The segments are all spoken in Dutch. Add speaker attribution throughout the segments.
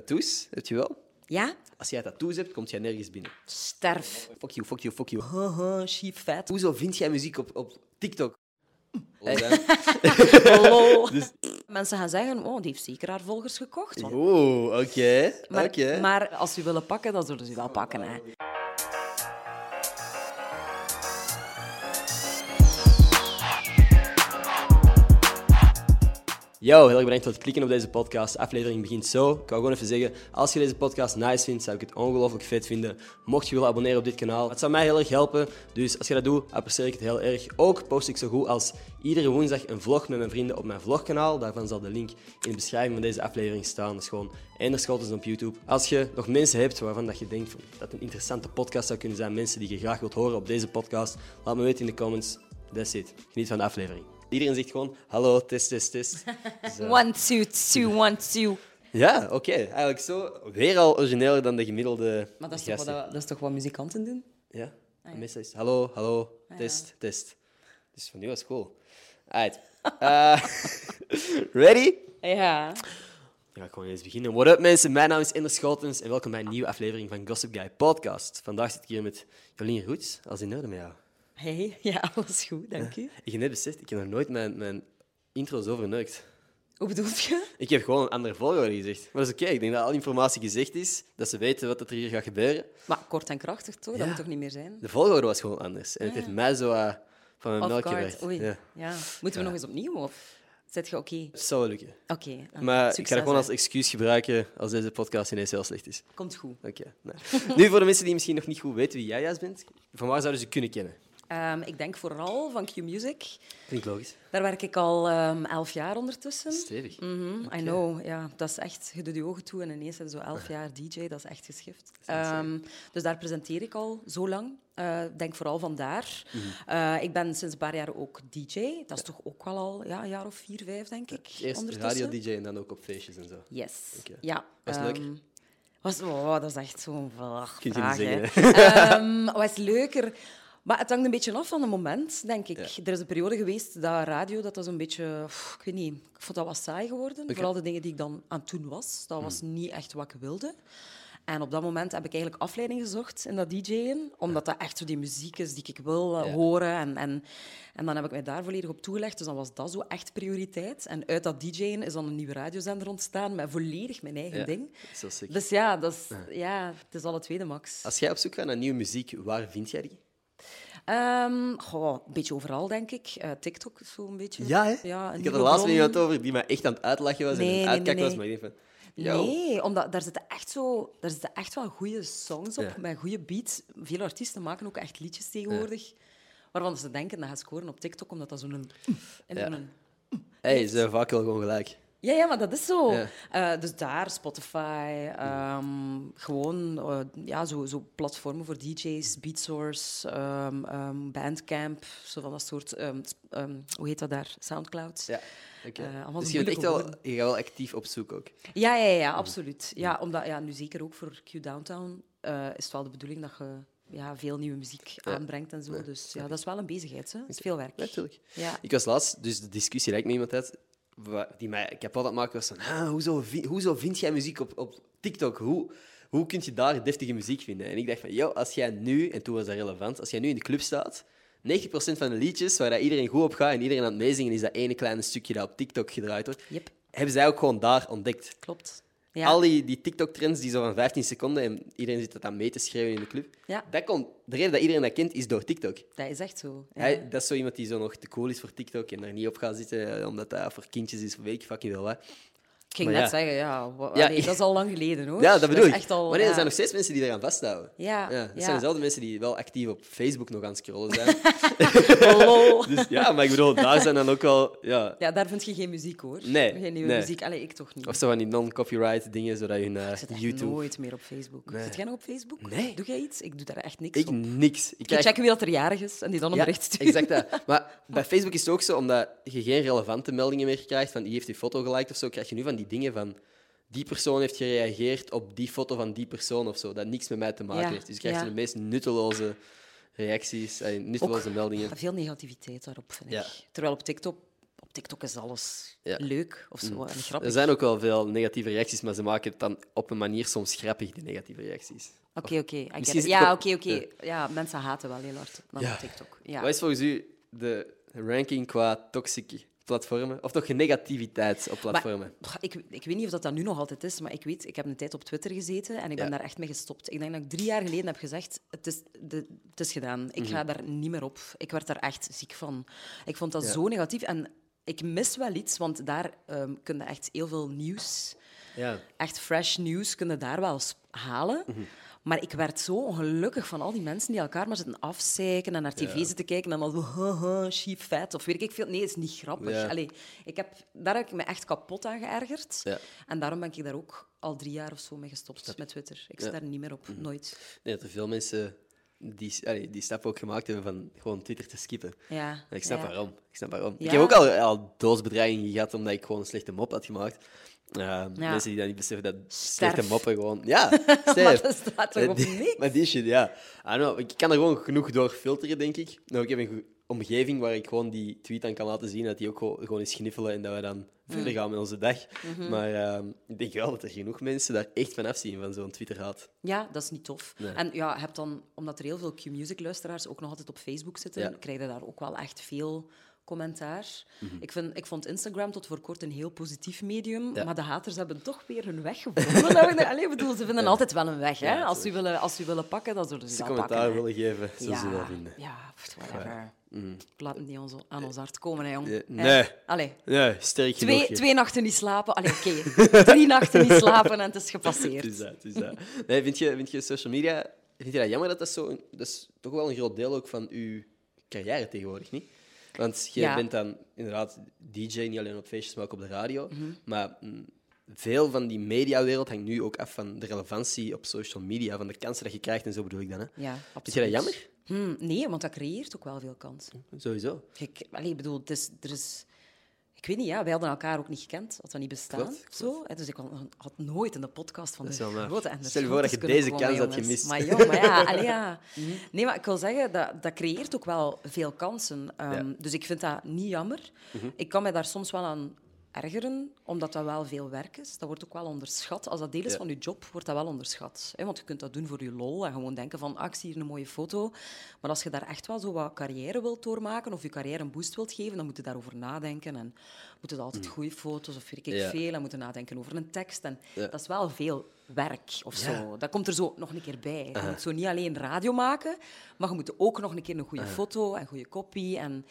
Speaker 1: tattoos, weet je wel?
Speaker 2: Ja?
Speaker 1: Als jij tattoos hebt, komt jij nergens binnen.
Speaker 2: Sterf.
Speaker 1: Fuck you, fuck you, fuck you. Haha, she fat. Hoezo vind jij muziek op, op TikTok? Eh,
Speaker 2: Lol.
Speaker 1: Dus-
Speaker 2: Mensen gaan zeggen, oh, die heeft zeker haar volgers gekocht. Want-
Speaker 1: Oeh, oké.
Speaker 2: Maar,
Speaker 1: Oké.
Speaker 2: maar als ze willen pakken, dan zullen ze wel pakken. Hè.
Speaker 1: Yo, heel erg bedankt voor het klikken op deze podcast. De aflevering begint zo. Ik wou gewoon even zeggen, als je deze podcast nice vindt, zou ik het ongelooflijk vet vinden. Mocht je willen abonneren op dit kanaal, het zou mij heel erg helpen. Dus als je dat doet, apprecieer ik het heel erg. Ook post ik zo goed als iedere woensdag een vlog met mijn vrienden op mijn vlogkanaal. Daarvan zal de link in de beschrijving van deze aflevering staan. Dus gewoon Ender Scholtens op YouTube. Als je nog mensen hebt waarvan dat je denkt van, dat een interessante podcast zou kunnen zijn, mensen die je graag wilt horen op deze podcast, laat me weten in de comments. That's it. Geniet van de aflevering. Iedereen zegt gewoon, hallo, test, test, test. Dus, eh,
Speaker 2: One, two, two, one, two.
Speaker 1: ja, oké. Eigenlijk zo. Weer al origineler dan de gemiddelde.
Speaker 2: Maar dat is, toch wat,
Speaker 1: gasten.
Speaker 2: dat Ah, is toch wat muzikanten doen?
Speaker 1: Ja. En Meestal is het, hallo,
Speaker 2: Ah,
Speaker 1: hallo, test, test. Dus van nu was cool. Alright. Eh, ready?
Speaker 2: Ja.
Speaker 1: Dan ga ik gewoon eens beginnen. What up mensen, mijn naam is Ender Schotens en welkom bij een nieuwe aflevering van Gossip Guy Podcast. Vandaag zit ik hier met Jolien Roets, als in orde met jou.
Speaker 2: Hey, ja, alles goed, dank u.
Speaker 1: Ik heb net beseft, ik heb nog nooit mijn, mijn intro zo verneukt.
Speaker 2: Hoe bedoel je?
Speaker 1: Ik heb gewoon een andere volgorde gezegd. Maar dat is oké, ik denk dat al informatie gezegd is, dat ze weten wat er hier gaat gebeuren.
Speaker 2: Maar kort en krachtig, toch?
Speaker 1: Ja.
Speaker 2: Dat moet toch niet meer zijn?
Speaker 1: De volgorde was gewoon anders. En het heeft mij zo eh, van mijn melk gewerkt.
Speaker 2: guard. Oei.
Speaker 1: Ja.
Speaker 2: Ja. Moeten we nog eens opnieuw, of? Zet je oké?
Speaker 1: Het zou lukken.
Speaker 2: Oké. dan
Speaker 1: Maar ik ga
Speaker 2: Ah, succes,
Speaker 1: dat gewoon
Speaker 2: hè.
Speaker 1: als excuus gebruiken als deze podcast ineens heel slecht is.
Speaker 2: Komt goed.
Speaker 1: Oké. nou. nu, voor de mensen die misschien nog niet goed weten wie jij juist bent, van waar zouden ze kunnen kennen?
Speaker 2: Ehm, ik denk vooral van Q-Music.
Speaker 1: Klinkt logisch.
Speaker 2: Daar werk ik al ehm, elf jaar ondertussen.
Speaker 1: Stevig.
Speaker 2: Mhm, I know, ja. Dat is echt, je doet je ogen toe en ineens heb je zo elf jaar DJ, dat is echt geschift. Ehm, dus daar presenteer ik al zo lang. Eh, denk vooral vandaar. Eh, ik ben sinds een paar jaar ook DJ. Dat is toch ook wel al ja, een jaar of vier, vijf, denk ik.
Speaker 1: Eerst
Speaker 2: ondertussen.
Speaker 1: radio-dj en dan ook op feestjes en zo.
Speaker 2: Yes.
Speaker 1: Oké.
Speaker 2: Ja.
Speaker 1: Was het leuk?
Speaker 2: ehm, Was, oh, dat is echt zo'n vraag.
Speaker 1: Kun je
Speaker 2: vraag,
Speaker 1: niet
Speaker 2: hè. Ehm, was leuker? Maar het hangt een beetje af van het moment, denk ik. Er is een periode geweest dat radio, dat was een beetje... pff, ik weet niet, ik vond dat was saai geworden. Vooral de dingen die ik dan aan toen was. Dat was
Speaker 1: Hmm.
Speaker 2: niet echt wat ik wilde. En op dat moment heb ik eigenlijk afleiding gezocht in dat DJ'en. Omdat dat echt zo die muziek is die ik wil eh,
Speaker 1: Ja.
Speaker 2: horen. En, en, en dan heb ik mij daar volledig op toegelegd. Dus dan was dat zo echt prioriteit. En uit dat DJ'en is dan een nieuwe radiozender ontstaan met volledig mijn eigen
Speaker 1: Ja,
Speaker 2: ding.
Speaker 1: Zo sick.
Speaker 2: Dus ja, dat is, ja, het is al het tweede max.
Speaker 1: Als jij op zoek gaat naar nieuwe muziek, waar vind jij die?
Speaker 2: Ehm, goh, een beetje overal, denk ik. Eh, TikTok is zo'n beetje. ja een
Speaker 1: ik had er
Speaker 2: nieuwe
Speaker 1: laatst met
Speaker 2: bron.
Speaker 1: iemand over die mij echt aan het uitlachen was
Speaker 2: Nee,
Speaker 1: en aan
Speaker 2: nee,
Speaker 1: het uitkakken
Speaker 2: nee,
Speaker 1: was.
Speaker 2: nee.
Speaker 1: Maar ik denk van, yo.
Speaker 2: Nee, omdat daar zitten echt, zo, daar zitten echt wel goede songs op,
Speaker 1: Ja.
Speaker 2: met goede beats. Veel artiesten maken ook echt liedjes tegenwoordig. Waarvan ze denken dat gaat scoren op TikTok, omdat dat zo'n... en
Speaker 1: Ja.
Speaker 2: zo'n-
Speaker 1: hey, ze hebben vaak wel gewoon gelijk.
Speaker 2: Ja, ja, maar dat is zo.
Speaker 1: Ja.
Speaker 2: Eh, dus daar, Spotify, ehm, gewoon eh, ja, zo, zo platformen voor DJ's, Beatsource, ehm, ehm, Bandcamp, zo van dat soort. ehm, sp- ehm, hoe heet dat daar? Soundcloud.
Speaker 1: Ja, oké.
Speaker 2: Eh, allemaal
Speaker 1: dus
Speaker 2: zo
Speaker 1: je, bent
Speaker 2: moeilijke
Speaker 1: echt wel, je gaat
Speaker 2: woorden.
Speaker 1: wel actief op zoek ook.
Speaker 2: Ja, ja, ja, ja, absoluut. Ja, omdat, ja, nu zeker ook voor Q Downtown eh, is het wel de bedoeling dat je ja, veel nieuwe muziek aanbrengt en zo. dus ja, dat is wel een bezigheid. Hè. Het is veel werk.
Speaker 1: Natuurlijk.
Speaker 2: Ja.
Speaker 1: Ik was laatst, dus de discussie die ik met iemand had, wa- die mij kapot aan het maken was van, "Ah, hoezo, vi- hoezo vind jij muziek op, op TikTok? Hoe, hoe kun je daar deftige muziek vinden? En ik dacht van, yo, als jij nu, en toen was dat relevant, als jij nu in de club staat, 90% van de liedjes waar dat iedereen goed op gaat en iedereen aan het meezingen is dat ene kleine stukje dat op TikTok gedraaid wordt,
Speaker 2: Yep.
Speaker 1: hebben zij ook gewoon daar ontdekt.
Speaker 2: Klopt. Ja.
Speaker 1: Al die, die TikTok-trends die zo van 15 seconden en iedereen zit dat aan mee te schreeuwen in de club.
Speaker 2: Ja.
Speaker 1: Dat komt, de reden dat iedereen dat kent is door TikTok.
Speaker 2: Dat is echt zo. Ja.
Speaker 1: Hij, dat is zo iemand die zo nog te cool is voor TikTok en daar niet op gaat zitten eh, omdat dat voor kindjes is, weet ik fucking wel wat.
Speaker 2: Ik ging
Speaker 1: Maar
Speaker 2: net
Speaker 1: ja.
Speaker 2: zeggen, ja, wa-
Speaker 1: Ja,
Speaker 2: allee, dat is al lang geleden hoor.
Speaker 1: Ja, dat bedoel
Speaker 2: is
Speaker 1: ik.
Speaker 2: echt al,
Speaker 1: maar nee, er
Speaker 2: ja.
Speaker 1: zijn nog steeds mensen die eraan vasthouden.
Speaker 2: Ja,
Speaker 1: dat
Speaker 2: ja.
Speaker 1: zijn dezelfde mensen die wel actief op Facebook nog aan het scrollen zijn.
Speaker 2: Hallo.
Speaker 1: dus ja, maar ik bedoel, daar zijn dan ook wel... Ja,
Speaker 2: Ja, daar vind je geen muziek hoor.
Speaker 1: Nee,
Speaker 2: Geen nieuwe
Speaker 1: nee.
Speaker 2: muziek. Allee, ik toch niet.
Speaker 1: of zo van die non-copyright dingen, zodat je
Speaker 2: ik
Speaker 1: naar
Speaker 2: zit echt
Speaker 1: YouTube...
Speaker 2: nooit meer op Facebook. Zit jij nog op Facebook?
Speaker 1: Nee.
Speaker 2: Doe jij iets? Ik doe daar echt niks
Speaker 1: Ik
Speaker 2: op.
Speaker 1: niks. Ik
Speaker 2: Ik
Speaker 1: krijg-
Speaker 2: check wie dat er jarig is en die dan een bericht stuurt.
Speaker 1: exact dat. Maar bij Facebook is het ook zo, omdat je geen relevante meldingen meer krijgt van die heeft die foto geliked of zo, krijg je nu van die dingen van die persoon heeft gereageerd op die foto van die persoon of zo, dat niks met mij te maken
Speaker 2: Ja,
Speaker 1: heeft. Dus je krijgt
Speaker 2: ja.
Speaker 1: de meest nutteloze reacties, eh, nutteloze meldingen.
Speaker 2: Veel negativiteit daarop, vind ik.
Speaker 1: Ja.
Speaker 2: Terwijl op TikTok, op TikTok is alles
Speaker 1: Ja. Mm.
Speaker 2: leuk of zo en grappig.
Speaker 1: Er zijn ook wel veel negatieve reacties, maar ze maken het dan op een manier soms grappig, die negatieve reacties.
Speaker 2: Oké, oké. I get
Speaker 1: Misschien
Speaker 2: it.
Speaker 1: is het
Speaker 2: Ja,
Speaker 1: wel-
Speaker 2: oké, oké. Ja, mensen haten wel heel hard dan
Speaker 1: Ja.
Speaker 2: op TikTok. Ja.
Speaker 1: Wat is volgens u de ranking qua toxische platformen? Of toch negativiteit op
Speaker 2: Maar,
Speaker 1: platformen?
Speaker 2: pff, ik, ik weet niet of dat, dat nu nog altijd is, maar ik weet, ik heb een tijd op Twitter gezeten en ik ben
Speaker 1: Ja.
Speaker 2: daar echt mee gestopt. Ik denk dat ik drie jaar geleden heb gezegd, het is, de, het is gedaan. Ik
Speaker 1: Mhm.
Speaker 2: ga daar niet meer op. Ik werd daar echt ziek van. Ik vond dat
Speaker 1: Ja.
Speaker 2: zo negatief en ik mis wel iets, want daar ehm kun je echt heel veel nieuws,
Speaker 1: Ja.
Speaker 2: echt fresh nieuws, kunnen daar wel eens halen.
Speaker 1: Mhm.
Speaker 2: Maar ik werd zo ongelukkig van al die mensen die elkaar maar zitten afzeiken en naar tv zitten kijken en dan zo, haha, sheep vet of weet ik veel. Nee, het is niet grappig.
Speaker 1: Ja.
Speaker 2: Allee, ik heb, daar heb ik me echt kapot aan geërgerd.
Speaker 1: Ja.
Speaker 2: En daarom ben ik daar ook al drie jaar of zo mee gestopt met Twitter. Ik zit
Speaker 1: Ja. Mhm.
Speaker 2: daar niet meer op, nooit.
Speaker 1: Nee, dat er veel mensen die, allee, die stap ook gemaakt hebben van gewoon Twitter te skippen.
Speaker 2: Ja.
Speaker 1: En ik snap
Speaker 2: ja.
Speaker 1: waarom. Ik snap waarom. Ik
Speaker 2: Ja.
Speaker 1: heb ook al, al doosbedreigingen gehad omdat ik gewoon een slechte mop had gemaakt. Ehm, Mensen die dan niet beseffen dat slechte
Speaker 2: Sterf.
Speaker 1: moppen gewoon... Ja, sterf.
Speaker 2: dat staat toch op
Speaker 1: Die-
Speaker 2: niks?
Speaker 1: Maar die shit, ja. I don't know, ik kan er gewoon genoeg door filteren, denk ik. Nou, ik heb een goe- omgeving waar ik gewoon die tweet aan kan laten zien, dat die ook gewoon, gewoon eens gniffelen en dat we
Speaker 2: Mm.
Speaker 1: dan verder gaan met onze dag.
Speaker 2: Mhm.
Speaker 1: Maar ehm, ik denk wel dat er genoeg mensen daar echt van afzien, van zo'n Twitter-haat.
Speaker 2: Ja, dat is niet tof. En ja, je hebt dan, omdat er heel veel Q-music-luisteraars ook nog altijd op Facebook zitten,
Speaker 1: Ja. Mhm.
Speaker 2: krijg je daar ook wel echt veel commentaar. ik, vind, ik vond Instagram tot voor kort een heel positief medium,
Speaker 1: Ja.
Speaker 2: maar de haters hebben toch weer hun weg gevonden. Dat we- Allee, ik bedoel, ze vinden altijd wel een weg. Hè?
Speaker 1: Ja,
Speaker 2: als, u willen, als u willen pakken, dan zullen
Speaker 1: Als
Speaker 2: ze
Speaker 1: ze
Speaker 2: dat
Speaker 1: commentaar
Speaker 2: pakken. hè.
Speaker 1: willen geven, zullen ze dat
Speaker 2: ja,
Speaker 1: vinden.
Speaker 2: ja, pff, whatever. Laat het niet ons- aan ons hart komen, hè, jong.
Speaker 1: Eh,
Speaker 2: Hè?
Speaker 1: nee.
Speaker 2: Allee,
Speaker 1: Ja, sterk genoeg.
Speaker 2: twee,
Speaker 1: hè.
Speaker 2: twee nachten niet slapen. Allee, oké. Drie nachten niet slapen en het is gepasseerd.
Speaker 1: Het is dat, het is dat. Nee, vind je, vind je social media... Vind je dat jammer dat dat zo... een- Dat is toch wel een groot deel ook van uw carrière tegenwoordig, niet? Want je
Speaker 2: Ja.
Speaker 1: bent dan inderdaad DJ, niet alleen op feestjes, maar ook op de radio.
Speaker 2: Mhm.
Speaker 1: Maar mm, veel van die mediawereld hangt nu ook af van de relevantie op social media, van de kansen dat je krijgt en zo bedoel ik dan. Hè?
Speaker 2: Ja,
Speaker 1: Vind je dat
Speaker 2: absoluut.
Speaker 1: jammer?
Speaker 2: Hmm, nee, want dat creëert ook wel veel kansen.
Speaker 1: Sowieso.
Speaker 2: Ik, allee, ik bedoel, het is, er is... Ik weet niet, ja, wij hadden elkaar ook niet gekend, had dat niet bestaan.
Speaker 1: Klopt, klopt.
Speaker 2: Zo, hè, dus ik had, had nooit in de podcast van
Speaker 1: Dat
Speaker 2: de
Speaker 1: is wel waar.
Speaker 2: grote en de
Speaker 1: Stel je voor dat je
Speaker 2: Grotes kunnen
Speaker 1: deze
Speaker 2: komen,
Speaker 1: kans had
Speaker 2: jongens.
Speaker 1: gemist.
Speaker 2: Maar jong, maar ja, allee, ja.
Speaker 1: Mhm.
Speaker 2: Nee, maar ik wil zeggen, dat, dat creëert ook wel veel kansen. Ehm,
Speaker 1: Ja. Mhm.
Speaker 2: Dus ik vind dat niet jammer. Ik kan mij daar soms wel aan ergeren, omdat dat wel veel werk is. Dat wordt ook wel onderschat. Als dat deel is
Speaker 1: Ja.
Speaker 2: van je job, wordt dat wel onderschat. Hè? Want je kunt dat doen voor je lol en gewoon denken van, ah, ik zie hier een mooie foto. Maar als je daar echt wel zo wat carrière wilt doormaken of je carrière een boost wilt geven, dan moet je daarover nadenken. En moeten dat altijd goede foto's of weet ik
Speaker 1: Mhm. Ja.
Speaker 2: veel. En moeten nadenken over een tekst. En
Speaker 1: Ja.
Speaker 2: dat is wel veel werk of
Speaker 1: Ja.
Speaker 2: zo. Dat komt er zo nog een keer bij. Je moet zo niet alleen radio maken, maar je moet ook nog een keer een goede foto en goede copy en...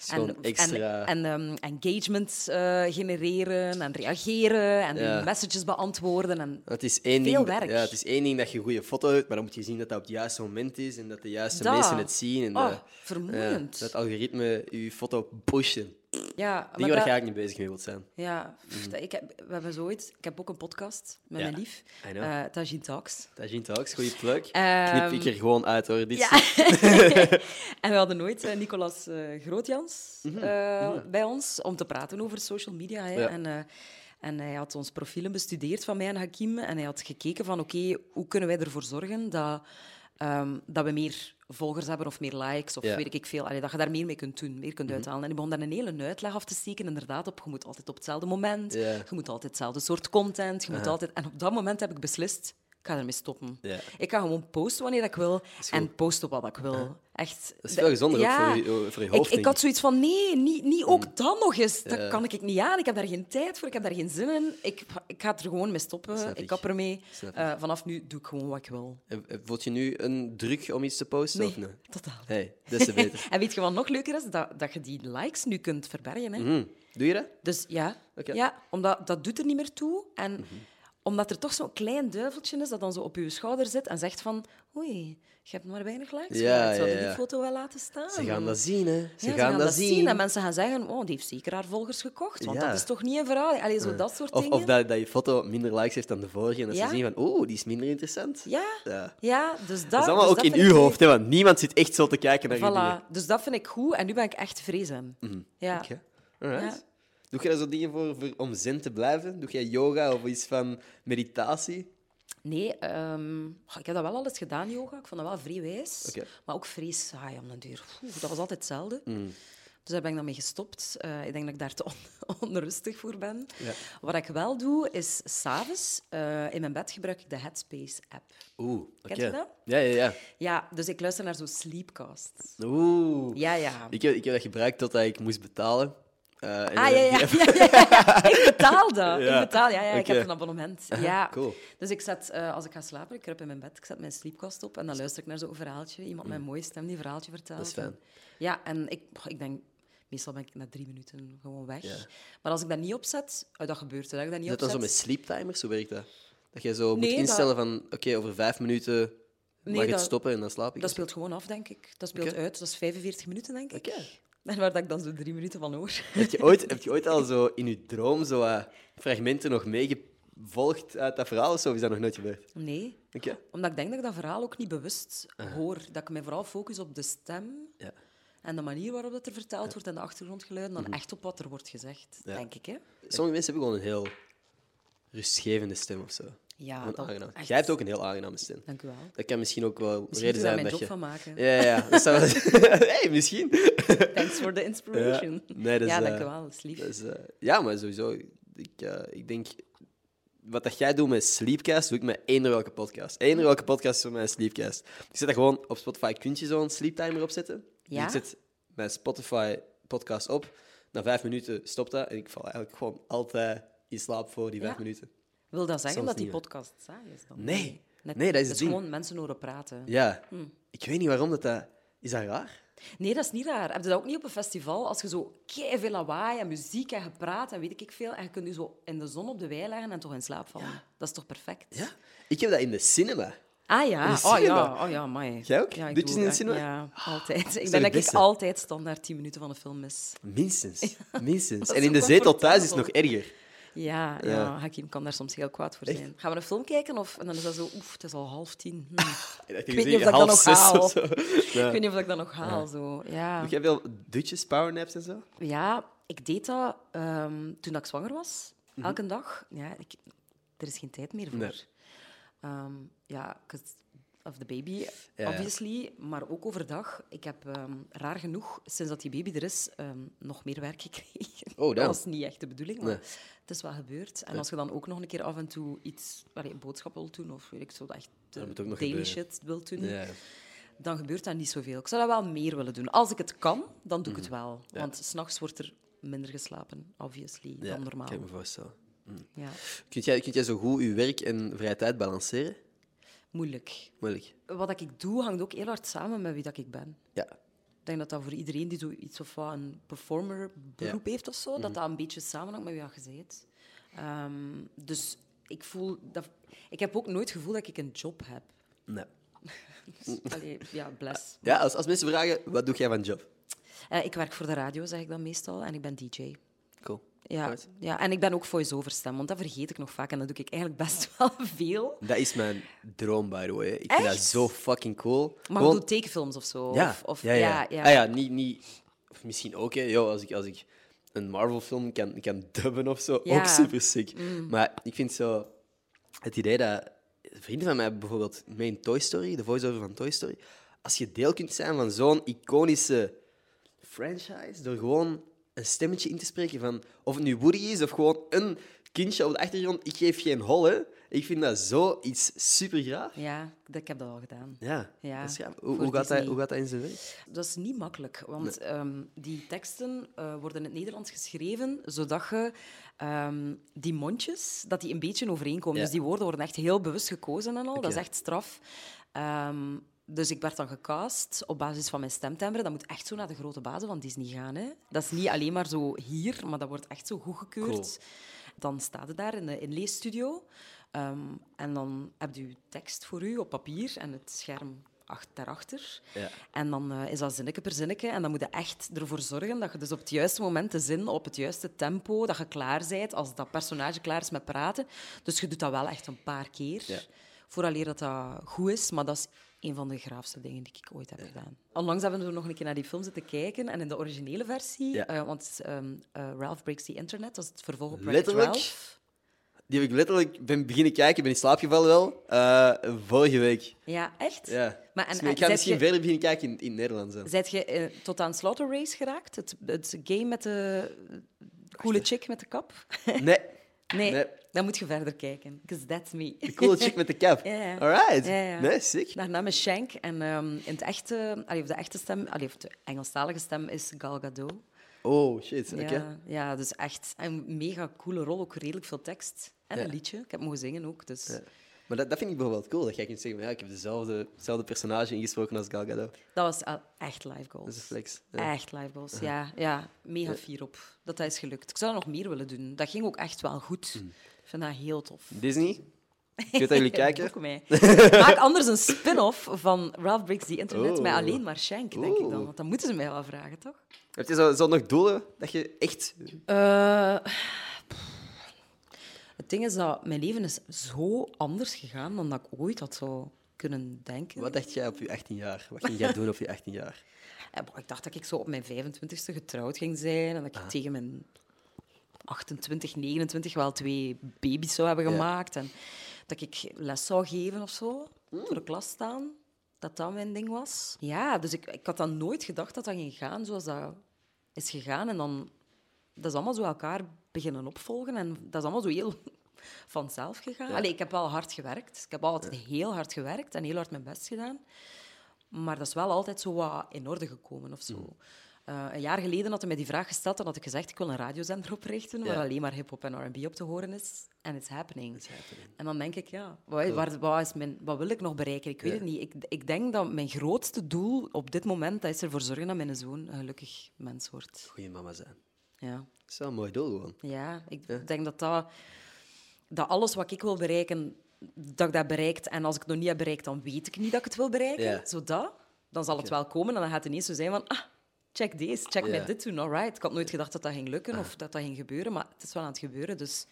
Speaker 1: is gewoon extra-
Speaker 2: en, ehm, engagement eh, genereren en reageren en
Speaker 1: Ja.
Speaker 2: messages beantwoorden. En
Speaker 1: Want Het is één
Speaker 2: Veel
Speaker 1: ding,
Speaker 2: werk.
Speaker 1: Ja, het is één ding dat je een goede foto hebt, maar dan moet je zien dat dat op het juiste moment is en dat de juiste
Speaker 2: Dat.
Speaker 1: mensen het zien. En
Speaker 2: Oh,
Speaker 1: dat,
Speaker 2: vermoeiend.
Speaker 1: eh, Ja, dat algoritme je foto pushen.
Speaker 2: ja,
Speaker 1: Dingen
Speaker 2: maar
Speaker 1: waar
Speaker 2: dat-
Speaker 1: je eigenlijk niet bezig mee wilt zijn.
Speaker 2: Ja, pff, dat- ik heb, we hebben zoiets. Ik heb ook een podcast met
Speaker 1: Mhm. Ja,
Speaker 2: mijn lief,
Speaker 1: I know.
Speaker 2: eh, Tajin Talks.
Speaker 1: Tajin Talks, goede plug.
Speaker 2: Ehm,
Speaker 1: Knip ik er gewoon uit hoor. Dit
Speaker 2: Ja. en we hadden nooit eh, Nicolas eh, Grootjans eh, bij ons om te praten over social media. Hè.
Speaker 1: Mhm. Ja.
Speaker 2: En, eh, en hij had ons profielen bestudeerd van mij en Hakim. En hij had gekeken van, oké, hoe kunnen wij ervoor zorgen dat, ehm, dat we meer volgers hebben of meer likes of
Speaker 1: Ja. Mhm.
Speaker 2: weet ik veel. Allee, dat je daar meer mee kunt doen, meer kunt uithalen. En ik begon daar een hele uitleg af te steken, inderdaad, op je moet altijd op hetzelfde moment,
Speaker 1: Ja.
Speaker 2: je moet altijd hetzelfde soort content, je moet altijd... En op dat moment heb ik beslist, ik ga ermee stoppen.
Speaker 1: Ja.
Speaker 2: Ik ga gewoon posten wanneer ik wil
Speaker 1: is goed.
Speaker 2: en posten wat ik wil. Echt.
Speaker 1: Dat is veel gezonder ook voor je- eh, voor je hoofd,
Speaker 2: Ik, ik
Speaker 1: denk ik. Hmm.
Speaker 2: had zoiets van, nee, niet, niet ook dan nog eens. Dat kan ik niet aan. Ik heb daar geen tijd voor, ik heb daar geen zin in. Ik, ik ga er gewoon mee stoppen.
Speaker 1: Snap
Speaker 2: Ik.
Speaker 1: ik.
Speaker 2: kap ermee.
Speaker 1: Snap ik.
Speaker 2: Eh, vanaf nu doe ik gewoon wat ik wil.
Speaker 1: En, eh, Voelt je nu een druk om iets te posten?
Speaker 2: Nee,
Speaker 1: Of nee?
Speaker 2: totaal.
Speaker 1: Hey, dat is te beter.
Speaker 2: en weet je wat nog leuker is? Dat, dat je die likes nu kunt verbergen. Hè?
Speaker 1: Hm, Doe je dat?
Speaker 2: Dus ja,
Speaker 1: Oké. Mhm.
Speaker 2: ja omdat dat doet er niet meer toe. En omdat er toch zo'n klein duiveltje is dat dan zo op je schouder zit en zegt van... Oei, je hebt maar weinig likes.
Speaker 1: Ja,
Speaker 2: gemaakt. Zou je
Speaker 1: ja, ja.
Speaker 2: die foto wel laten staan?
Speaker 1: Ze gaan dat zien, hè? Ze,
Speaker 2: Ah. Ja,
Speaker 1: gaan, dat, zien.
Speaker 2: En mensen gaan zeggen, oh, die heeft zeker haar volgers gekocht. Want
Speaker 1: Ja.
Speaker 2: dat is toch niet een verhaal? Allee, zo dat soort
Speaker 1: Of,
Speaker 2: dingen.
Speaker 1: of dat, dat je foto minder likes heeft dan de vorige. En dat
Speaker 2: Ja.
Speaker 1: ze zien van, oeh, die is minder interessant.
Speaker 2: Ja.
Speaker 1: Ja.
Speaker 2: ja. dus dat...
Speaker 1: Dat is allemaal
Speaker 2: dus
Speaker 1: ook in
Speaker 2: vind
Speaker 1: uw
Speaker 2: ik-
Speaker 1: hoofd, hè? Want niemand zit echt zo te kijken naar je dingen.
Speaker 2: Voilà. Dus dat vind ik goed. En nu ben ik echt vrezen.
Speaker 1: Mhm.
Speaker 2: Ja.
Speaker 1: Oké, alright.
Speaker 2: Ja.
Speaker 1: Doe jij daar zo dingen voor, voor om zen te blijven? Doe jij yoga of iets van meditatie?
Speaker 2: Nee, ehm, goh, ik heb dat wel alles gedaan, yoga. Ik vond dat wel vrij wijs.
Speaker 1: Oké. Mhm.
Speaker 2: Maar ook vrij saai om de duur. Oeh, dat was altijd hetzelfde. Dus daar ben ik dan mee gestopt. Eh, ik denk dat ik daar te on- onrustig voor ben. Wat ik wel doe, is s'avonds eh in mijn bed gebruik ik de Headspace-app.
Speaker 1: Oeh, oké.
Speaker 2: Kent je dat?
Speaker 1: Ja, ja,
Speaker 2: Ja, dus ik luister naar zo'n sleepcasts.
Speaker 1: ja. Oeh.
Speaker 2: Ja, ja.
Speaker 1: Ik, heb, ik heb dat gebruikt totdat ik moest betalen. Eh, en
Speaker 2: Ah, ja,
Speaker 1: dan-
Speaker 2: ja, ja. ja, ja, ja. Ik betaal dat.
Speaker 1: Ja.
Speaker 2: Ik betaal, ja, ja. Ik
Speaker 1: Oké.
Speaker 2: heb een abonnement. Ja.
Speaker 1: cool.
Speaker 2: Dus ik zet, eh, als ik ga slapen, ik kruip in mijn bed, ik zet mijn sleepkast op en dan luister ik naar zo'n verhaaltje. Iemand met een mooie stem die een verhaaltje vertelt.
Speaker 1: Mm. Dat is fijn.
Speaker 2: Ja, en ik, goh, ik denk... Meestal ben ik na drie minuten gewoon weg.
Speaker 1: Ja.
Speaker 2: Maar als ik dat niet opzet... Oh, dat gebeurt, hè, dat ik dat niet
Speaker 1: Is dat dan
Speaker 2: opzet.
Speaker 1: zo met sleeptimers? Hoe werkt dat? Dat jij zo
Speaker 2: Nee,
Speaker 1: moet
Speaker 2: dat-
Speaker 1: instellen van, oké, over vijf minuten mag
Speaker 2: Nee,
Speaker 1: het
Speaker 2: dat-
Speaker 1: stoppen en dan slaap ik.
Speaker 2: Dat speelt gewoon af, denk ik. Dat speelt
Speaker 1: Oké.
Speaker 2: uit. Dat is 45 minuten, denk ik.
Speaker 1: Oké.
Speaker 2: En waar dat ik dan zo drie minuten van hoor.
Speaker 1: Heb je, ooit, heb je ooit al zo in je droom zo wat fragmenten nog meegevolgd uit dat verhaal of zo? Of is dat nog nooit gebeurd?
Speaker 2: Nee.
Speaker 1: Oké.
Speaker 2: Omdat ik denk dat ik dat verhaal ook niet bewust hoor. Dat ik mij vooral focus op de stem
Speaker 1: Ja. Mhm.
Speaker 2: en de manier waarop dat er verteld wordt en de achtergrondgeluiden, dan echt op wat er wordt gezegd,
Speaker 1: Ja.
Speaker 2: denk ik. Hè?
Speaker 1: Sommige mensen hebben gewoon een heel rustgevende stem of zo.
Speaker 2: Ja,
Speaker 1: Gewoon
Speaker 2: dat-
Speaker 1: aangenaam.
Speaker 2: echt.
Speaker 1: Jij hebt ook een heel aangename stem.
Speaker 2: Dank u wel.
Speaker 1: Dat kan misschien ook wel
Speaker 2: Misschien
Speaker 1: reden
Speaker 2: moeten we
Speaker 1: zijn
Speaker 2: daar mijn
Speaker 1: dat je...
Speaker 2: job van maken.
Speaker 1: Ja, ja, ja. Dat zou- hey, misschien.
Speaker 2: Thanks for the inspiration.
Speaker 1: Ja. Nee, dat is,
Speaker 2: ja,
Speaker 1: eh,
Speaker 2: dank u wel. Dat is lief.
Speaker 1: Dat is, eh, ja, maar sowieso. Ik, eh, ik denk... Wat dat jij doet met Sleepcast, doe ik met eender welke podcast. Eender welke podcast is voor mij een Sleepcast. Ik zet dat gewoon op Spotify. Kun je zo'n sleeptimer opzetten? Dus
Speaker 2: Ja?
Speaker 1: ik zet mijn Spotify-podcast op. Na vijf minuten stopt dat. En ik val eigenlijk gewoon altijd in slaap voor die vijf
Speaker 2: Ja.
Speaker 1: minuten.
Speaker 2: Wil dat zeggen
Speaker 1: soms
Speaker 2: dat die
Speaker 1: niet, hè.
Speaker 2: podcast saai is dan?
Speaker 1: Nee.
Speaker 2: Net-
Speaker 1: Nee, dat is het ding.
Speaker 2: gewoon mensen horen praten.
Speaker 1: Ja.
Speaker 2: Hm.
Speaker 1: Ik weet niet waarom dat dat... Is dat raar?
Speaker 2: Nee, dat is niet raar. Heb je dat ook niet op een festival? Als je zo veel lawaai en muziek en gepraat en weet ik veel, en je kunt je zo in de zon op de wei leggen en toch in slaap vallen. Dat is toch perfect?
Speaker 1: Ja. Ik heb dat in de cinema.
Speaker 2: Ah
Speaker 1: In
Speaker 2: ja,
Speaker 1: de
Speaker 2: oh
Speaker 1: cinema.
Speaker 2: ja, oh ja, amai.
Speaker 1: Jij ook?
Speaker 2: Ja, ik
Speaker 1: Doet je
Speaker 2: doe
Speaker 1: het in de
Speaker 2: ook,
Speaker 1: cinema?
Speaker 2: Ja, altijd. Ik
Speaker 1: de
Speaker 2: denk dat ik
Speaker 1: beste.
Speaker 2: altijd standaard 10 minuten van een film mis.
Speaker 1: Minstens. Minstens.
Speaker 2: Dat
Speaker 1: En
Speaker 2: is
Speaker 1: in
Speaker 2: zo
Speaker 1: de zetel thuis is het nog
Speaker 2: comfortabel.
Speaker 1: erger.
Speaker 2: Ja, ja.
Speaker 1: Ja.
Speaker 2: Hakim kan daar soms heel kwaad voor
Speaker 1: Echt?
Speaker 2: zijn. Gaan we een film kijken? Of, en dan is dat zo, oef, het is al half tien. Hm.
Speaker 1: Ik
Speaker 2: weet niet of dat ik dat nog haal. Ik
Speaker 1: Ja.
Speaker 2: weet niet of ik dat nog haal. Zo. Ja.
Speaker 1: Doe jij veel dutjes, powernaps en zo?
Speaker 2: ja, ik deed dat ehm, toen ik zwanger was. Elke dag. Ja, ik, er is geen tijd meer voor.
Speaker 1: Mhm. Nee.
Speaker 2: Ehm, ja, 'cause of the baby,
Speaker 1: ja.
Speaker 2: obviously. Maar ook overdag. Ik heb ehm, raar genoeg, sinds dat die baby er is, ehm, nog meer werk gekregen.
Speaker 1: Oh, damn.
Speaker 2: dat was niet echt de bedoeling, maar
Speaker 1: Nee.
Speaker 2: het is wel gebeurd. En als je dan ook nog een keer af en toe iets, allee, boodschappen wilt doen, of weet ik zo, dat echt eh,
Speaker 1: moet ook nog
Speaker 2: daily
Speaker 1: gebeuren.
Speaker 2: shit wilt doen, dan gebeurt dat niet zoveel. Ik zou dat wel meer willen doen. Als ik het kan, dan doe ik het
Speaker 1: Mhm.
Speaker 2: wel. Want s'nachts wordt er minder geslapen, obviously,
Speaker 1: Ja,
Speaker 2: dan normaal.
Speaker 1: Kan ik me voorstellen.
Speaker 2: Ja.
Speaker 1: Kunt jij, kunt jij zo goed je werk en vrije tijd balanceren?
Speaker 2: Moeilijk.
Speaker 1: Moeilijk.
Speaker 2: Wat ik doe, hangt ook heel hard samen met wie dat ik ben.
Speaker 1: Ja.
Speaker 2: Ik denk dat dat voor iedereen die zoiets of wat een performerberoep heeft of zo,
Speaker 1: Mhm.
Speaker 2: dat dat een beetje samenhangt met wie je bent. Ehm, dus ik voel dat... Ik heb ook nooit het gevoel dat ik een job heb.
Speaker 1: Nee.
Speaker 2: Dus, allee, ja, bless.
Speaker 1: Ja, als, als mensen vragen, wat doe jij van job?
Speaker 2: Eh, ik werk voor de radio, zeg ik dan meestal, en ik ben DJ.
Speaker 1: Cool.
Speaker 2: Ja,
Speaker 1: Right.
Speaker 2: ja, en ik ben ook voice-over stem, want dat vergeet ik nog vaak en dat doe ik eigenlijk best wel veel.
Speaker 1: Dat is mijn droom, by the way. Ik vind dat
Speaker 2: Echt?
Speaker 1: zo fucking cool.
Speaker 2: Maar ik
Speaker 1: Gewoon-
Speaker 2: doe tekenfilms of zo.
Speaker 1: Ja,
Speaker 2: Of, of,
Speaker 1: ja, ja.
Speaker 2: ja.
Speaker 1: Ah, ja niet, niet, of misschien ook, hè. Yo, als, ik, als ik een Marvel-film kan, kan dubben of zo,
Speaker 2: Ja. Mm.
Speaker 1: ook super sick. Maar ik vind zo het idee dat vrienden van mij bijvoorbeeld mee in Toy Story, de voice-over van Toy Story, als je deel kunt zijn van zo'n iconische franchise door gewoon een stemmetje in te spreken van of het nu Woody is of gewoon een kindje op de achtergrond, ik geef geen hol, hè. Ik vind dat zoiets super graag.
Speaker 2: Ja, dat- ik heb dat al gedaan.
Speaker 1: Ja,
Speaker 2: Ja,
Speaker 1: dat is gaaf. Hoe,
Speaker 2: voor
Speaker 1: hoe, gaat dat,
Speaker 2: Disney.
Speaker 1: hoe gaat dat in zijn werk?
Speaker 2: Dat is niet makkelijk, want ehm, die teksten eh, worden in het Nederlands geschreven zodat je ehm, die mondjes, dat die een beetje overeenkomen.
Speaker 1: Ja.
Speaker 2: Dus die woorden worden echt heel bewust gekozen en al. Dat is
Speaker 1: Oké.
Speaker 2: echt straf. Ehm, dus ik werd dan gecast op basis van mijn stemtimbre. Dat moet echt zo naar de grote bazen van Disney gaan. Hè? Dat is niet alleen maar zo hier, maar dat wordt echt zo goedgekeurd. Dan staat het daar in de inleesstudio. Ehm, en dan heb je tekst voor u op papier en het scherm ach- daarachter.
Speaker 1: Ja.
Speaker 2: En dan eh, is dat zinnetje per zinnetje. En dan moet je echt ervoor zorgen dat je dus op het juiste moment de zin, op het juiste tempo, dat je klaar bent als dat personage klaar is met praten. Dus je doet dat wel echt een paar keer.
Speaker 1: Ja.
Speaker 2: Vooraleer dat dat goed is. Maar dat is een van de graafste dingen die ik ooit heb gedaan. Onlangs hebben we nog een keer naar die film zitten kijken. En in de originele versie,
Speaker 1: Ja.
Speaker 2: eh, want ehm, eh, Ralph Breaks the Internet, dat is het vervolg op Wreck-It
Speaker 1: Letterlijk?
Speaker 2: Ralph.
Speaker 1: Die heb ik letterlijk ben beginnen kijken, ben in slaap gevallen wel, eh, vorige week.
Speaker 2: Ja, echt?
Speaker 1: Ja.
Speaker 2: Maar en,
Speaker 1: Dus
Speaker 2: en
Speaker 1: ik ga
Speaker 2: zet
Speaker 1: misschien
Speaker 2: je-
Speaker 1: verder beginnen kijken in, in Nederland. Zijn.
Speaker 2: Zijt je eh, tot aan Slaughter Race geraakt? Het, het game met de coole chick met de kap?
Speaker 1: Nee,
Speaker 2: Nee,
Speaker 1: Nee.
Speaker 2: dan moet je verder kijken. Because that's me.
Speaker 1: de coole chick met de cap.
Speaker 2: Ja, ja.
Speaker 1: Alright.
Speaker 2: Ja, ja.
Speaker 1: Nee, sick.
Speaker 2: Haar naam is Shank en ehm, in het echte, allee, of de echte stem, allee, of de Engelstalige stem is Gal Gadot.
Speaker 1: Oh, shit. Oké.
Speaker 2: Ja, ja, dus echt een mega coole rol, ook redelijk veel tekst. En
Speaker 1: Ja.
Speaker 2: een liedje. Ik heb mogen zingen ook, dus...
Speaker 1: Ja. Maar dat, dat vind ik bijvoorbeeld cool, dat jij kunt zeggen, van, ja, ik heb dezelfde, hetzelfde personage ingesproken als Gal Gadot.
Speaker 2: Dat was al echt live
Speaker 1: Dat is een
Speaker 2: goals.
Speaker 1: flex. Ja.
Speaker 2: Echt live goals, ja. ja mega fier op dat dat is gelukt. Ik zou er nog meer willen doen. Dat ging ook echt wel goed.
Speaker 1: Mm.
Speaker 2: Ik vind dat heel tof.
Speaker 1: Disney, ik weet dat jullie kijken.
Speaker 2: Boek mij. Maak anders een spin-off van Ralph Breaks the Internet
Speaker 1: Oh.
Speaker 2: met alleen maar Shank, denk ik
Speaker 1: Oeh.
Speaker 2: dan. Want dan moeten ze mij wel vragen, toch?
Speaker 1: Heb je zo, zo nog doelen dat je echt...
Speaker 2: Eh, pff. het ding is dat mijn leven is zo anders gegaan dan dat ik ooit had zou kunnen denken.
Speaker 1: Wat dacht jij op je 18 jaar? Wat ging jij doen op je 18 jaar?
Speaker 2: Eh, maar Ik dacht dat ik zo op mijn 25ste getrouwd ging zijn en dat ik tegen mijn 28, 29 wel twee baby's zou hebben
Speaker 1: Ja.
Speaker 2: gemaakt. En dat ik les zou geven of zo, voor de klas staan. Dat dat mijn ding was. Ja, dus ik, ik had dan nooit gedacht dat dat ging gaan zoals dat is gegaan. En dan, dat is allemaal zo elkaar beginnen opvolgen. En dat is allemaal zo heel vanzelf gegaan. Allee, ik heb wel hard gewerkt. Ik heb altijd heel hard gewerkt en heel hard mijn best gedaan. Maar dat is wel altijd zo wat in orde gekomen of zo. Eh, een jaar geleden had hij mij die vraag gesteld en had ik gezegd: ik wil een radiozender oprichten waar
Speaker 1: Ja.
Speaker 2: alleen maar hip-hop en RB op te horen is. En it's happening. En dan denk ik: ja, wat, waar, wat, is mijn, wat wil ik nog bereiken? Ik weet
Speaker 1: Ja.
Speaker 2: het niet. Ik, ik denk dat mijn grootste doel op dit moment dat is ervoor zorgen dat mijn zoon een gelukkig mens wordt.
Speaker 1: Goeie mama zijn.
Speaker 2: Ja.
Speaker 1: Dat is wel een mooi doel gewoon.
Speaker 2: Ja, ik denk dat, dat, dat alles wat ik wil bereiken, dat ik dat bereikt. En als ik het nog niet heb bereikt, dan weet ik niet dat ik het wil bereiken.
Speaker 1: Ja.
Speaker 2: Zo dat. Dan zal het wel komen en dan gaat het ineens zo zijn van... Ah, check deze, check
Speaker 1: Ja. Ah.
Speaker 2: met dit doen, alright. Ik had nooit gedacht dat dat ging lukken of dat dat ging gebeuren, maar het is wel aan het gebeuren. Dus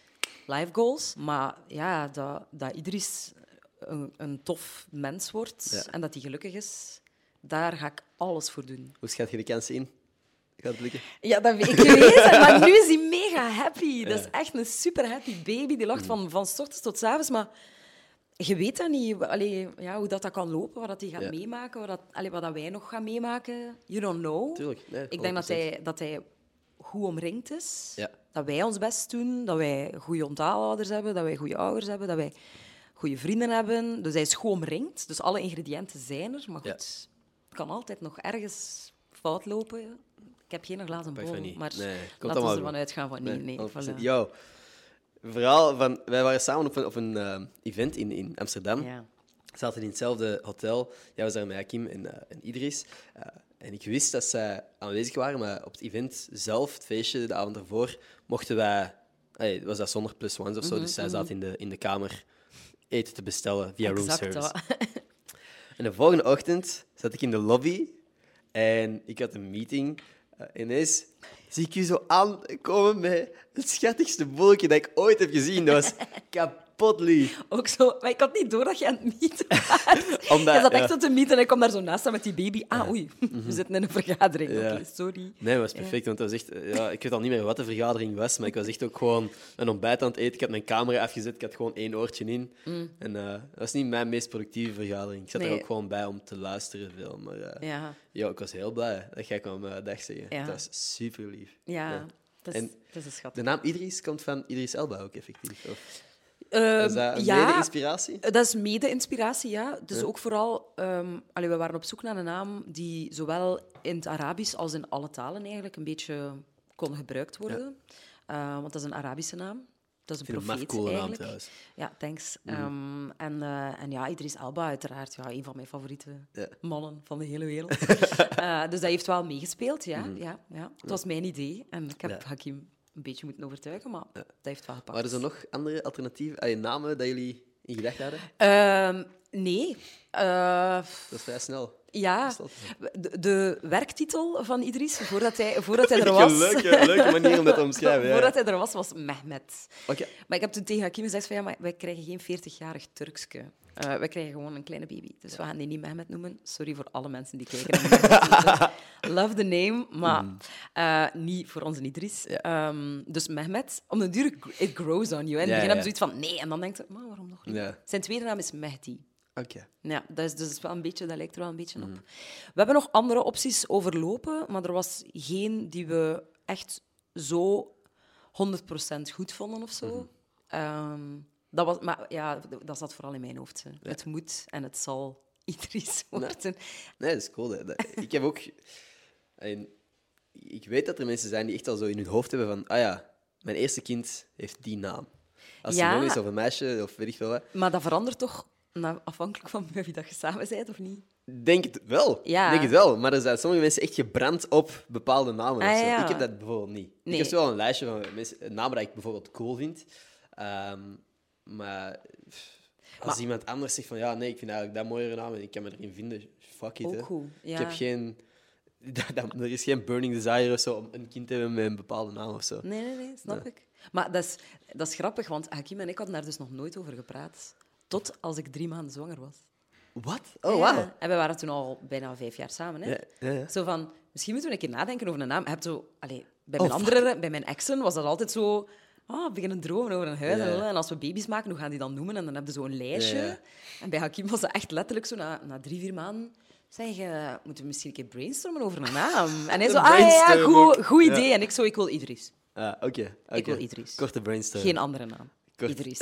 Speaker 2: life goals. Maar ja, dat, dat Idris een, een tof mens wordt
Speaker 1: Ja.
Speaker 2: en dat hij gelukkig is, daar ga ik alles voor doen.
Speaker 1: Hoe schat je de kans in? Gaat het lukken?
Speaker 2: Ja, dat weet ik geweest. Maar nu is hij mega happy. Dat is echt een super happy baby. Die
Speaker 1: Mm.
Speaker 2: lacht van, van 's ochtends tot 's avonds. Maar je weet dat niet. Allee, ja, hoe dat, dat kan lopen, wat dat hij gaat
Speaker 1: Ja.
Speaker 2: meemaken, wat, dat, allee, wat dat wij nog gaan meemaken. You don't know.
Speaker 1: Tuurlijk, nee,
Speaker 2: ik denk dat
Speaker 1: 100%.
Speaker 2: hij, dat hij goed omringd is.
Speaker 1: Ja.
Speaker 2: Dat wij ons best doen. Dat wij goede onthaalouders hebben. Dat wij goede ouders hebben. Dat wij goede vrienden hebben. Dus hij is goed omringd. Dus alle ingrediënten zijn er. Maar
Speaker 1: Ja.
Speaker 2: goed, het kan altijd nog ergens fout lopen. Ik heb geen glazen
Speaker 1: Pak van
Speaker 2: bol,
Speaker 1: niet.
Speaker 2: maar
Speaker 1: Nee, komt
Speaker 2: laten
Speaker 1: allemaal
Speaker 2: we
Speaker 1: goed.
Speaker 2: ervan uitgaan van nee, nee.
Speaker 1: 100%.
Speaker 2: voilà.
Speaker 1: Yo. Vooral Oh, van, wij waren samen op een, op een eh, event in, in Amsterdam.
Speaker 2: Ja.
Speaker 1: zaten in hetzelfde hotel. Jij was daar met Hakim en, eh, en Idris. Eh, en ik wist dat zij aanwezig waren, maar op het event zelf, het feestje, de avond ervoor, mochten wij... Hey, was dat zonder plus ones of
Speaker 2: Mhm,
Speaker 1: zo? Dus zij zaten in de, in de kamer eten te bestellen via
Speaker 2: Exact
Speaker 1: room service.
Speaker 2: dat.
Speaker 1: En de volgende ochtend zat ik in de lobby en ik had een meeting. En ineens zie ik u zo aankomen met het schattigste bolletje dat ik ooit heb gezien. Dat was kapot lief.
Speaker 2: Ook zo, maar ik had niet door dat je aan het mieten was.
Speaker 1: Omdat-
Speaker 2: je
Speaker 1: ja.
Speaker 2: zat
Speaker 1: Mhm.
Speaker 2: echt zo te mieten en ik kwam daar zo naast staan met die baby. Ah, oei, we zitten in een vergadering.
Speaker 1: Ja.
Speaker 2: Oké, sorry.
Speaker 1: Nee, maar dat was perfect. Want dat was echt, eh, ja, ik weet al niet meer wat de vergadering was, maar ik was echt ook gewoon een ontbijt aan het eten. Ik had mijn camera afgezet, ik had gewoon één oortje in. En eh, dat was niet mijn meest productieve vergadering. Ik zat er
Speaker 2: Mm. Nee.
Speaker 1: ook gewoon bij om te luisteren veel. Maar eh,
Speaker 2: Ja,
Speaker 1: ja, ik was heel blij dat jij kwam eh, dag zeggen.
Speaker 2: Ja.
Speaker 1: Dat was super lief.
Speaker 2: ja. Dat, is,
Speaker 1: En
Speaker 2: dat is een schat.
Speaker 1: De naam Idris komt van Idris Elba ook effectief. Of
Speaker 2: Ehm,
Speaker 1: is dat een
Speaker 2: ja,
Speaker 1: mede inspiratie?
Speaker 2: Dat is mede-inspiratie, ja. Dus ook vooral... ehm allee, we waren op zoek naar een naam die zowel in het Arabisch als in alle talen eigenlijk een beetje kon gebruikt worden. Eh, want dat is een Arabische naam. Dat is een
Speaker 1: Ik vind het een
Speaker 2: profeet
Speaker 1: coole naam
Speaker 2: eigenlijk.
Speaker 1: trouwens.
Speaker 2: ja, thanks.
Speaker 1: Mm.
Speaker 2: Ehm, en, eh, en ja, Idris Elba uiteraard. Ja, een van mijn favoriete
Speaker 1: Ja.
Speaker 2: mannen van de hele wereld. Eh, dus dat heeft wel meegespeeld, ja. ja, ja. Het was mijn idee. En ik heb
Speaker 1: Mm-hmm. Ja. dus-
Speaker 2: Hakim een beetje moeten overtuigen, maar dat heeft wel gepakt.
Speaker 1: Waren er nog andere alternatieven, eh, namen dat jullie in gedachten hadden?
Speaker 2: Ehm, nee. Eh,
Speaker 1: Dat is vrij snel.
Speaker 2: ja,
Speaker 1: Is dat-
Speaker 2: de, de werktitel van Idris, voordat hij, voordat hij er was...
Speaker 1: Leuke, leuke manier om dat te omschrijven. ja.
Speaker 2: Voordat hij er was, was Mehmet.
Speaker 1: Oké.
Speaker 2: Maar ik heb toen tegen Hakim gezegd van ja, maar wij krijgen geen 40-jarig Turkske. Eh, we krijgen gewoon een kleine baby. Dus we gaan die niet Mehmet noemen. Sorry voor alle mensen die kijken. en die Mehmet noemen. Love the name, maar
Speaker 1: Mm.
Speaker 2: eh, niet voor onze Idris. Ehm, dus Mehmet, om de duur, it grows on you. hè. In
Speaker 1: Ja,
Speaker 2: het begin
Speaker 1: ja.
Speaker 2: hebben ze zoiets van nee. En dan denkt je, maar waarom nog niet?
Speaker 1: Ja.
Speaker 2: Zijn tweede naam is Mehdi.
Speaker 1: Oké.
Speaker 2: Ja, dat, is, dus wel een beetje, dat lijkt er wel een beetje op. We hebben nog andere opties overlopen, maar er was geen die we echt zo 100% goed vonden of zo. Ehm, dat was, maar ja, d- dat zat vooral in mijn hoofd. hè. Het moet en het zal Idris worden.
Speaker 1: Nee, dat is cool. Hè. Dat- ik heb ook... en ik weet dat er mensen zijn die echt al zo in hun hoofd hebben van... Ah ja, mijn eerste kind heeft die naam. Als het
Speaker 2: Ja.
Speaker 1: een jongen is of een meisje of weet ik veel wat.
Speaker 2: Maar dat verandert toch na- afhankelijk van met wie dat je samen bent of niet?
Speaker 1: Denk het wel.
Speaker 2: Ja.
Speaker 1: Denk het wel. Maar er zijn sommige mensen echt gebrand op bepaalde namen.
Speaker 2: Ah,
Speaker 1: of zo.
Speaker 2: ja.
Speaker 1: Ik heb dat bijvoorbeeld niet.
Speaker 2: Nee.
Speaker 1: Ik heb wel een lijstje van mensen, namen die ik bijvoorbeeld cool vind. Ehm, maar pff, als
Speaker 2: Maar-
Speaker 1: iemand anders zegt van ja, nee, ik vind eigenlijk dat mooiere naam en ik kan me erin vinden, fuck it.
Speaker 2: Ook
Speaker 1: hè.
Speaker 2: goed, ja.
Speaker 1: Ik heb geen. dat- dat- er is geen burning desire of zo om een kind te hebben met een bepaalde naam of zo.
Speaker 2: Nee, nee, nee, snap ik. Maar dat is, dat is grappig, want Hakim en ik hadden daar dus nog nooit over gepraat. Tot als ik drie maanden zwanger was.
Speaker 1: Wat? Oh,
Speaker 2: Ja.
Speaker 1: wauw.
Speaker 2: En we waren toen al bijna vijf jaar samen. Hè?
Speaker 1: Ja, ja, ja.
Speaker 2: Zo van, misschien moeten we een keer nadenken over een naam. Je hebt zo, allee, bij,
Speaker 1: Oh,
Speaker 2: mijn andere, bij mijn exen was dat altijd zo... Ah, we beginnen dromen over een huis.
Speaker 1: Ja.
Speaker 2: en lala. En als we baby's maken, hoe gaan die dan noemen? En dan heb je zo'n lijstje.
Speaker 1: Ja, ja.
Speaker 2: En bij Hakim was dat echt letterlijk zo na, na drie, vier maanden... Zeg, eh, moeten we misschien een keer brainstormen over een naam? En hij
Speaker 1: Een
Speaker 2: zo, ah ja, ja,
Speaker 1: brainstorm
Speaker 2: goed,
Speaker 1: ook.
Speaker 2: goed
Speaker 1: Ja.
Speaker 2: idee. En ik zo, ik wil Idris.
Speaker 1: Ah, Oké.
Speaker 2: Ik wil
Speaker 1: oké.
Speaker 2: Idris.
Speaker 1: Korte brainstorm.
Speaker 2: Geen andere naam.
Speaker 1: Kort.
Speaker 2: Idris.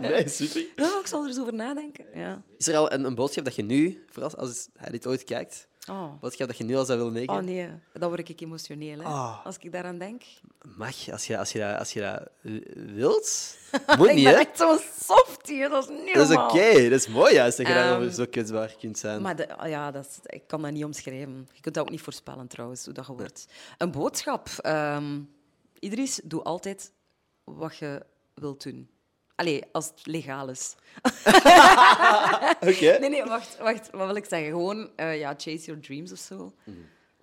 Speaker 1: Nee, super.
Speaker 2: ja, ik zal er eens over nadenken. Ja.
Speaker 1: Is er al een, een boodschap dat je nu, vooral als hij dit ooit kijkt,
Speaker 2: Oh.
Speaker 1: boodschap dat je nu al zou willen meegeven?
Speaker 2: Oh nee, dan word ik emotioneel hè,
Speaker 1: Ah.
Speaker 2: als ik daaraan denk.
Speaker 1: Mag, als je, als je, dat, als je dat eh, wilt. Moet niet,
Speaker 2: ik ben
Speaker 1: hè?
Speaker 2: echt zo'n softie, dat is niet
Speaker 1: Dat is oké,
Speaker 2: normaal.
Speaker 1: dat is mooi juist, dat je daarover
Speaker 2: Ehm,
Speaker 1: zo kwetsbaar kunt zijn.
Speaker 2: Maar de- ah ja, dat is, ik kan dat niet omschrijven. Je kunt dat ook niet voorspellen trouwens, hoe dat je wordt. Een boodschap. ehm, Idris, doe altijd wat je wilt doen. Allee, als het legaal is.
Speaker 1: Oké.
Speaker 2: Nee, nee, wacht, wacht. Wat wil ik zeggen? Gewoon, eh, ja, chase your dreams of zo.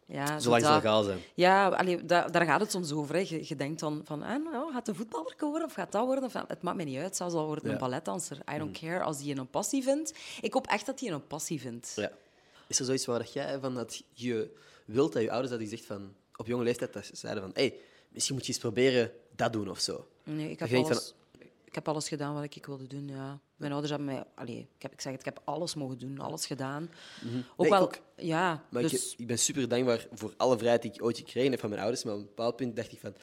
Speaker 2: Ja, zo
Speaker 1: Mhm. Zolang ze
Speaker 2: dat.
Speaker 1: legaal zijn.
Speaker 2: Ja, allee, da- daar gaat het soms over. Hè. Je, je denkt dan van, ah, nou, gaat de voetballer worden of gaat dat worden? Of, "Ah, het maakt me niet uit, zelfs al wordt het
Speaker 1: Ja. Mm.
Speaker 2: een balletdanser. I don't care als die een passie vindt. Ik hoop echt dat hij een passie vindt.
Speaker 1: Ja. Is er zoiets waar dat jij van dat je wilt dat je ouders dat je zegt van op jonge leeftijd dat ze zeiden van hey, misschien moet je eens proberen dat doen of zo.
Speaker 2: Nee,
Speaker 1: Dat
Speaker 2: ik heb,
Speaker 1: je denkt van-
Speaker 2: alles, ik heb alles gedaan wat ik wilde doen, ja. Mijn ouders hebben mij... Allee, ik, heb, ik zeg het, ik heb alles mogen doen, alles gedaan. Ook
Speaker 1: Mhm. Nee, ik
Speaker 2: wel...
Speaker 1: ook.
Speaker 2: Ja,
Speaker 1: Maar
Speaker 2: dus...
Speaker 1: ik, ik ben super dankbaar voor alle vrijheid die ik ooit gekregen heb van mijn ouders. Maar op een bepaald punt dacht ik van...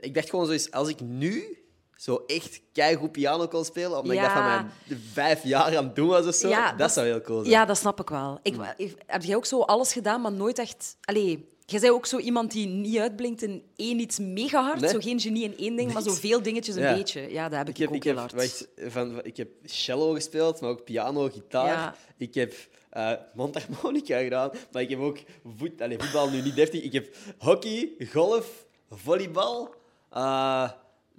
Speaker 1: Ik dacht gewoon zoiets, als ik nu zo echt keigoed piano kon spelen, omdat ik dat van
Speaker 2: Ja.
Speaker 1: mijn vijf jaar aan het doen was of zo, dat, zou heel cool zijn.
Speaker 2: Ja, dat snap ik wel. Ik, ik- Heb jij ook zo alles gedaan, maar nooit echt... Allee, jij bent ook zo iemand die niet uitblinkt in één iets mega hard.
Speaker 1: Nee.
Speaker 2: Zo geen genie in één ding, maar zo
Speaker 1: Niks.
Speaker 2: veel dingetjes een
Speaker 1: Ja.
Speaker 2: beetje. Ja, dat heb ik,
Speaker 1: Ik heb,
Speaker 2: ook
Speaker 1: ik
Speaker 2: heel
Speaker 1: heb,
Speaker 2: hard.
Speaker 1: wacht, van, van- ik heb cello gespeeld, maar ook piano, gitaar.
Speaker 2: Ja.
Speaker 1: Ik heb eh mondharmonica gedaan, maar ik heb ook voet, allee, voetbal nu niet deftig. Ik heb hockey, golf, volleybal, eh,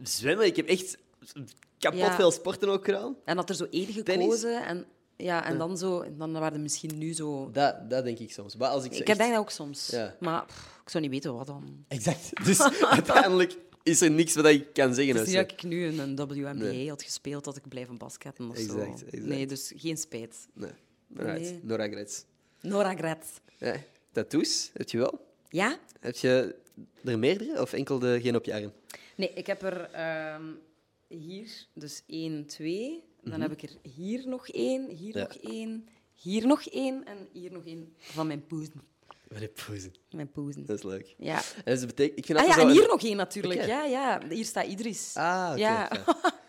Speaker 1: zwemmen. Ik heb echt kapot
Speaker 2: Ja.
Speaker 1: veel sporten ook gedaan.
Speaker 2: En had er zo één
Speaker 1: Tennis.
Speaker 2: gekozen. En, ja, en dan zo... en Dan waren er misschien nu zo...
Speaker 1: Dat, dat denk ik soms. Maar als ik, zo
Speaker 2: Ik
Speaker 1: echt-
Speaker 2: heb denk dat ook soms.
Speaker 1: Ja.
Speaker 2: Maar pff, ik zou niet weten wat dan...
Speaker 1: Exact. Dus uiteindelijk is er niks wat ik kan zeggen.
Speaker 2: Het
Speaker 1: of
Speaker 2: is
Speaker 1: zo.
Speaker 2: niet dat ik nu in een WNBA
Speaker 1: Nee.
Speaker 2: had gespeeld dat ik blijven basketten of zo.
Speaker 1: Exact, exact.
Speaker 2: Nee, dus geen spijt.
Speaker 1: Nee. Alright.
Speaker 2: Nee.
Speaker 1: No regrets.
Speaker 2: No regrets.
Speaker 1: Ja. Tattoos, heb je wel?
Speaker 2: Ja?
Speaker 1: Heb je er meerdere of enkel degene op je arm?
Speaker 2: Nee, ik heb er ehm, hier dus één, twee. Dan heb ik er hier nog één, hier
Speaker 1: Mhm. Ja.
Speaker 2: nog één, hier nog één en hier nog één van mijn poezen.
Speaker 1: Wat een poezen.
Speaker 2: Mijn poezen.
Speaker 1: Dat is leuk.
Speaker 2: Ja.
Speaker 1: En dus dat betekent, ik vind
Speaker 2: Ah ja,
Speaker 1: altijd
Speaker 2: en
Speaker 1: zo
Speaker 2: hier
Speaker 1: een-
Speaker 2: nog één natuurlijk.
Speaker 1: Oké.
Speaker 2: Ja, ja. Hier staat Idris.
Speaker 1: Ah, oké,
Speaker 2: Ja.
Speaker 1: oké.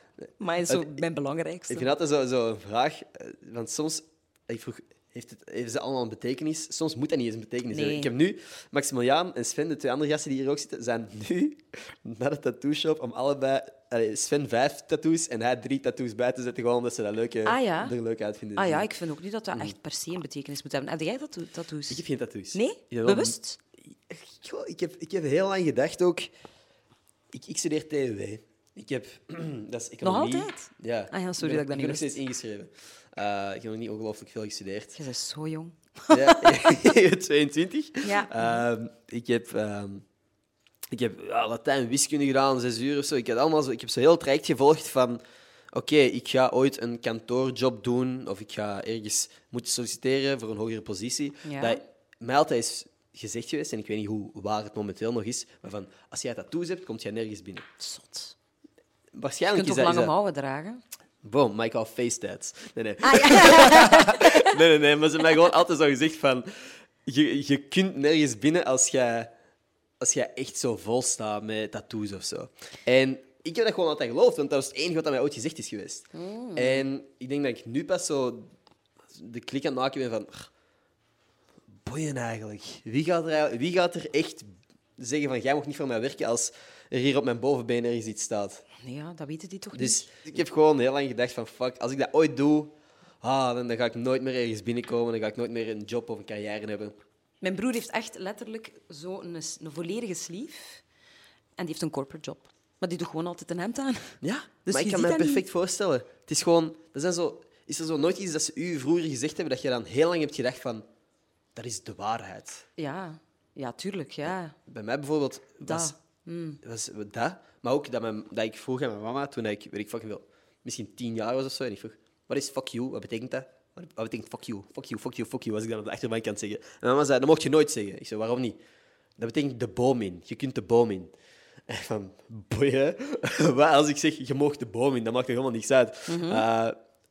Speaker 2: maar is zo
Speaker 1: Oké.
Speaker 2: mijn belangrijkste.
Speaker 1: Ik vind altijd zo, zo een vraag, eh, want soms, ik vroeg, heeft het, heeft ze allemaal een betekenis? Soms moet dat niet eens een betekenis
Speaker 2: Nee.
Speaker 1: hebben. Ik heb nu, Maximiliaan en Sven, de twee andere gasten die hier ook zitten, zijn nu naar de tattoo shop om allebei, allee, Sven vijf tattoos en hij drie tattoos bij te zetten, gewoon omdat ze dat leuk, eh,
Speaker 2: Ah, ja.
Speaker 1: er leuk Dus uit vinden.
Speaker 2: Ah ja, ik vind ook niet dat dat echt per se een betekenis moet hebben. Heb jij dat tattoos?
Speaker 1: Mm. Ik heb geen tattoos.
Speaker 2: Nee?
Speaker 1: Ik ben wel-
Speaker 2: Bewust?
Speaker 1: Goh, ik, heb, ik heb heel lang gedacht ook. Ik, ik studeer TW. Ik heb. dat is economie.
Speaker 2: altijd?
Speaker 1: Ja.
Speaker 2: Ah ja, sorry
Speaker 1: ben-
Speaker 2: dat ik dat niet
Speaker 1: ben nog
Speaker 2: wist.
Speaker 1: steeds ingeschreven. Eh, ik heb nog niet ongelooflijk veel gestudeerd.
Speaker 2: Je bent zo jong.
Speaker 1: ja, 22.
Speaker 2: Ja.
Speaker 1: Ehm, ik heb. ehm, ik heb ja, Latijn wiskunde gedaan, zes uur of zo. Ik, had allemaal zo, ik heb zo heel het traject gevolgd van... Oké, oké, ik ga ooit een kantoorjob doen of ik ga ergens moeten solliciteren voor een hogere positie.
Speaker 2: Ja.
Speaker 1: Dat mij altijd is gezegd geweest, en ik weet niet hoe waar het momenteel nog is, maar van, als jij tattoos hebt, komt jij nergens binnen.
Speaker 2: Zot. Je
Speaker 1: Waarschijnlijk
Speaker 2: kunt
Speaker 1: is
Speaker 2: toch
Speaker 1: dat... is dat-
Speaker 2: lange mouwen dragen?
Speaker 1: Boom, maar ik hou face tats. Nee, nee. nee, nee, nee, maar ze hebben mij gewoon altijd zo gezegd van... Je, je kunt nergens binnen als jij, als jij echt zo vol staat met tattoos of zo. En ik heb dat gewoon altijd geloofd, want dat was het enige wat aan mij ooit gezegd is geweest. En ik denk dat ik nu pas zo de klik aan het maken ben van... "Ah, Boeien eigenlijk. Wie gaat, er, eigenlijk- wie gaat er echt zeggen van... Jij mag niet voor mij werken als er hier op mijn bovenbeen ergens iets staat?
Speaker 2: Nee, ja, dat weten die toch niet?
Speaker 1: Dus ik heb gewoon heel lang gedacht van fuck, als ik dat ooit doe, ah, dan, dan ga ik nooit meer ergens binnenkomen, dan ga ik nooit meer een job of een carrière hebben.
Speaker 2: Mijn broer heeft echt letterlijk zo'n s- een volledige sleeve. En die heeft een corporate job. Maar die doet gewoon altijd een hemd aan.
Speaker 1: Ja,
Speaker 2: dus
Speaker 1: maar ik
Speaker 2: je
Speaker 1: kan me
Speaker 2: ziet dat
Speaker 1: perfect
Speaker 2: niet.
Speaker 1: voorstellen. Het is gewoon, er zijn zo, is er zo nooit iets dat ze u vroeger gezegd hebben dat je dan heel lang hebt gedacht van, dat is de waarheid.
Speaker 2: Ja, ja tuurlijk, ja.
Speaker 1: Bij mij bijvoorbeeld was
Speaker 2: Dat.
Speaker 1: was dat, maar ook dat, mijn, dat ik vroeg aan mijn mama toen ik, weet ik fucking wel, misschien tien jaar was of zo, en ik vroeg, wat is fuck you, wat betekent dat? Wat wat betekent fuck you, fuck you, fuck you, fuck you, als ik dat op de achterbank kan zeggen. En mijn mama zei, dat mocht je nooit zeggen. Ik zei, waarom niet? Dat betekent de boom in, je kunt de boom in. En van, boeien, wat als ik zeg, je mag de boom in, dat maakt er helemaal niks uit. Eh,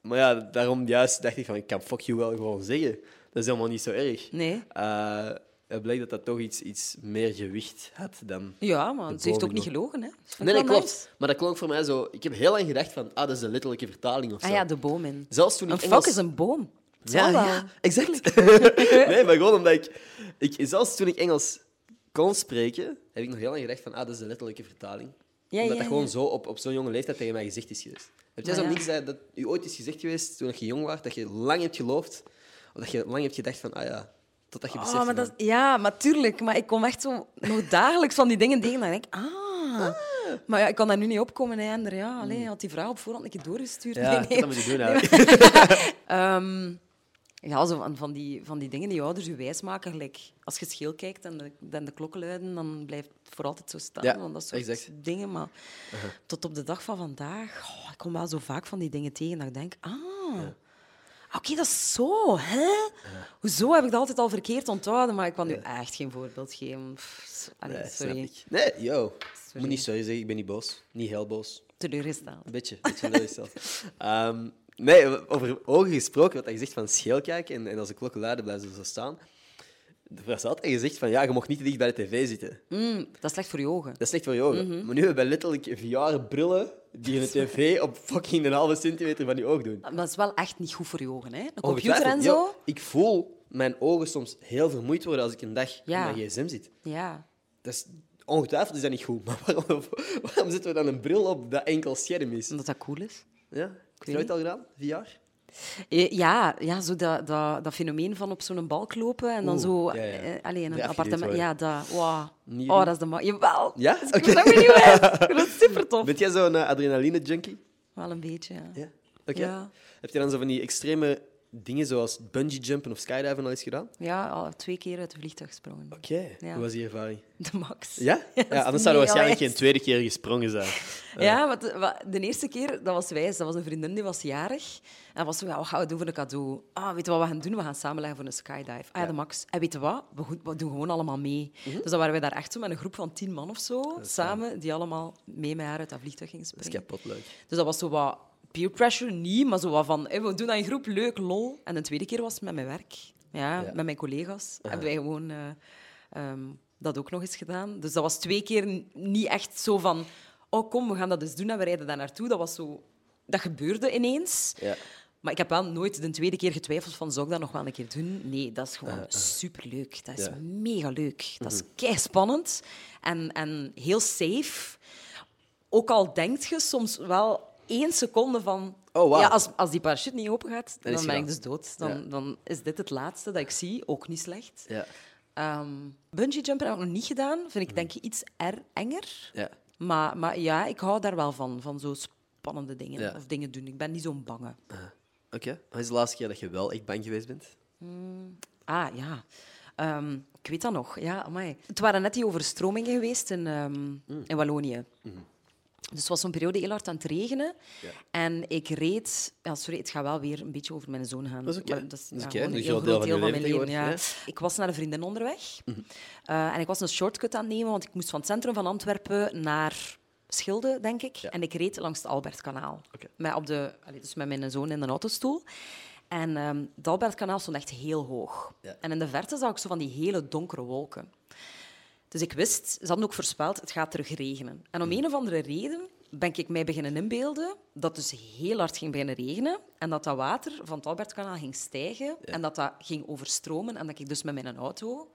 Speaker 1: maar ja, daarom juist dacht ik van, ik kan fuck you wel gewoon zeggen. Dat is helemaal niet zo erg.
Speaker 2: Nee.
Speaker 1: Eh, het bleek dat dat toch iets, iets meer gewicht had dan...
Speaker 2: Ja, maar
Speaker 1: De
Speaker 2: ze heeft ook
Speaker 1: bomen, hoor.
Speaker 2: niet gelogen, hè? Dat vond ik
Speaker 1: Nee, nee,
Speaker 2: wel
Speaker 1: klopt.
Speaker 2: nice.
Speaker 1: Maar dat klonk voor mij zo... Ik heb heel lang gedacht van, ah, dat is een letterlijke vertaling of zo.
Speaker 2: Ah ja, de boom in.
Speaker 1: Zelfs toen ik
Speaker 2: Een fok
Speaker 1: Engels-
Speaker 2: is een boom. Het
Speaker 1: Ja,
Speaker 2: zal wel.
Speaker 1: ja, exact. nee, maar gewoon omdat ik, ik... Zelfs toen ik Engels kon spreken, heb ik nog heel lang gedacht van, ah, dat is een letterlijke vertaling.
Speaker 2: Ja,
Speaker 1: omdat
Speaker 2: ja,
Speaker 1: dat gewoon
Speaker 2: ja.
Speaker 1: zo op, op zo'n jonge leeftijd tegen mij gezegd is geweest. Heb jij
Speaker 2: Maar
Speaker 1: zo
Speaker 2: ja.
Speaker 1: niks dat, dat u ooit is gezegd geweest toen je jong was, dat je lang hebt geloofd, of dat je lang hebt gedacht van, ah ja, totdat je beseft...
Speaker 2: Oh, maar dat, ja, maar tuurlijk. Maar ik kom echt zo nog dagelijks van die dingen tegen. Dan denk ik, ah. Maar ja, ik kan daar nu niet opkomen, hè, Ender. Ja, alleen had die vraag op voorhand een keer doorgestuurd.
Speaker 1: Ja,
Speaker 2: Nee,
Speaker 1: dat
Speaker 2: nee.
Speaker 1: moet je doen
Speaker 2: Nee,
Speaker 1: eigenlijk.
Speaker 2: Ehm, ja, zo van, van, die, van die dingen die je ouders je wijs maken. Gelijk, als je scheel kijkt en de, en de klokken luiden, dan blijft het voor altijd zo staan.
Speaker 1: Ja,
Speaker 2: want dat soort
Speaker 1: exact. Uh-huh.
Speaker 2: dingen. Maar tot op de dag van vandaag, oh, ik kom wel zo vaak van die dingen tegen dat ik denk, ah, oké, dat is zo, hè? Hoezo heb ik dat altijd al verkeerd onthouden? Maar ik kan nu echt geen voorbeeld geven. Pff, s- allee,
Speaker 1: Nee, snap
Speaker 2: sorry,
Speaker 1: ik. Nee, yo.
Speaker 2: Sorry.
Speaker 1: Moet niet sorry zeggen, ik ben niet boos. Niet heel boos.
Speaker 2: teleurgesteld.
Speaker 1: Een beetje, een beetje teleurgesteld. Ehm, nee, over ogen gesproken, wat je zegt van scheel kijken en, en als de klokken luiden blijven ze zo staan. Er was altijd gezegd van, ja, je mocht niet te dicht bij de tv zitten.
Speaker 2: Mm, dat is slecht voor je ogen.
Speaker 1: Dat is slecht voor je ogen.
Speaker 2: Mhm.
Speaker 1: Maar nu hebben we letterlijk VR-brillen die de tv op fucking een halve centimeter van je oog doen.
Speaker 2: Maar dat is wel echt niet goed voor je ogen, hè? Een computer en
Speaker 1: Ongetwijfeld,
Speaker 2: zo.
Speaker 1: yo, ik voel mijn ogen soms heel vermoeid worden als ik een dag
Speaker 2: Ja.
Speaker 1: in mijn gsm zit.
Speaker 2: Ja.
Speaker 1: Dat is, ongetwijfeld is dat niet goed, maar waarom, waarom zetten we dan een bril op dat enkel scherm is?
Speaker 2: Omdat dat cool is.
Speaker 1: Ja? Heb je nooit
Speaker 2: niet.
Speaker 1: al gedaan? VR?
Speaker 2: Eh, Ja, ja zo dat, dat, dat fenomeen van op zo'n balk lopen en dan
Speaker 1: Oeh,
Speaker 2: zo
Speaker 1: ja, ja.
Speaker 2: eh, alleen in een
Speaker 1: Eraf
Speaker 2: appartement.
Speaker 1: geduwd
Speaker 2: Ja, dat. Wow.
Speaker 1: Niet
Speaker 2: Oh,
Speaker 1: doen.
Speaker 2: dat is de man. Jawel.
Speaker 1: Ja?
Speaker 2: Dus
Speaker 1: Oké.
Speaker 2: Ik ben benieuwd. Ik vind Dat is super tof.
Speaker 1: Bent jij zo'n eh, adrenaline-junkie?
Speaker 2: Wel een beetje, ja.
Speaker 1: Ja. Oké.
Speaker 2: Ja.
Speaker 1: Heb je dan zo van die extreme dingen zoals bungee jumpen of skydiven al eens gedaan?
Speaker 2: Ja, al twee keer uit de vliegtuig gesprongen.
Speaker 1: Oké.
Speaker 2: Ja.
Speaker 1: Hoe was die ervaring?
Speaker 2: De max.
Speaker 1: Ja?
Speaker 2: dat is
Speaker 1: anders zouden we
Speaker 2: mega
Speaker 1: waarschijnlijk
Speaker 2: wijs.
Speaker 1: geen tweede keer gesprongen zijn.
Speaker 2: Ja, want de, wa- de eerste keer, dat was wijs. Dat was een vriendin die was jarig. En was zo, ja, wat gaan we doen voor een cadeau? Ah, weet je wat we gaan doen? We gaan samenleggen voor een skydive. Ah ja, de max. En weet je wat? We, goed- we doen gewoon allemaal mee. Dus dan waren we daar echt zo met een groep van tien man of zo. Samen, die allemaal mee met haar uit dat vliegtuig gingen
Speaker 1: Dat is
Speaker 2: springen.
Speaker 1: kapot leuk.
Speaker 2: Dus dat was zo wat peer pressure, niet, maar zo wat van, hé, we doen dat in groep, leuk, lol. En de tweede keer was het met mijn werk, ja,
Speaker 1: Ja.
Speaker 2: met mijn collega's. Hebben wij gewoon eh, ehm, dat ook nog eens gedaan. Dus dat was twee keer n- niet echt zo van, oh kom, we gaan dat eens doen en we rijden daar naartoe. Dat was zo, dat gebeurde ineens.
Speaker 1: Ja.
Speaker 2: Maar ik heb wel nooit de tweede keer getwijfeld van, zou ik dat nog wel een keer doen? Nee, dat is gewoon superleuk. Dat is
Speaker 1: Eh, Ja. Mhm.
Speaker 2: mega leuk. Dat is kei spannend en, en heel safe. Ook al denkt je soms wel één seconde van...
Speaker 1: Oh, wauw.
Speaker 2: ja, als, als die parachute niet open gaat, dan,
Speaker 1: is
Speaker 2: ben
Speaker 1: gedaan.
Speaker 2: ik dus dood. Dan,
Speaker 1: Ja.
Speaker 2: dan is dit het laatste dat ik zie. Ook niet slecht.
Speaker 1: Ja.
Speaker 2: Ehm bungee jumper heb ik nog niet gedaan. Vind ik denk ik iets er enger.
Speaker 1: Mhm. Ja.
Speaker 2: Maar, maar ja, ik hou daar wel van. Van zo spannende dingen
Speaker 1: Ja.
Speaker 2: of dingen doen. Ik ben niet zo'n bange.
Speaker 1: Oké. Wat is de laatste keer dat je wel echt bang geweest bent?
Speaker 2: Mm. Ah, ja. Ehm, ik weet dat nog. Ja, amai. Het waren net die overstromingen geweest in, ehm, in Wallonië. Dus het was zo'n periode heel hard aan het regenen. En ik reed... Ja, sorry, het gaat wel weer een beetje over mijn zoon gaan.
Speaker 1: Dat is oké.
Speaker 2: Maar
Speaker 1: Dat is
Speaker 2: ja,
Speaker 1: oké.
Speaker 2: gewoon
Speaker 1: Nu
Speaker 2: een
Speaker 1: is jouw
Speaker 2: heel
Speaker 1: deel
Speaker 2: groot
Speaker 1: van
Speaker 2: deel
Speaker 1: je
Speaker 2: van mijn
Speaker 1: leven Mhm.
Speaker 2: leven. Ja.
Speaker 1: geworden,
Speaker 2: Ik was naar een vriendin onderweg. Eh, en ik was een shortcut aan het nemen, want ik moest van het centrum van Antwerpen naar Schilde, denk ik. En ik reed langs het Albertkanaal.
Speaker 1: Oké.
Speaker 2: Met, op de, allee, dus met mijn zoon in een autostoel. En ehm het Albertkanaal stond echt heel hoog.
Speaker 1: Ja.
Speaker 2: En in de verte zag ik zo van die hele donkere wolken. Dus ik wist, ze hadden ook voorspeld, het gaat terug regenen. En om een of andere reden ben ik mij beginnen inbeelden dat het dus heel hard ging beginnen regenen en dat dat water van het Albertkanaal ging stijgen en dat dat ging overstromen en dat ik dus met mijn auto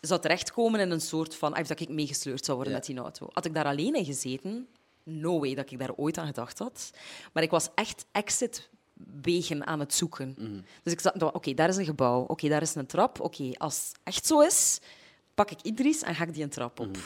Speaker 2: zou terechtkomen in een soort van... Of dat ik meegesleurd zou worden
Speaker 1: Ja.
Speaker 2: met die auto. Had ik daar alleen in gezeten, no way dat ik daar ooit aan gedacht had. Maar ik was echt exit wegen aan het zoeken.
Speaker 1: Mhm.
Speaker 2: Dus ik zat, oké, daar is een gebouw, oké, daar is een trap. Oké, als het echt zo is, pak ik Idris en ga ik die een trap op.
Speaker 1: Mhm.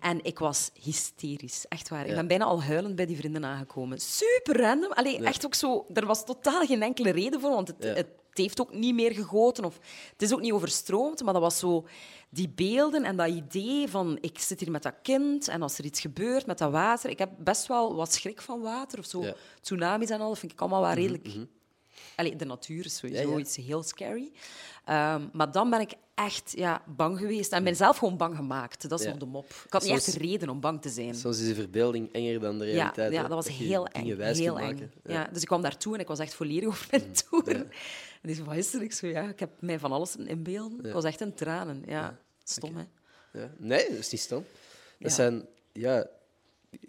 Speaker 2: En ik was hysterisch, echt waar. Ik ben bijna al huilend bij die vrienden aangekomen. Super random. Allee, echt ook zo... Er was totaal geen enkele reden voor, want het,
Speaker 1: Ja.
Speaker 2: het het heeft ook niet meer gegoten of het is ook niet overstroomd, maar dat was zo die beelden en dat idee van ik zit hier met dat kind en als er iets gebeurt met dat water. Ik heb best wel wat schrik van water of zo.
Speaker 1: Ja. Mhm,
Speaker 2: Tsunamis en al, dat vind ik allemaal wel redelijk... Allee, de natuur is sowieso
Speaker 1: Ja, ja.
Speaker 2: iets heel scary. Ehm, maar dan ben ik echt ja, bang geweest en ben zelf gewoon bang gemaakt. Dat is
Speaker 1: Ja.
Speaker 2: nog de mop. Ik had niet
Speaker 1: Soms-
Speaker 2: echt reden om bang te zijn.
Speaker 1: Soms is de verbeelding enger dan de
Speaker 2: Ja,
Speaker 1: realiteit.
Speaker 2: ja,
Speaker 1: hè?
Speaker 2: dat was
Speaker 1: je
Speaker 2: heel
Speaker 1: dingen
Speaker 2: eng.
Speaker 1: wijs
Speaker 2: Heel
Speaker 1: kunt
Speaker 2: eng.
Speaker 1: maken.
Speaker 2: Ja. dus ik kwam daartoe en ik was echt volledig over
Speaker 1: Mm,
Speaker 2: mijn toeren. En die zei, wat is er? Ik zo, ja, ik heb mij van alles inbeelden. Ik was echt in tranen. Ja, stom, hè.
Speaker 1: Ja. Nee, dat is niet stom. Dat
Speaker 2: Ja.
Speaker 1: zijn, ja,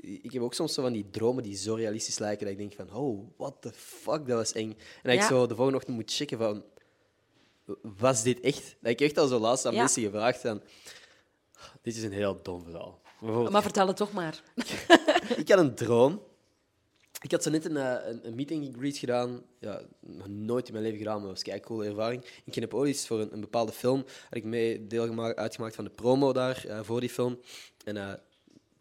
Speaker 1: ik heb ook soms zo van die dromen die zo realistisch lijken dat ik denk van, oh, what the fuck, dat was eng. En dat ik
Speaker 2: Ja.
Speaker 1: zo de volgende ochtend moet checken van, was dit echt? Dat ik echt al zo laatst aan
Speaker 2: Ja.
Speaker 1: mensen gevraagd van, dit is een heel dom verhaal. Bijvoorbeeld,
Speaker 2: Maar vertel het toch maar.
Speaker 1: ik had een droom. Ik had zo net een, eh, een, een meeting and greet gedaan. Ja, nog nooit in mijn leven gedaan, maar dat was een coole ervaring. In Kinepolis voor een, een bepaalde film had ik mee deel gema- uitgemaakt van de promo daar eh, voor die film. En eh,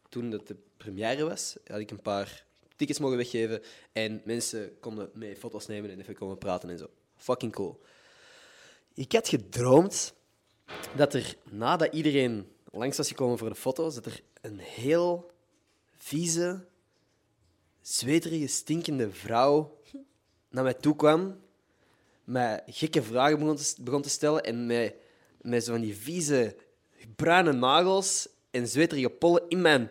Speaker 1: toen dat de première was, had ik een paar tickets mogen weggeven. En mensen konden mee foto's nemen en even komen praten en zo. Fucking cool. Ik had gedroomd dat er nadat iedereen langs was gekomen voor de foto's, dat er een heel vieze, zweterige, stinkende vrouw naar mij toe kwam, mij gekke vragen begon te, begon te stellen en mij met zo van die vieze, bruine nagels en zweterige pollen in mijn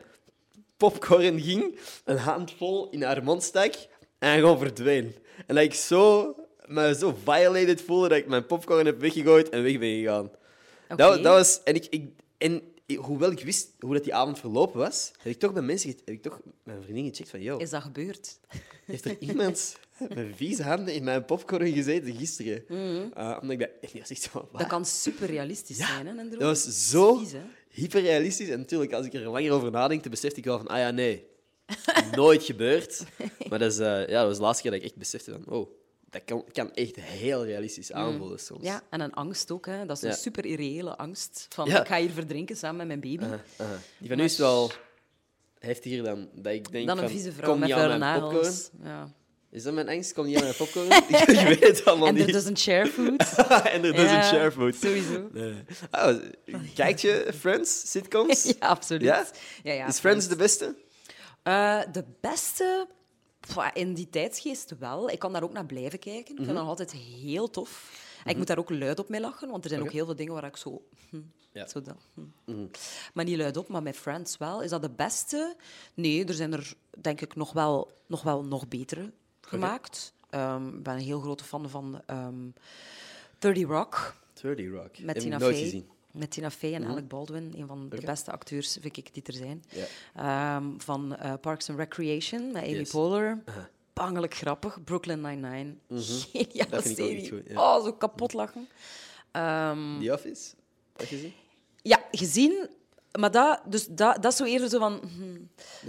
Speaker 1: popcorn ging, een handvol in haar mond stak en gewoon verdween. En dat ik zo, me zo violated voelde dat ik mijn popcorn heb weggegooid en weg ben gegaan. Dat,
Speaker 2: Oké.
Speaker 1: dat was... En, ik, ik, en ik- hoewel ik wist hoe dat die avond verlopen was, heb ik toch bij mensen... ge- Heb ik toch mijn vriendin gecheckt van... Yo,
Speaker 2: Is dat gebeurd?
Speaker 1: heeft er iemand met vieze handen in mijn popcorn gezeten gisteren? Eh, omdat ik dat... Ik was echt zo...
Speaker 2: Mhm. Dat
Speaker 1: "Wat?"
Speaker 2: kan super realistisch zijn, hè, een droom.
Speaker 1: Dat was zo
Speaker 2: Vies, hè?
Speaker 1: hyperrealistisch. En natuurlijk, als ik er langer over nadenk, dan besefte ik wel van... Ah ja, nee. Nooit gebeurd. Maar dat, is, eh, ja, dat was de laatste keer dat ik echt besefte van... Oh, dat kan, kan echt heel realistisch aanvoelen soms.
Speaker 2: Mm. Ja, en een angst ook, hè. Dat is
Speaker 1: Ja.
Speaker 2: een super irreële angst. Van,
Speaker 1: Ja. Uh,
Speaker 2: ik ga hier verdrinken samen met mijn baby.
Speaker 1: Aha. Die van nu is wel heeft hier dan dat ik denk
Speaker 2: Dan
Speaker 1: van,
Speaker 2: een vieze vrouw
Speaker 1: kom
Speaker 2: met
Speaker 1: niet aan
Speaker 2: vuile
Speaker 1: mijn popcorn.
Speaker 2: nagels. Ja.
Speaker 1: Is dat mijn angst? Kom niet aan mijn popcorn? ik weet het allemaal
Speaker 2: En er
Speaker 1: niet.
Speaker 2: dus doesn't share food.
Speaker 1: en er dus doesn't
Speaker 2: Ja,
Speaker 1: share food.
Speaker 2: Sowieso.
Speaker 1: Nee. Oh, kijk je Friends sitcoms?
Speaker 2: Ja, absoluut.
Speaker 1: Ja?
Speaker 2: Ja, ja,
Speaker 1: Is Friends de beste?
Speaker 2: Eh, de beste pwa, in die tijdsgeest wel. Ik kan daar ook naar blijven kijken. Ik
Speaker 1: Mhm.
Speaker 2: vind dat nog altijd heel tof. En ik moet daar ook luid op mee lachen, want er zijn ook heel veel dingen waar ik zo... hm,
Speaker 1: Ja. Mhm.
Speaker 2: zo dan, hm. Maar niet luid op, maar met Friends wel. Is dat de beste? Nee, er zijn er denk ik nog wel nog, wel, nog betere gemaakt. Ehm, Ik ben een heel grote fan van ehm 30 Rock.
Speaker 1: 30 Rock.
Speaker 2: Met
Speaker 1: Heb ik
Speaker 2: Tina
Speaker 1: nooit
Speaker 2: Fey.
Speaker 1: gezien. Mhm.
Speaker 2: Met Tina Fey en Alec Baldwin, een van de
Speaker 1: Oké.
Speaker 2: beste acteurs, vind ik, die er zijn.
Speaker 1: Ja.
Speaker 2: Ehm, van eh, Parks and Recreation, met Amy
Speaker 1: Yes. Uh-huh.
Speaker 2: Poehler. Bangelijk grappig. Brooklyn Nine-Nine. Geniale
Speaker 1: Mhm. Dat vind ik ook
Speaker 2: serie.
Speaker 1: echt goed, ja. Mhm.
Speaker 2: Oh, zo kapot lachen. Ehm,
Speaker 1: The Office? Heb je gezien?
Speaker 2: ja, gezien... Maar dat, dus dat, dat is zo eerder zo van... hm.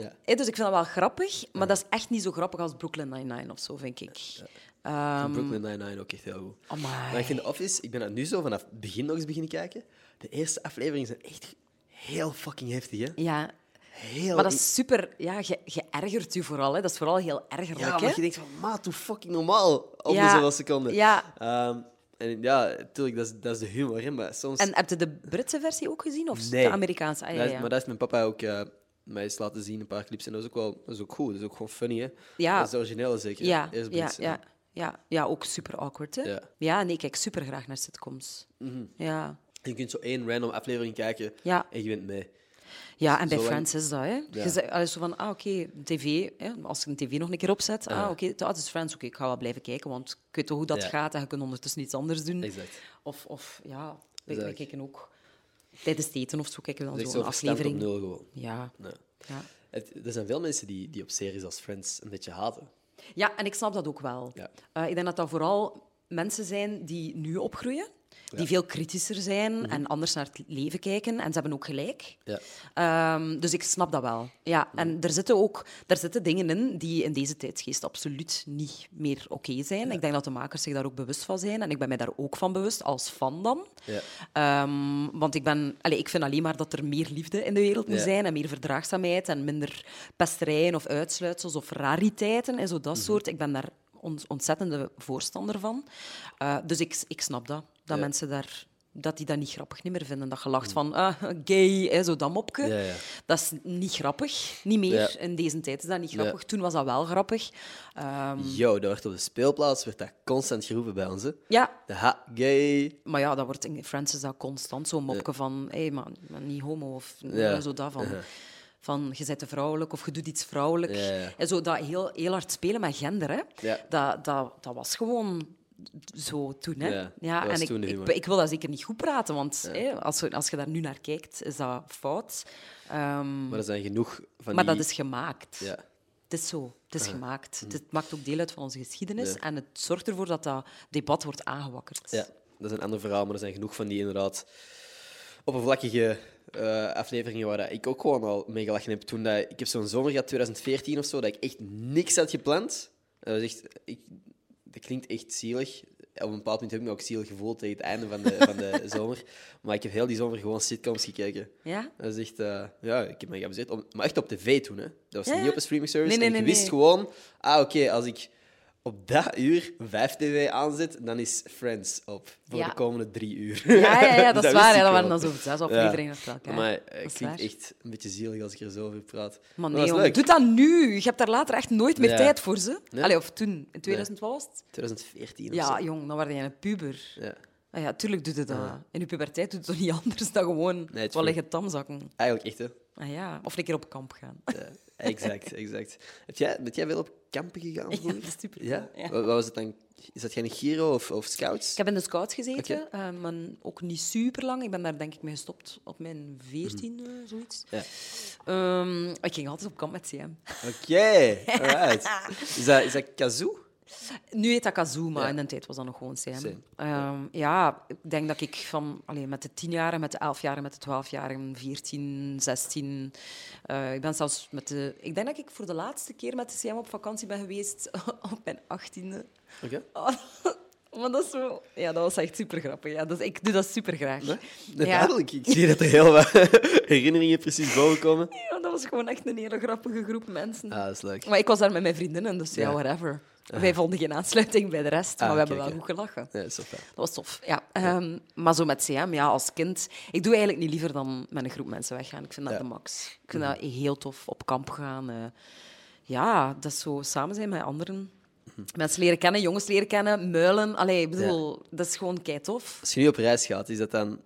Speaker 1: Ja.
Speaker 2: Eh, Dus ik vind dat wel grappig,
Speaker 1: Mhm.
Speaker 2: maar dat is echt niet zo grappig als Brooklyn Nine-Nine of zo, vind ik. Ehm,
Speaker 1: Brooklyn Nine-Nine ook echt heel goed.
Speaker 2: Amai.
Speaker 1: Maar ik vind The Office, ik ben dat nu zo vanaf het begin nog eens beginnen kijken. De eerste afleveringen zijn echt heel fucking heftig, hè?
Speaker 2: ja,
Speaker 1: Heel
Speaker 2: maar dat is super... Ja, ge, je ergert je vooral. Hè. Dat is vooral heel ergerlijk.
Speaker 1: Ja,
Speaker 2: hè?
Speaker 1: want je denkt van, maat, hoe fucking normaal op de
Speaker 2: Ja,
Speaker 1: zoveel seconden.
Speaker 2: ja.
Speaker 1: Ehm, en ja, natuurlijk, dat is, dat is de humor, hè, maar soms...
Speaker 2: En heb je de Britse versie ook gezien? Of
Speaker 1: Nee.
Speaker 2: de Amerikaanse? Ah, ja,
Speaker 1: Dat is-
Speaker 2: ja.
Speaker 1: maar dat heeft mijn papa ook eh, mij eens laten zien, een paar clips. En dat is ook wel dat is ook goed. Dat is ook gewoon funny, hè?
Speaker 2: Ja.
Speaker 1: Dat is het originele zeker.
Speaker 2: Ja, ja,
Speaker 1: Eerst
Speaker 2: ja,
Speaker 1: Brits,
Speaker 2: ja, ja. ja, ook super awkward. Hè?
Speaker 1: Ja. Mhm.
Speaker 2: nee, ik kijk super graag naar sitcoms. Ja.
Speaker 1: Je kunt zo één random aflevering kijken
Speaker 2: Ja.
Speaker 1: en je bent mee.
Speaker 2: ja, en bij
Speaker 1: Zolang-
Speaker 2: Friends is dat. Hè? Je zegt alles zo van, ah, oké, tv. Hè? Als ik een tv nog een keer opzet, ah, oké, dat is Friends. Oké, ik ga wel blijven kijken, want ik weet toch hoe dat
Speaker 1: Ja.
Speaker 2: gaat en je kunt ondertussen iets anders doen.
Speaker 1: Exact.
Speaker 2: Of, of ja, wij,
Speaker 1: Exact.
Speaker 2: wij kijken ook tijdens het eten of zo kijken we
Speaker 1: Dat
Speaker 2: dan
Speaker 1: is
Speaker 2: zo'n
Speaker 1: echt zo aflevering. op
Speaker 2: aflevering.
Speaker 1: nul gewoon.
Speaker 2: Ja.
Speaker 1: Ja.
Speaker 2: Ja.
Speaker 1: Het- er zijn veel mensen die, die op series als Friends een beetje haten.
Speaker 2: ja, en ik snap dat ook wel.
Speaker 1: Ja.
Speaker 2: Eh, ik denk dat dat vooral mensen zijn die nu opgroeien, die veel kritischer zijn en anders naar het leven kijken. En ze hebben ook gelijk.
Speaker 1: Mhm. Ja.
Speaker 2: Ehm, dus ik snap dat wel. Ja, en er zitten ook daar zitten dingen in die in deze tijdsgeest absoluut niet meer oké zijn. Ik denk dat de makers zich daar ook bewust van zijn. En ik ben mij daar ook van bewust, als fan dan.
Speaker 1: Ja.
Speaker 2: Ehm, want ik, ben, allee, ik vind alleen maar dat er meer liefde in de wereld moet
Speaker 1: Ja.
Speaker 2: zijn. En meer verdraagzaamheid en minder pesterijen of uitsluitsels of rariteiten en zo dat
Speaker 1: Mhm.
Speaker 2: soort. Ik ben daar on- ontzettende voorstander van. Eh, dus ik, ik snap dat. Dat
Speaker 1: Ja. Mhm.
Speaker 2: mensen daar... Dat die dat niet grappig niet meer vinden. Dat gelacht van ah, gay, hè, zo dat mopje.
Speaker 1: Ja, ja.
Speaker 2: Dat is niet grappig. Niet meer.
Speaker 1: Ja.
Speaker 2: In deze tijd is dat niet
Speaker 1: Ja.
Speaker 2: grappig. Toen was dat wel grappig. Ehm,
Speaker 1: Yo, dat werd op de speelplaats werd dat constant geroepen bij ons. hè.
Speaker 2: ja,
Speaker 1: De ha, gay.
Speaker 2: Maar ja, dat wordt in Friends is dat constant zo'n mopje van... Hé, maar, maar niet homo of
Speaker 1: Ja.
Speaker 2: zo dat van... Van, je bent te vrouwelijk of je doet iets vrouwelijk.
Speaker 1: Ja, ja.
Speaker 2: En zo dat heel, heel hard spelen met gender, hè.
Speaker 1: Ja.
Speaker 2: Dat, dat, dat was gewoon zo toen, hè.
Speaker 1: Ja, dat was
Speaker 2: en ik,
Speaker 1: toen de
Speaker 2: ik,
Speaker 1: humor.
Speaker 2: ik wil dat zeker niet goed praten, want hè, als, je- als je daar nu naar kijkt, is dat fout. Ehm,
Speaker 1: Maar er zijn genoeg van
Speaker 2: maar
Speaker 1: die...
Speaker 2: dat is gemaakt.
Speaker 1: Ja. Ah. Hm.
Speaker 2: Het is zo. Het is gemaakt. Het maakt ook deel uit van onze geschiedenis. En het zorgt ervoor dat dat debat wordt aangewakkerd.
Speaker 1: Ja, dat is een ander verhaal, maar er zijn genoeg van die inderdaad oppervlakkige eh, afleveringen waar dat ik ook gewoon al mee gelachen heb. Toen dat, ik heb zo'n zomer gehad, 2014 of zo, dat ik echt niks had gepland. Dat, was echt, ik, dat klinkt echt zielig. Op een bepaald moment heb ik me ook zielig gevoeld tegen het einde van de, van de zomer. Maar ik heb heel die zomer gewoon sitcoms gekeken.
Speaker 2: Ja?
Speaker 1: Dat is echt, eh, ja, ik heb me geamuseerd. Op- Maar echt op tv toen, hè? Dat was
Speaker 2: Ja, ja.
Speaker 1: niet op een streaming service.
Speaker 2: Nee, nee,
Speaker 1: en ik
Speaker 2: nee,
Speaker 1: wist
Speaker 2: nee.
Speaker 1: gewoon, ah, oké, als ik op dat uur 5 tv aanzet, dan is Friends op voor
Speaker 2: Ja.
Speaker 1: de komende drie uur.
Speaker 2: Ja, ja, ja dat is waar.
Speaker 1: wist
Speaker 2: hè.
Speaker 1: ik
Speaker 2: Dat
Speaker 1: wel.
Speaker 2: waren dan zo'n zes afleveringen achter elkaar.
Speaker 1: Maar eh,
Speaker 2: Dat
Speaker 1: het
Speaker 2: is
Speaker 1: klinkt
Speaker 2: waar.
Speaker 1: echt een beetje zielig als ik er zo over praat.
Speaker 2: Maar
Speaker 1: Maar
Speaker 2: nee,
Speaker 1: dat was
Speaker 2: jongen,
Speaker 1: leuk.
Speaker 2: doe dat nu. Je hebt daar later echt nooit meer
Speaker 1: Ja.
Speaker 2: tijd voor ze.
Speaker 1: Nee.
Speaker 2: Allee, of toen, in 2000 wat was het?
Speaker 1: 2014 of zo.
Speaker 2: Ja, jong, dan word jij een puber.
Speaker 1: Ja.
Speaker 2: Ah ja, tuurlijk doet het dat. In je puberteit doet het toch niet anders dan gewoon
Speaker 1: het is
Speaker 2: wat
Speaker 1: goed.
Speaker 2: liggen tamzakken.
Speaker 1: Eigenlijk echt, hè?
Speaker 2: Ah ja, of een keer op kamp gaan.
Speaker 1: Ja, exact, exact. Heb jij, bent jij wel op kampen gegaan?
Speaker 2: Ja,
Speaker 1: vroeger?
Speaker 2: dat is super.
Speaker 1: Ja?
Speaker 2: Ja.
Speaker 1: Wat wat was het dan? Is dat geen Giro of, of Scouts?
Speaker 2: Ik heb in de scouts gezeten, eh, maar ook niet super lang. Ik ben daar denk ik mee gestopt op mijn veertiende, Mhm. zoiets.
Speaker 1: Ja.
Speaker 2: Ehm, ik ging altijd op kamp met CM.
Speaker 1: Oké, alright. Is dat, is dat kazoo?
Speaker 2: Nu heet dat Kazoo, maar
Speaker 1: Ja.
Speaker 2: in de tijd was dat nog gewoon Sam.
Speaker 1: Sam,
Speaker 2: Ehm, ja, ik denk dat ik van allee, met de tienjarigen, met de elfjarigen, met de twaalfjarigen, 14, 16. eh, ik ben zelfs met de. Ik denk dat ik voor de laatste keer met de CM op vakantie ben geweest op mijn achttiende.
Speaker 1: Oké.
Speaker 2: Oh, maar dat is zo. Ja, dat was echt super grappig. Ja, dus ik doe dat super graag.
Speaker 1: Duidelijk, ik zie dat er heel wat herinneringen precies boven komen.
Speaker 2: Ja, dat was gewoon echt een hele grappige groep mensen.
Speaker 1: Ah, dat is leuk.
Speaker 2: Maar ik was daar met mijn vriendinnen, dus ja,
Speaker 1: Ja.
Speaker 2: whatever. Wij vonden geen aansluiting bij de rest, maar
Speaker 1: Ah,
Speaker 2: we hebben
Speaker 1: oké,
Speaker 2: wel
Speaker 1: oké.
Speaker 2: goed gelachen.
Speaker 1: Ja, dat is wel fijn.
Speaker 2: Dat was tof, ja. Ehm, maar zo met CM, ja, als kind. Ik doe eigenlijk niet liever dan met een groep mensen weggaan. Ik vind dat
Speaker 1: Ja.
Speaker 2: de max. Ik vind dat heel tof, op kamp gaan. eh. ja, dat is zo samen zijn met anderen. Mensen leren kennen, jongens leren kennen, muilen. Allee, ik bedoel, dat is gewoon kei tof.
Speaker 1: Als je nu op reis gaat, is dat dan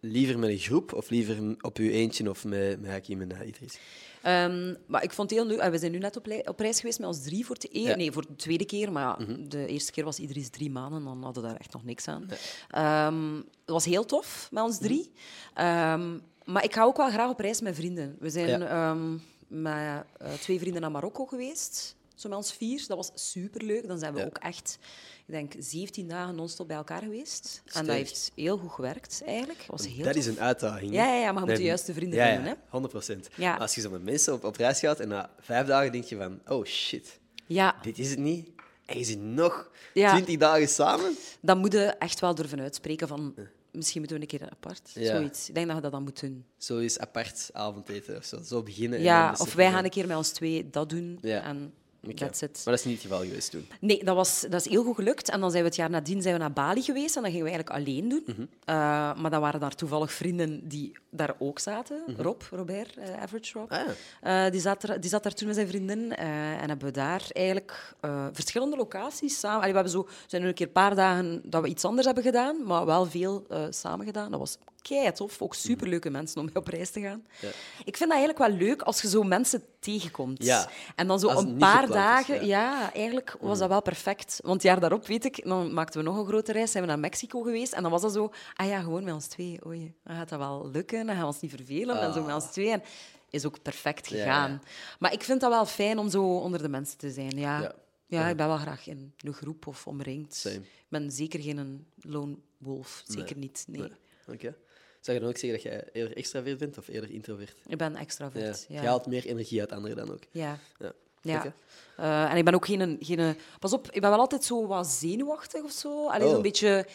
Speaker 1: liever met een groep of liever m- op je eentje of met, met Hakim en eh, Idris?
Speaker 2: Ehm, maar ik vond het heel leuk. en We zijn nu net op, le- op reis geweest met ons drie voor, het eer-
Speaker 1: Ja. Mhm.
Speaker 2: nee, voor de tweede keer. Maar ja, de eerste keer was iedereen drie maanden. Dan hadden we daar echt nog niks aan. Ehm, het was heel tof met ons drie.
Speaker 1: Mhm.
Speaker 2: Ehm, maar ik ga ook wel graag op reis met vrienden. We zijn ehm, met eh, twee vrienden naar Marokko geweest. Zo met ons vier. Dat was superleuk. Dan zijn we
Speaker 1: Ja.
Speaker 2: ook echt, ik denk, 17 dagen non-stop bij elkaar geweest. En
Speaker 1: Sterk.
Speaker 2: dat heeft heel goed gewerkt, eigenlijk. Dat was heel
Speaker 1: Dat
Speaker 2: tof.
Speaker 1: is een uitdaging. hè?
Speaker 2: Ja, ja, ja, maar je moet
Speaker 1: Nee,
Speaker 2: de juiste vrienden
Speaker 1: ja,
Speaker 2: vinden,
Speaker 1: Ja,
Speaker 2: hè.
Speaker 1: 100 procent.
Speaker 2: Ja.
Speaker 1: Als je zo met mensen op, op reis gaat en na vijf dagen denk je van, oh shit,
Speaker 2: Ja,
Speaker 1: dit is het niet. En je zit nog
Speaker 2: Ja.
Speaker 1: 20 dagen samen.
Speaker 2: dan moet je echt wel durven uitspreken van... Misschien moeten we een keer apart.
Speaker 1: Ja.
Speaker 2: Zoiets. Ik denk dat je dat dan moet doen.
Speaker 1: Zo is apart avondeten of zo. Zo beginnen. en
Speaker 2: Ja,
Speaker 1: dan de
Speaker 2: of wij
Speaker 1: second-
Speaker 2: gaan een keer met ons twee dat doen.
Speaker 1: Ja.
Speaker 2: En
Speaker 1: Oké.
Speaker 2: That's it.
Speaker 1: Maar dat is niet het geval geweest toen.
Speaker 2: Nee, dat, was, dat is heel goed gelukt. En dan zijn we het jaar nadien zijn we naar Bali geweest en dat gingen we eigenlijk alleen doen.
Speaker 1: Mhm.
Speaker 2: Eh, maar dan waren daar toevallig vrienden die daar ook zaten. Rob, Robert, eh, Average Rob.
Speaker 1: Mhm. Ah, ja.
Speaker 2: Eh, die, zat er, die zat daar toen met zijn vriendin. eh, en hebben daar eigenlijk eh, verschillende locaties samen... Allee, we hebben zo, zijn nu een keer een paar dagen dat we iets anders hebben gedaan, maar wel veel eh, samen gedaan. Dat was kei tof. Ook superleuke mensen om mee op reis te gaan.
Speaker 1: Mhm. Ja.
Speaker 2: Ik vind dat eigenlijk wel leuk als je zo mensen tegenkomt.
Speaker 1: Ja.
Speaker 2: En dan zo
Speaker 1: Als het
Speaker 2: een
Speaker 1: niet
Speaker 2: paar
Speaker 1: gepland is,
Speaker 2: dagen...
Speaker 1: ja.
Speaker 2: Ja, eigenlijk was dat wel perfect. Want het jaar daarop, weet ik, dan maakten we nog een grote reis, zijn we naar Mexico geweest. En dan was dat zo, ah ja, gewoon met ons twee. Oei, dan gaat dat wel lukken, dan gaan we ons niet vervelen. En zo met ons twee. En is ook perfect
Speaker 1: Ah. Ja,
Speaker 2: gegaan.
Speaker 1: ja.
Speaker 2: Maar ik vind dat wel fijn om zo onder de mensen te zijn. Ja,
Speaker 1: Ja.
Speaker 2: ja. ik ben wel graag in een groep of omringd.
Speaker 1: Same.
Speaker 2: Ik ben zeker geen lone wolf. Zeker niet, nee.
Speaker 1: Nee. Oké. Zou je dan ook zeggen dat jij eerder extravert bent of eerder introvert?
Speaker 2: Ik ben extravert.
Speaker 1: Je
Speaker 2: ja.
Speaker 1: haalt meer energie uit anderen dan ook.
Speaker 2: Ja.
Speaker 1: Ja.
Speaker 2: Ja.
Speaker 1: Oké.
Speaker 2: Eh, en ik ben ook geen, geen... Pas op, ik ben wel altijd zo wat zenuwachtig of zo. Alleen
Speaker 1: Oh.
Speaker 2: zo'n beetje...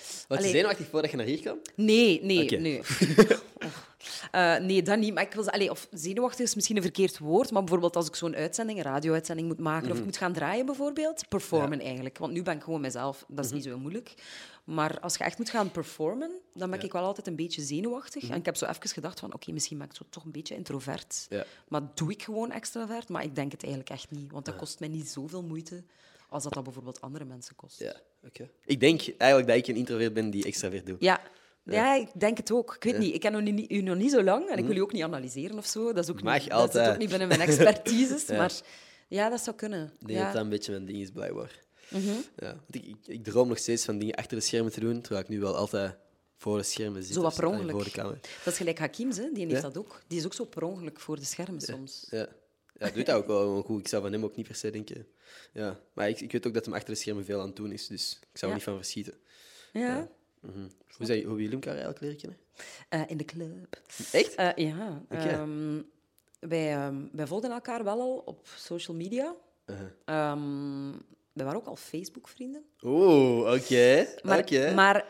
Speaker 1: Was je
Speaker 2: Allee.
Speaker 1: zenuwachtig voordat je naar hier kwam?
Speaker 2: Nee, nee,
Speaker 1: Oké.
Speaker 2: nee. Oh. Eh, nee, dat niet. Maar ik wil, ze- allee, of zenuwachtig is misschien een verkeerd woord, maar bijvoorbeeld als ik zo'n uitzending, een radio-uitzending moet maken
Speaker 1: Mhm.
Speaker 2: of ik moet gaan draaien bijvoorbeeld, performen eigenlijk. Want nu ben ik gewoon mezelf, dat is
Speaker 1: Mhm.
Speaker 2: niet zo heel moeilijk. Maar als je echt moet gaan performen, dan ben ik wel altijd een beetje zenuwachtig.
Speaker 1: Mhm.
Speaker 2: En ik heb zo even gedacht van, oké, misschien ben ik zo toch een beetje introvert.
Speaker 1: Ja.
Speaker 2: Maar doe ik gewoon extravert? Maar ik denk het eigenlijk echt niet, want dat kost mij niet zoveel moeite als dat dat bijvoorbeeld andere mensen kost.
Speaker 1: Ja. Oké. Ik denk eigenlijk dat ik een introvert ben die extravert doet.
Speaker 2: Ja. Ja, ik denk het ook. Ik weet niet. Ik ken u niet, u nog niet zo lang en ik wil u ook niet analyseren of zo. Dat is ook,
Speaker 1: Hm. Mag
Speaker 2: niet, dat
Speaker 1: altijd.
Speaker 2: zit ook niet binnen mijn expertises.
Speaker 1: Ja.
Speaker 2: Maar ja, dat zou kunnen.
Speaker 1: Ik denk dat
Speaker 2: Ja.
Speaker 1: dat een beetje mijn ding is, blijkbaar. Ja, want ik, ik, ik droom nog steeds van dingen achter de schermen te doen, terwijl ik nu wel altijd voor de schermen zit.
Speaker 2: Zo wat
Speaker 1: of
Speaker 2: per
Speaker 1: zit-
Speaker 2: ongeluk.
Speaker 1: Voor de camera.
Speaker 2: Dat is gelijk Hakim, hè. die heeft
Speaker 1: Ja.
Speaker 2: dat ook. Die is ook zo per ongeluk voor de schermen soms.
Speaker 1: Ja. ja, hij doet dat ook wel gewoon goed. Ik zou van hem ook niet per se denken. Ja. Maar ik, ik weet ook dat hem achter de schermen veel aan het doen is, dus ik zou er
Speaker 2: Ja.
Speaker 1: niet van verschieten.
Speaker 2: Ja,
Speaker 1: Mhm. Hoe, zijn, hoe hebben jullie elkaar eigenlijk leren kennen?
Speaker 2: Eh, in de club.
Speaker 1: Echt?
Speaker 2: Eh, ja.
Speaker 1: Oké.
Speaker 2: ehm, wij, ehm, wij volgden elkaar wel al op social media.
Speaker 1: Uh-huh.
Speaker 2: Ehm we waren ook al Facebook-vrienden.
Speaker 1: Oeh, oké.
Speaker 2: Maar,
Speaker 1: Oké.
Speaker 2: maar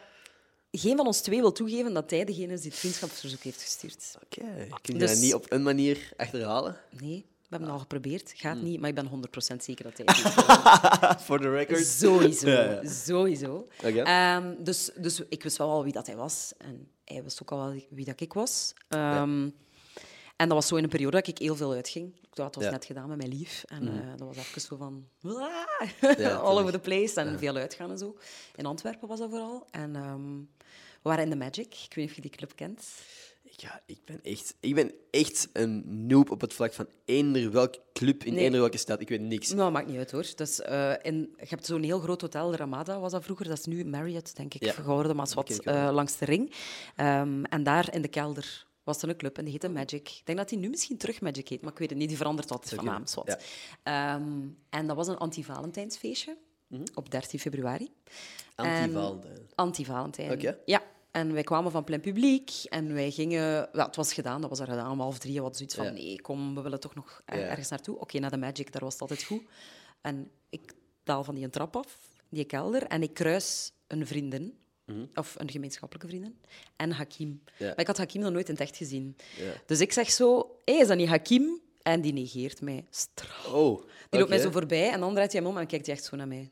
Speaker 2: geen van ons twee wil toegeven dat hij degene is die het vriendschapsverzoek heeft gestuurd.
Speaker 1: Oké. Kun je
Speaker 2: Dus-
Speaker 1: dat niet op een manier achterhalen?
Speaker 2: Nee, we hebben
Speaker 1: Ah.
Speaker 2: het al geprobeerd. Gaat
Speaker 1: Hmm.
Speaker 2: niet, maar ik ben 100% zeker dat hij het doet.
Speaker 1: For the record.
Speaker 2: Sowieso,
Speaker 1: Ja, ja.
Speaker 2: sowieso.
Speaker 1: Oké.
Speaker 2: Ehm, dus, dus ik wist wel al wie dat hij was. En hij wist ook al wel wie dat ik was. Ehm, En dat was zo in een periode dat ik heel veel uitging. Ik had was
Speaker 1: Ja. Mhm.
Speaker 2: net gedaan met mijn lief. En eh, dat was even zo van... "Waa!"
Speaker 1: tuurlijk.
Speaker 2: all over the place. En veel uitgaan en zo. In Antwerpen was dat vooral. En ehm, we waren in de Magic. Ik weet niet of je die club kent.
Speaker 1: Ja, ik ben, echt, ik ben echt een noob op het vlak van eender welke club in
Speaker 2: Nee.
Speaker 1: eender welke stad. Ik weet niks.
Speaker 2: Nou, maakt niet uit hoor. Dus, eh, in, je hebt zo'n heel groot hotel, de Ramada was dat vroeger. Dat is nu Marriott, denk ik,
Speaker 1: Ja.
Speaker 2: geworden, maar is wat
Speaker 1: ken ik wel.
Speaker 2: eh, langs de ring. Ehm, en daar in de kelder was er een club en die heette Magic. Ik denk dat die nu misschien terug Magic heet, maar ik weet het niet. Die verandert altijd van
Speaker 1: kunnen,
Speaker 2: naam, zwart. Ehm, en dat was een anti-Valentijnsfeestje
Speaker 1: Mhm.
Speaker 2: op 13 februari. Ehm,
Speaker 1: Antivalde.
Speaker 2: Anti-Valentijn.
Speaker 1: Oké.
Speaker 2: Ja. En wij kwamen van plein publiek en wij gingen... Ja, het was gedaan, dat was er gedaan om half drie. We hadden zoiets van,
Speaker 1: Ja.
Speaker 2: nee, kom, we willen toch nog er-
Speaker 1: Ja.
Speaker 2: ergens naartoe. Oké, naar de Magic, daar was het altijd goed. En ik daal van die een trap af, die kelder, en ik kruis een vriendin. Of een gemeenschappelijke vriendin. En Hakim.
Speaker 1: Mhm. Ja.
Speaker 2: Maar ik had Hakim nog nooit in het echt gezien.
Speaker 1: Ja.
Speaker 2: Dus ik zeg zo, hé, is dat niet Hakim? En die negeert mij. Straf.
Speaker 1: Oh, die
Speaker 2: Die loopt mij zo voorbij en dan draait hij hem om en kijkt hij echt zo naar mij.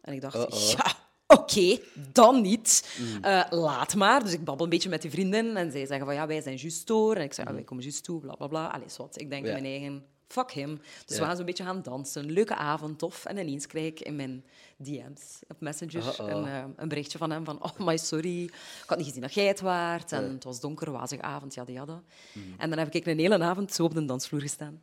Speaker 2: En ik dacht,
Speaker 1: Uh-oh.
Speaker 2: ja, oké, dan niet. Eh, laat maar. Dus ik babbel een beetje met die vrienden en zij zeggen van ja, wij zijn juist door. En ik zeg, ah, wij komen juist toe, bla bla bla. Allee, wat. Ik denk
Speaker 1: Mhm. Ja.
Speaker 2: in mijn eigen, fuck him. Dus
Speaker 1: Ja.
Speaker 2: we gaan zo'n beetje gaan dansen. Leuke avond, tof. En ineens krijg ik in mijn DM's op Messenger
Speaker 1: Uh-oh.
Speaker 2: een, eh, een berichtje van hem van oh my sorry, ik had niet gezien dat jij het waart. En het was donker, wazige avond, jada jada.
Speaker 1: Mhm.
Speaker 2: En dan heb ik een hele avond zo op de dansvloer gestaan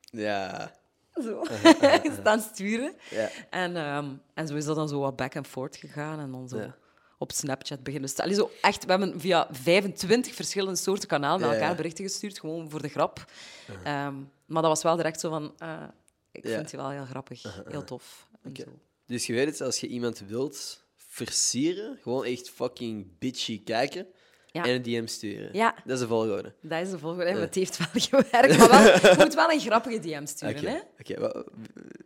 Speaker 1: Ja.
Speaker 2: zo staan sturen.
Speaker 1: Ja.
Speaker 2: En, ehm, en zo is dat dan zo wat back and forth gegaan. En dan zo
Speaker 1: Ja.
Speaker 2: op Snapchat beginnen staan. Allee, zo echt, we hebben via 25 verschillende soorten kanalen
Speaker 1: Ja,
Speaker 2: met elkaar
Speaker 1: ja. Uh-huh.
Speaker 2: berichten gestuurd, gewoon voor de grap. Ehm, maar dat was wel direct zo van... ah,
Speaker 1: Ja.
Speaker 2: ik
Speaker 1: Uh-huh,
Speaker 2: vind je wel heel grappig, heel tof. En zo.
Speaker 1: Dus je weet het, als je iemand wilt versieren, gewoon echt fucking bitchy kijken
Speaker 2: Ja.
Speaker 1: en een DM sturen.
Speaker 2: Ja.
Speaker 1: Dat is de volgorde.
Speaker 2: Dat is de volgende. Het heeft wel gewerkt, maar wel, je moet wel een grappige DM sturen.
Speaker 1: Oké.
Speaker 2: Hè?
Speaker 1: Oké, wa-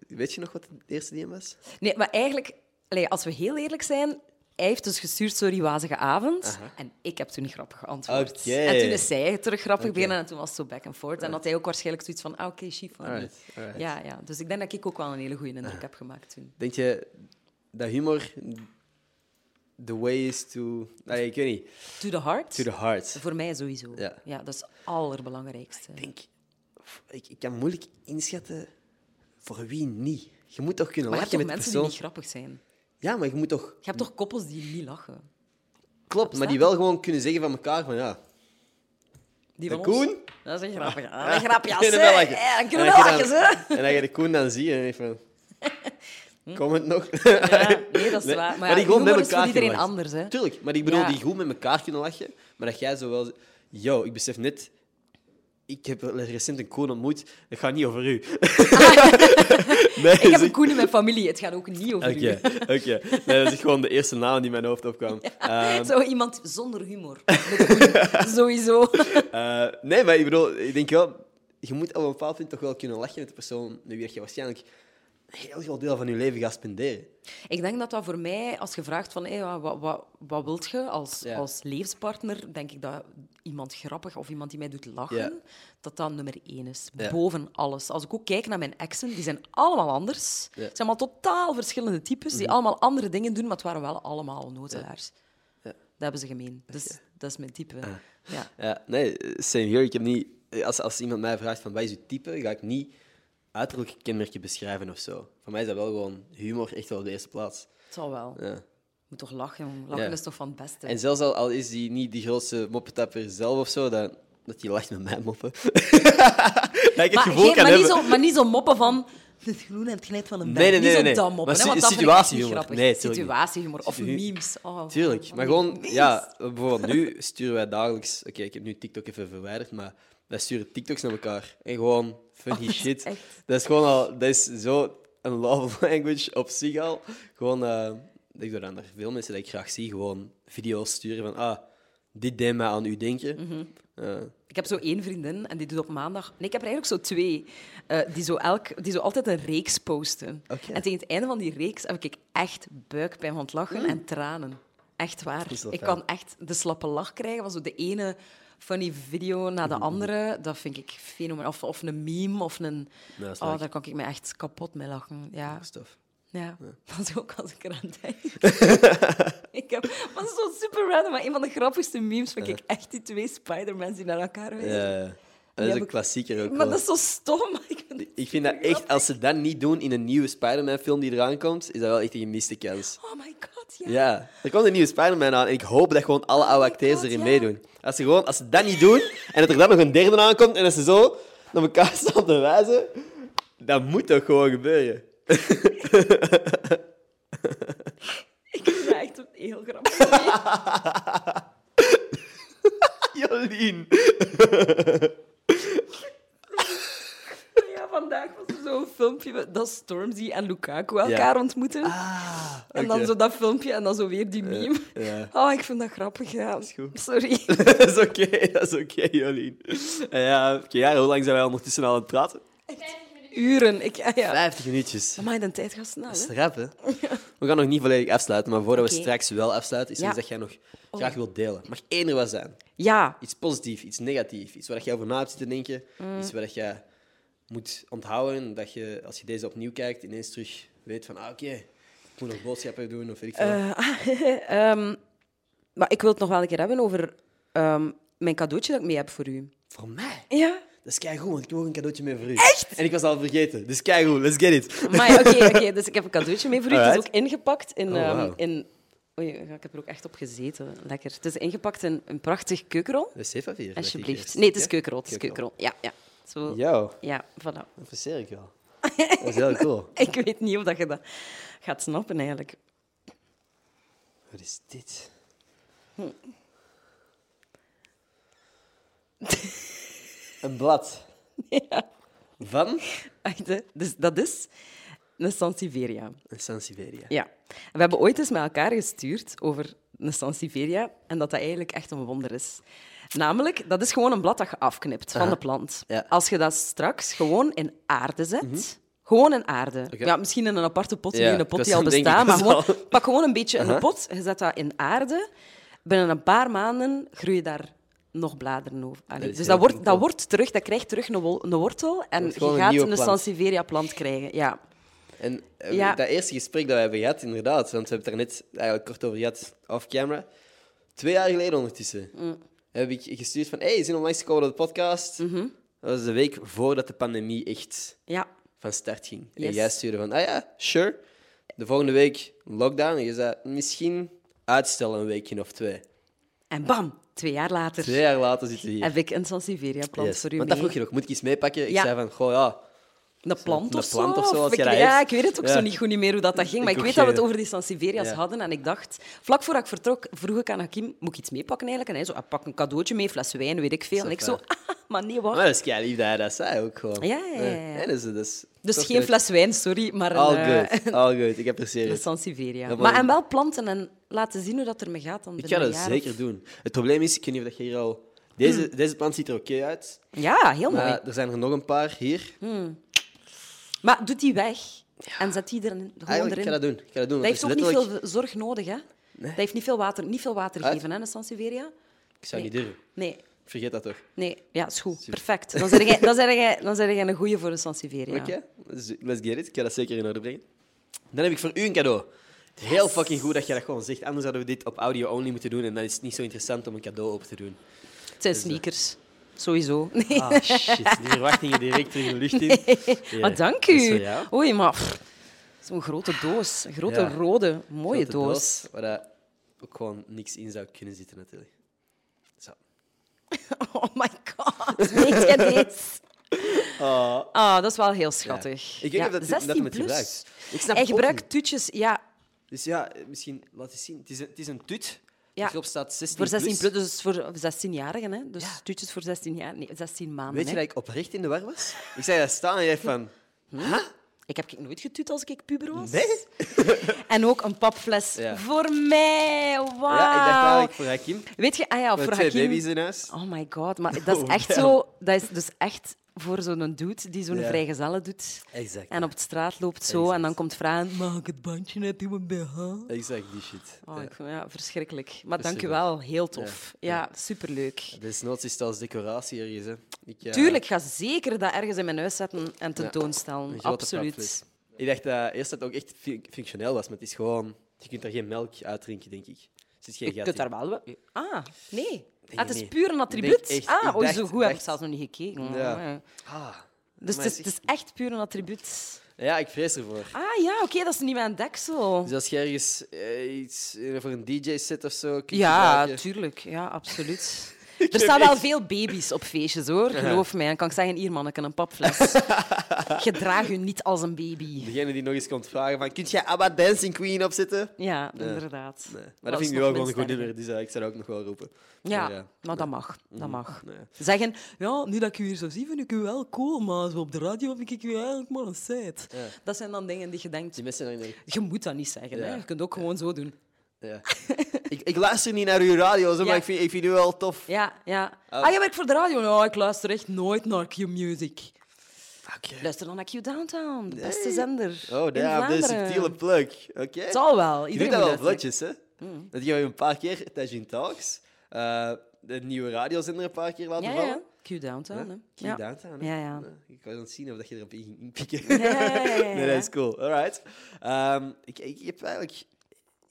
Speaker 1: Weet je nog wat de eerste DM was?
Speaker 2: Nee, maar eigenlijk, allee, als we heel eerlijk zijn, hij heeft dus gestuurd, sorry, wazige avond. En ik heb toen grappig geantwoord.
Speaker 1: Oké.
Speaker 2: En toen is zij terug grappig
Speaker 1: Oké.
Speaker 2: beginnen en toen was het zo back and forth. En had hij ook waarschijnlijk zoiets van, ah, oké, chief. man.
Speaker 1: Alright, alright.
Speaker 2: Ja, ja, dus ik denk dat ik ook wel een hele goede indruk heb gemaakt toen.
Speaker 1: Denk je dat humor the way is to... Nee, ik weet niet.
Speaker 2: To the heart?
Speaker 1: To the heart.
Speaker 2: Voor mij sowieso.
Speaker 1: Ja.
Speaker 2: dat is het allerbelangrijkste.
Speaker 1: Ik denk... Ik, ik kan moeilijk inschatten voor wie niet. Je moet toch kunnen
Speaker 2: Maar je hebt
Speaker 1: lachen met
Speaker 2: toch mensen
Speaker 1: de persoon.
Speaker 2: die niet grappig zijn?
Speaker 1: Ja, maar je moet toch...
Speaker 2: Je hebt toch koppels die niet lachen?
Speaker 1: Klopt, maar die wel gewoon kunnen zeggen van elkaar van ja...
Speaker 2: Die
Speaker 1: De
Speaker 2: van ons?
Speaker 1: Koen?
Speaker 2: Dat is een grapje. Dat is een grapje.
Speaker 1: kunnen
Speaker 2: hè.
Speaker 1: wel lachen.
Speaker 2: Ja, dan kunnen
Speaker 1: En
Speaker 2: we wel
Speaker 1: dan-
Speaker 2: lachen, hè. Hm?
Speaker 1: En dan ga je de Koen dan zien en denk je van... Kom het nog?
Speaker 2: Ja, nee, dat is waar. Maar, ja,
Speaker 1: die gewoon met
Speaker 2: humor is
Speaker 1: elkaar
Speaker 2: voor iedereen
Speaker 1: kunnen
Speaker 2: anders, hè.
Speaker 1: Tuurlijk, maar ik bedoel
Speaker 2: Ja.
Speaker 1: die goed met elkaar kunnen lachen, maar dat jij zo wel... z- Yo, ik besef net... Ik heb recent een Koen ontmoet, dat gaat niet over u. nee,
Speaker 2: Ah. Ik heb
Speaker 1: zeg-
Speaker 2: een Koen in mijn familie. Het gaat ook niet over
Speaker 1: Oké, oké. Nee, dat is gewoon de eerste naam die in mijn hoofd opkwam.
Speaker 2: u.
Speaker 1: Ehm,
Speaker 2: Zo iemand zonder humor. De Koen. Sowieso.
Speaker 1: eh, nee, maar ik bedoel, ik denk wel... Je moet op een bepaald punt toch wel kunnen lachen met de persoon met wie je waarschijnlijk een heel groot deel van je leven gaat spenderen.
Speaker 2: Ik denk dat dat voor mij, als je vraagt van hey, wat, wat, wat wilt je als,
Speaker 1: Ja.
Speaker 2: als levenspartner, denk ik dat iemand grappig of iemand die mij doet lachen,
Speaker 1: Ja.
Speaker 2: dat dat nummer één is.
Speaker 1: Ja.
Speaker 2: Boven alles. Als ik ook kijk naar mijn exen, die zijn allemaal anders.
Speaker 1: Ja. Mhm.
Speaker 2: Het zijn allemaal totaal verschillende types, die allemaal andere dingen doen, maar het waren wel allemaal notelaars.
Speaker 1: Ja. Ah.
Speaker 2: Dat hebben ze gemeen. Dus dat is mijn type. Ja.
Speaker 1: Ja, nee, same here. Ik heb niet, als, als iemand mij vraagt van wat is uw type, ga ik niet uiterlijke kenmerken beschrijven of zo. Voor mij is dat wel gewoon humor echt wel op de eerste plaats.
Speaker 2: Het zal wel. Je
Speaker 1: Ja.
Speaker 2: moet toch lachen. jong. Lachen
Speaker 1: Ja.
Speaker 2: is toch van het beste.
Speaker 1: En zelfs al, al is hij niet de grootste moppetapper zelf of zo, dan, dat hij lacht met mijn moppen. dat ik het
Speaker 2: Maar,
Speaker 1: gevoel
Speaker 2: geen-
Speaker 1: kan
Speaker 2: maar, niet
Speaker 1: hebben.
Speaker 2: zo, maar niet zo moppen van... Het groen en het gnet van een
Speaker 1: Nee, nee,
Speaker 2: berg.
Speaker 1: nee,
Speaker 2: Niet
Speaker 1: nee,
Speaker 2: zo
Speaker 1: nee.
Speaker 2: dam moppen.
Speaker 1: Maar
Speaker 2: hè,
Speaker 1: si-
Speaker 2: want dat vind ik echt niet
Speaker 1: situatiehumor.
Speaker 2: grappig.
Speaker 1: Nee, tuurlijk niet.
Speaker 2: situatiehumor. Of
Speaker 1: Situatiehumor.
Speaker 2: memes. Oh,
Speaker 1: Tuurlijk,
Speaker 2: van
Speaker 1: maar
Speaker 2: die
Speaker 1: gewoon,
Speaker 2: memes.
Speaker 1: ja, bijvoorbeeld nu sturen wij dagelijks. Oké, ik heb nu TikTok even verwijderd, maar wij sturen TikToks naar elkaar. En gewoon funny
Speaker 2: Oh, dat is
Speaker 1: shit.
Speaker 2: echt-
Speaker 1: Dat is gewoon al, dat is zo een love language op zich al. Gewoon, eh, dat ik door aan er veel mensen dat ik graag zie, gewoon video's sturen van, ah, dit deed mij aan u denken.
Speaker 2: Mhm.
Speaker 1: Eh,
Speaker 2: Ik heb zo één vriendin en die doet op maandag... Nee, ik heb er eigenlijk zo twee. eh, die, zo elk, die zo altijd een reeks posten.
Speaker 1: Oké.
Speaker 2: En tegen het einde van die reeks heb ik echt buikpijn van het lachen en tranen. Echt waar.
Speaker 1: Hm? is wel
Speaker 2: Ik
Speaker 1: fijn.
Speaker 2: kan echt de slappe lach krijgen van zo de ene funny video na de
Speaker 1: Hm,
Speaker 2: andere. Dat vind ik fenomenaal. Of, of een meme of een...
Speaker 1: Ja, dat snap
Speaker 2: oh,
Speaker 1: ik.
Speaker 2: daar kan ik me echt kapot mee lachen. Ja.
Speaker 1: stuff.
Speaker 2: Ja, dat is ook als ik eraan denk. ik heb, maar dat is zo super random, maar een van de grappigste memes vind ik echt die twee Spider-Mans die naar elkaar
Speaker 1: Ja,
Speaker 2: wijzen.
Speaker 1: ja. Eh, dat is
Speaker 2: heb
Speaker 1: een
Speaker 2: ik-
Speaker 1: klassieker ook
Speaker 2: Maar
Speaker 1: wel.
Speaker 2: dat is zo stom. maar Ik, vind het
Speaker 1: Ik vind dat
Speaker 2: super
Speaker 1: echt, als ze dat niet doen in een nieuwe Spider-Man-film die eraan komt, is dat wel echt een gemiste kans.
Speaker 2: grappig. Oh my god, ja.
Speaker 1: Ja, er komt een nieuwe Spider-Man aan en ik hoop dat gewoon alle oude
Speaker 2: Oh my
Speaker 1: acteurs
Speaker 2: God,
Speaker 1: erin
Speaker 2: ja.
Speaker 1: meedoen. Als ze, gewoon, als ze dat niet doen en dat er dan nog een derde aankomt en dat ze zo naar elkaar staan te wijzen, dat moet toch gewoon gebeuren.
Speaker 2: Ik vind dat echt een heel grappig.
Speaker 1: Jolien.
Speaker 2: ja, vandaag was er zo'n filmpje met- dat Stormzy en Lukaku elkaar ontmoeten.
Speaker 1: Ah,
Speaker 2: En dan zo dat filmpje en dan zo weer die meme.
Speaker 1: ja.
Speaker 2: Oh, ik vind dat grappig, ja. Dat is
Speaker 1: goed.
Speaker 2: Sorry.
Speaker 1: dat is oké, dat is oké, Jolien. Eh, ja, oké, ja, hoe lang zijn wij ondertussen al aan het praten?
Speaker 2: Uren. Ik, ah, ja, ja.
Speaker 1: 50 minuutjes.
Speaker 2: Maar de tijd gaat snel,
Speaker 1: Dat is
Speaker 2: hè.
Speaker 1: rap, hè? We gaan nog niet volledig afsluiten, maar voordat we
Speaker 2: Oké.
Speaker 1: straks wel afsluiten, is er
Speaker 2: Ja. Oh.
Speaker 1: iets dat jij nog graag wilt delen. Mag één er wat zijn?
Speaker 2: Ja,
Speaker 1: Iets positiefs, iets negatiefs. Iets waar dat jij over na hebt zitten denken.
Speaker 2: Mm.
Speaker 1: Iets waar dat jij moet onthouden. Dat je, als je deze opnieuw kijkt, ineens terug weet van... Ah, oké, ik moet nog boodschappen doen of weet ik veel.
Speaker 2: Eh.
Speaker 1: wat.
Speaker 2: Ehm, maar ik wil het nog wel een keer hebben over ehm, mijn cadeautje dat ik mee heb voor u.
Speaker 1: Voor mij?
Speaker 2: Ja.
Speaker 1: Dat is keigoed, want ik heb ook een cadeautje mee voor u. Echt? En ik was al vergeten. Dus keigoed, let's get it.
Speaker 2: Maar oké, oké. dus ik heb een cadeautje mee voor u. Het is
Speaker 1: Alright.
Speaker 2: ook ingepakt in.
Speaker 1: Oh,
Speaker 2: ehm,
Speaker 1: wauw.
Speaker 2: in Oei, ik heb er ook echt op gezeten. Lekker. Het is ingepakt in een prachtig keukenrol.
Speaker 1: Wc-papier.
Speaker 2: Alsjeblieft. Nee, het is keukenrol. Het is keukenrol. Ja, ja. Zo. Ja,
Speaker 1: Yo,
Speaker 2: voilà.
Speaker 1: dat verseer ik wel. Dat is heel cool.
Speaker 2: Ik weet niet of dat je dat gaat snappen eigenlijk.
Speaker 1: Wat is dit?
Speaker 2: Hm.
Speaker 1: Een blad. Van?
Speaker 2: Echt, hè? Dus dat is een Sansevieria.
Speaker 1: Een Sansevieria.
Speaker 2: Ja. En We hebben ooit eens met elkaar gestuurd over een Sansevieria en dat dat eigenlijk echt een wonder is. Namelijk, dat is gewoon een blad dat je afknipt van de plant.
Speaker 1: Ja. Mhm.
Speaker 2: Als je dat straks gewoon in aarde zet, Gewoon in aarde.
Speaker 1: Oké.
Speaker 2: Ja, misschien in een aparte pot,
Speaker 1: Ja,
Speaker 2: niet in een
Speaker 1: ik
Speaker 2: pot
Speaker 1: was
Speaker 2: die al
Speaker 1: aan het denken,
Speaker 2: bestaat. Maar
Speaker 1: dat is
Speaker 2: gewoon, pak gewoon een beetje in
Speaker 1: Aha.
Speaker 2: een pot, je zet dat in aarde. Binnen een paar maanden groeien daar nog bladeren over. Allee,
Speaker 1: Dat is
Speaker 2: dus
Speaker 1: heel
Speaker 2: dat wordt,
Speaker 1: simpel.
Speaker 2: dat wordt terug, dat krijgt terug een, wol- een wortel. En
Speaker 1: wordt
Speaker 2: je
Speaker 1: gewoon een
Speaker 2: gaat
Speaker 1: nieuwe
Speaker 2: een,
Speaker 1: plant.
Speaker 2: Sansevieria-plant krijgen. Ja.
Speaker 1: En eh,
Speaker 2: Ja.
Speaker 1: dat eerste gesprek dat we hebben gehad, inderdaad, want we hebben het daar net eigenlijk kort over gehad, off-camera. Twee jaar geleden ondertussen
Speaker 2: Mm.
Speaker 1: heb ik gestuurd van, hey, zin om langs te komen op de podcast?
Speaker 2: Mhm.
Speaker 1: Dat was de week voordat de pandemie echt
Speaker 2: ja.
Speaker 1: van start ging. En
Speaker 2: Yes.
Speaker 1: jij stuurde van, ah ja, sure. De volgende week lockdown. En je zei, misschien uitstellen een weekje of twee.
Speaker 2: En bam, twee jaar later
Speaker 1: Twee jaar later zitten we hier.
Speaker 2: heb ik een Sansevieria-plant
Speaker 1: Yes.
Speaker 2: voor u
Speaker 1: Want dat
Speaker 2: mee.
Speaker 1: vroeg je ook, moet ik iets meepakken? Ik
Speaker 2: Ja.
Speaker 1: zei van, goh ja,
Speaker 2: Een plant
Speaker 1: Een
Speaker 2: of
Speaker 1: plant
Speaker 2: zo?
Speaker 1: of zo, als
Speaker 2: ik,
Speaker 1: jij dat
Speaker 2: ja,
Speaker 1: heeft.
Speaker 2: ik weet het ook
Speaker 1: Ja.
Speaker 2: zo niet goed niet meer hoe dat, dat ging. Maar
Speaker 1: Ik
Speaker 2: ik,
Speaker 1: ook
Speaker 2: weet dat we
Speaker 1: geen-
Speaker 2: het over die Sansevieras
Speaker 1: Ja.
Speaker 2: hadden. En ik dacht, vlak voordat ik vertrok, vroeg ik aan Hakim, moet ik iets meepakken eigenlijk? En hij zo, ah, pak een cadeautje mee, fles wijn, weet ik veel. En ik zo, ah, maar nee,
Speaker 1: maar
Speaker 2: wat?
Speaker 1: dat is kei lief dat hij dat zei ook gewoon.
Speaker 2: Ja, ja, ja, ja.
Speaker 1: En dus, dus,
Speaker 2: Dus
Speaker 1: toch
Speaker 2: geen
Speaker 1: leuk.
Speaker 2: fles wijn, sorry, maar
Speaker 1: All
Speaker 2: een, eh, Dus
Speaker 1: good, all good. Ik apprecieer
Speaker 2: een
Speaker 1: het.
Speaker 2: Sansevieria.
Speaker 1: Dat
Speaker 2: Maar
Speaker 1: was-
Speaker 2: en wel planten en laten zien hoe dat er me gaat. Dan
Speaker 1: Ik
Speaker 2: binnen
Speaker 1: ga dat
Speaker 2: een jaar
Speaker 1: zeker
Speaker 2: of-
Speaker 1: doen. Het probleem is, ik weet niet of dat je hier al... Deze, deze plant ziet er oké uit,
Speaker 2: Ja, heel Mm. mooi. Mm,
Speaker 1: maar er zijn er nog een paar hier.
Speaker 2: Maar doe die weg en zet die er gewoon
Speaker 1: Eigenlijk, ik
Speaker 2: erin.
Speaker 1: ga dat doen. Ik ga dat doen want
Speaker 2: Dat heeft
Speaker 1: het
Speaker 2: ook
Speaker 1: is
Speaker 2: niet
Speaker 1: letterlijk-
Speaker 2: veel zorg nodig, hè? Dat heeft niet veel water, niet veel water
Speaker 1: Ah.
Speaker 2: geven, hè, een Sansevieria?
Speaker 1: Ik zou niet
Speaker 2: Nee.
Speaker 1: durven.
Speaker 2: Nee.
Speaker 1: Ik Vergeet dat toch.
Speaker 2: Nee, ja, is goed. Perfect. Dan zijn jij, dan zijn jij, dan zijn jij een goeie voor de Sansevieria.
Speaker 1: Oké, let's, let's get it. Ik ga dat zeker in orde brengen. Dan heb ik voor u een cadeau. Heel fucking goed dat je dat gewoon zegt. Anders hadden we dit op audio only moeten doen en dan is het niet zo interessant om een cadeau op te doen.
Speaker 2: Het zijn sneakers. Sowieso. Nee.
Speaker 1: Ah shit, die verwachtingen direct terug de lucht in. Ja.
Speaker 2: Maar Ah, dank
Speaker 1: Dat is voor
Speaker 2: u.
Speaker 1: jou.
Speaker 2: Oei, maar pff, zo'n grote doos. Een grote
Speaker 1: Ja.
Speaker 2: rode, mooie
Speaker 1: Grote
Speaker 2: doos.
Speaker 1: Waar dat ook gewoon niks in zou kunnen zitten natuurlijk. Zo.
Speaker 2: Oh my god, weet je dit?
Speaker 1: Ah.
Speaker 2: Ah, dat is wel heel schattig.
Speaker 1: Ik weet niet of dat- dat
Speaker 2: 16
Speaker 1: hem het
Speaker 2: plus.
Speaker 1: gebruikt. Ik snap
Speaker 2: Hij
Speaker 1: het ook
Speaker 2: gebruikt
Speaker 1: niet.
Speaker 2: toetjes, ja,
Speaker 1: Dus ja, eh, misschien laat eens zien. Het is een, het is een tut. Dus
Speaker 2: Ja.
Speaker 1: Erop staat 16
Speaker 2: voor 16
Speaker 1: plus.
Speaker 2: plus, dus voor 16-jarigen. hè. Dus
Speaker 1: Ja.
Speaker 2: toetjes voor 16 jaar, nee, 16 maanden.
Speaker 1: Weet je
Speaker 2: hè.
Speaker 1: dat ik oprecht in de war was? Ik zei dat staan en jij van... Huh?
Speaker 2: Ik heb ik nooit getut als ik puber was.
Speaker 1: Nee?
Speaker 2: En ook een papfles
Speaker 1: Ja.
Speaker 2: voor mij. Wauw.
Speaker 1: Ja, ik dacht eigenlijk voor Hakim.
Speaker 2: Weet je, ah ja,
Speaker 1: Met
Speaker 2: voor
Speaker 1: twee
Speaker 2: Hakim-
Speaker 1: baby's in huis.
Speaker 2: Oh my god, maar dat is
Speaker 1: Oh,
Speaker 2: echt
Speaker 1: wel.
Speaker 2: zo. Dat is dus echt voor zo'n dude die zo'n
Speaker 1: Ja.
Speaker 2: vrijgezellen doet.
Speaker 1: Exact.
Speaker 2: En op de straat loopt zo
Speaker 1: Exact.
Speaker 2: en dan komt vragen: mag ik het bandje net in mijn BH?
Speaker 1: Exact die shit.
Speaker 2: Oh,
Speaker 1: Ja.
Speaker 2: ik vond- ja, verschrikkelijk. Maar dank u
Speaker 1: Verschrikkelijk.
Speaker 2: wel, heel tof. Ja, superleuk.
Speaker 1: Desnoods is het als decoratie ergens. Hè. Ik, eh,
Speaker 2: Tuurlijk, ga zeker dat ergens in mijn huis zetten en tentoonstellen.
Speaker 1: een grote
Speaker 2: Absoluut.
Speaker 1: papfles. Ik dacht dat eerst dat het ook echt fun- functioneel was, maar het is gewoon... Je kunt er geen melk uit drinken, denk ik. Er zit geen
Speaker 2: Je
Speaker 1: gat
Speaker 2: kunt
Speaker 1: in.
Speaker 2: daar wel. we- Ah, nee. Ah, het
Speaker 1: nee.
Speaker 2: is puur een
Speaker 1: Ik
Speaker 2: attribuut.
Speaker 1: denk echt- ik
Speaker 2: ah, oh,
Speaker 1: dacht-
Speaker 2: zo goed
Speaker 1: dacht-
Speaker 2: heb ik zelfs nog niet gekeken.
Speaker 1: Ja. Ah,
Speaker 2: Dus het
Speaker 1: amai,
Speaker 2: is, het is echt puur een attribuut.
Speaker 1: Ja, ik vrees ervoor.
Speaker 2: Ah ja, oké, dat is niet mijn deksel.
Speaker 1: Dus als je ergens eh, iets eh, voor een DJ-set of zo kunt
Speaker 2: Ja,
Speaker 1: gebruiken-
Speaker 2: tuurlijk. Ja, absoluut. Er staan wel veel baby's op feestjes, hoor. Geloof mij. Dan kan ik zeggen, hier manneken, een papfles. Gedraag u niet als een baby.
Speaker 1: Degene die nog eens komt vragen van... Kun jij ABBA Dancing Queen opzetten?
Speaker 2: Ja, inderdaad.
Speaker 1: Nee. Maar
Speaker 2: Dat
Speaker 1: dat
Speaker 2: is
Speaker 1: vind ik wel
Speaker 2: nog mijn
Speaker 1: gewoon een goed
Speaker 2: sterke.
Speaker 1: nummer, dus eh, ik zou dat ook nog wel roepen.
Speaker 2: Ja,
Speaker 1: Maar,
Speaker 2: maar dat mag. Dat mag.
Speaker 1: Mm-hmm. nee.
Speaker 2: Zeggen, ja, nu dat ik u hier zo zie, vind ik u wel cool, maar zo op de radio vind ik u eigenlijk maar een set. Dat zijn dan dingen die je denkt,
Speaker 1: Die mensen zijn er-
Speaker 2: je moet dat niet zeggen.
Speaker 1: Ja.
Speaker 2: Hè? Je kunt ook gewoon zo doen.
Speaker 1: Ja. ik, ik luister niet naar uw radio, zo, maar
Speaker 2: Ja.
Speaker 1: ik vind, ik vind u wel tof.
Speaker 2: Ja, ja. Ah, jij werkt voor de radio? Nou, ik luister echt nooit naar Q-Music. Luister dan naar Q-Downtown, de beste
Speaker 1: Nee.
Speaker 2: zender
Speaker 1: Oh,
Speaker 2: in
Speaker 1: daar, de
Speaker 2: Vlaanderen.
Speaker 1: subtiele plug. Oké.
Speaker 2: Het zal wel.
Speaker 1: Je doet
Speaker 2: Iedereen
Speaker 1: dat wel
Speaker 2: moet luisteren.
Speaker 1: vlotjes, hè?
Speaker 2: Hmm.
Speaker 1: Dat je een paar keer Tajin Talks, eh, de nieuwe radiozender een paar keer laten
Speaker 2: Ja, ja.
Speaker 1: vallen.
Speaker 2: Q-Downtown, hè.
Speaker 1: Q
Speaker 2: Ja.
Speaker 1: Downtown, hè?
Speaker 2: Ja, ja.
Speaker 1: Ik was aan het zien of dat je erop in ging inpikken.
Speaker 2: ja, ja, ja, ja.
Speaker 1: Nee, dat is cool. Alright. Ehm, ik, ik heb eigenlijk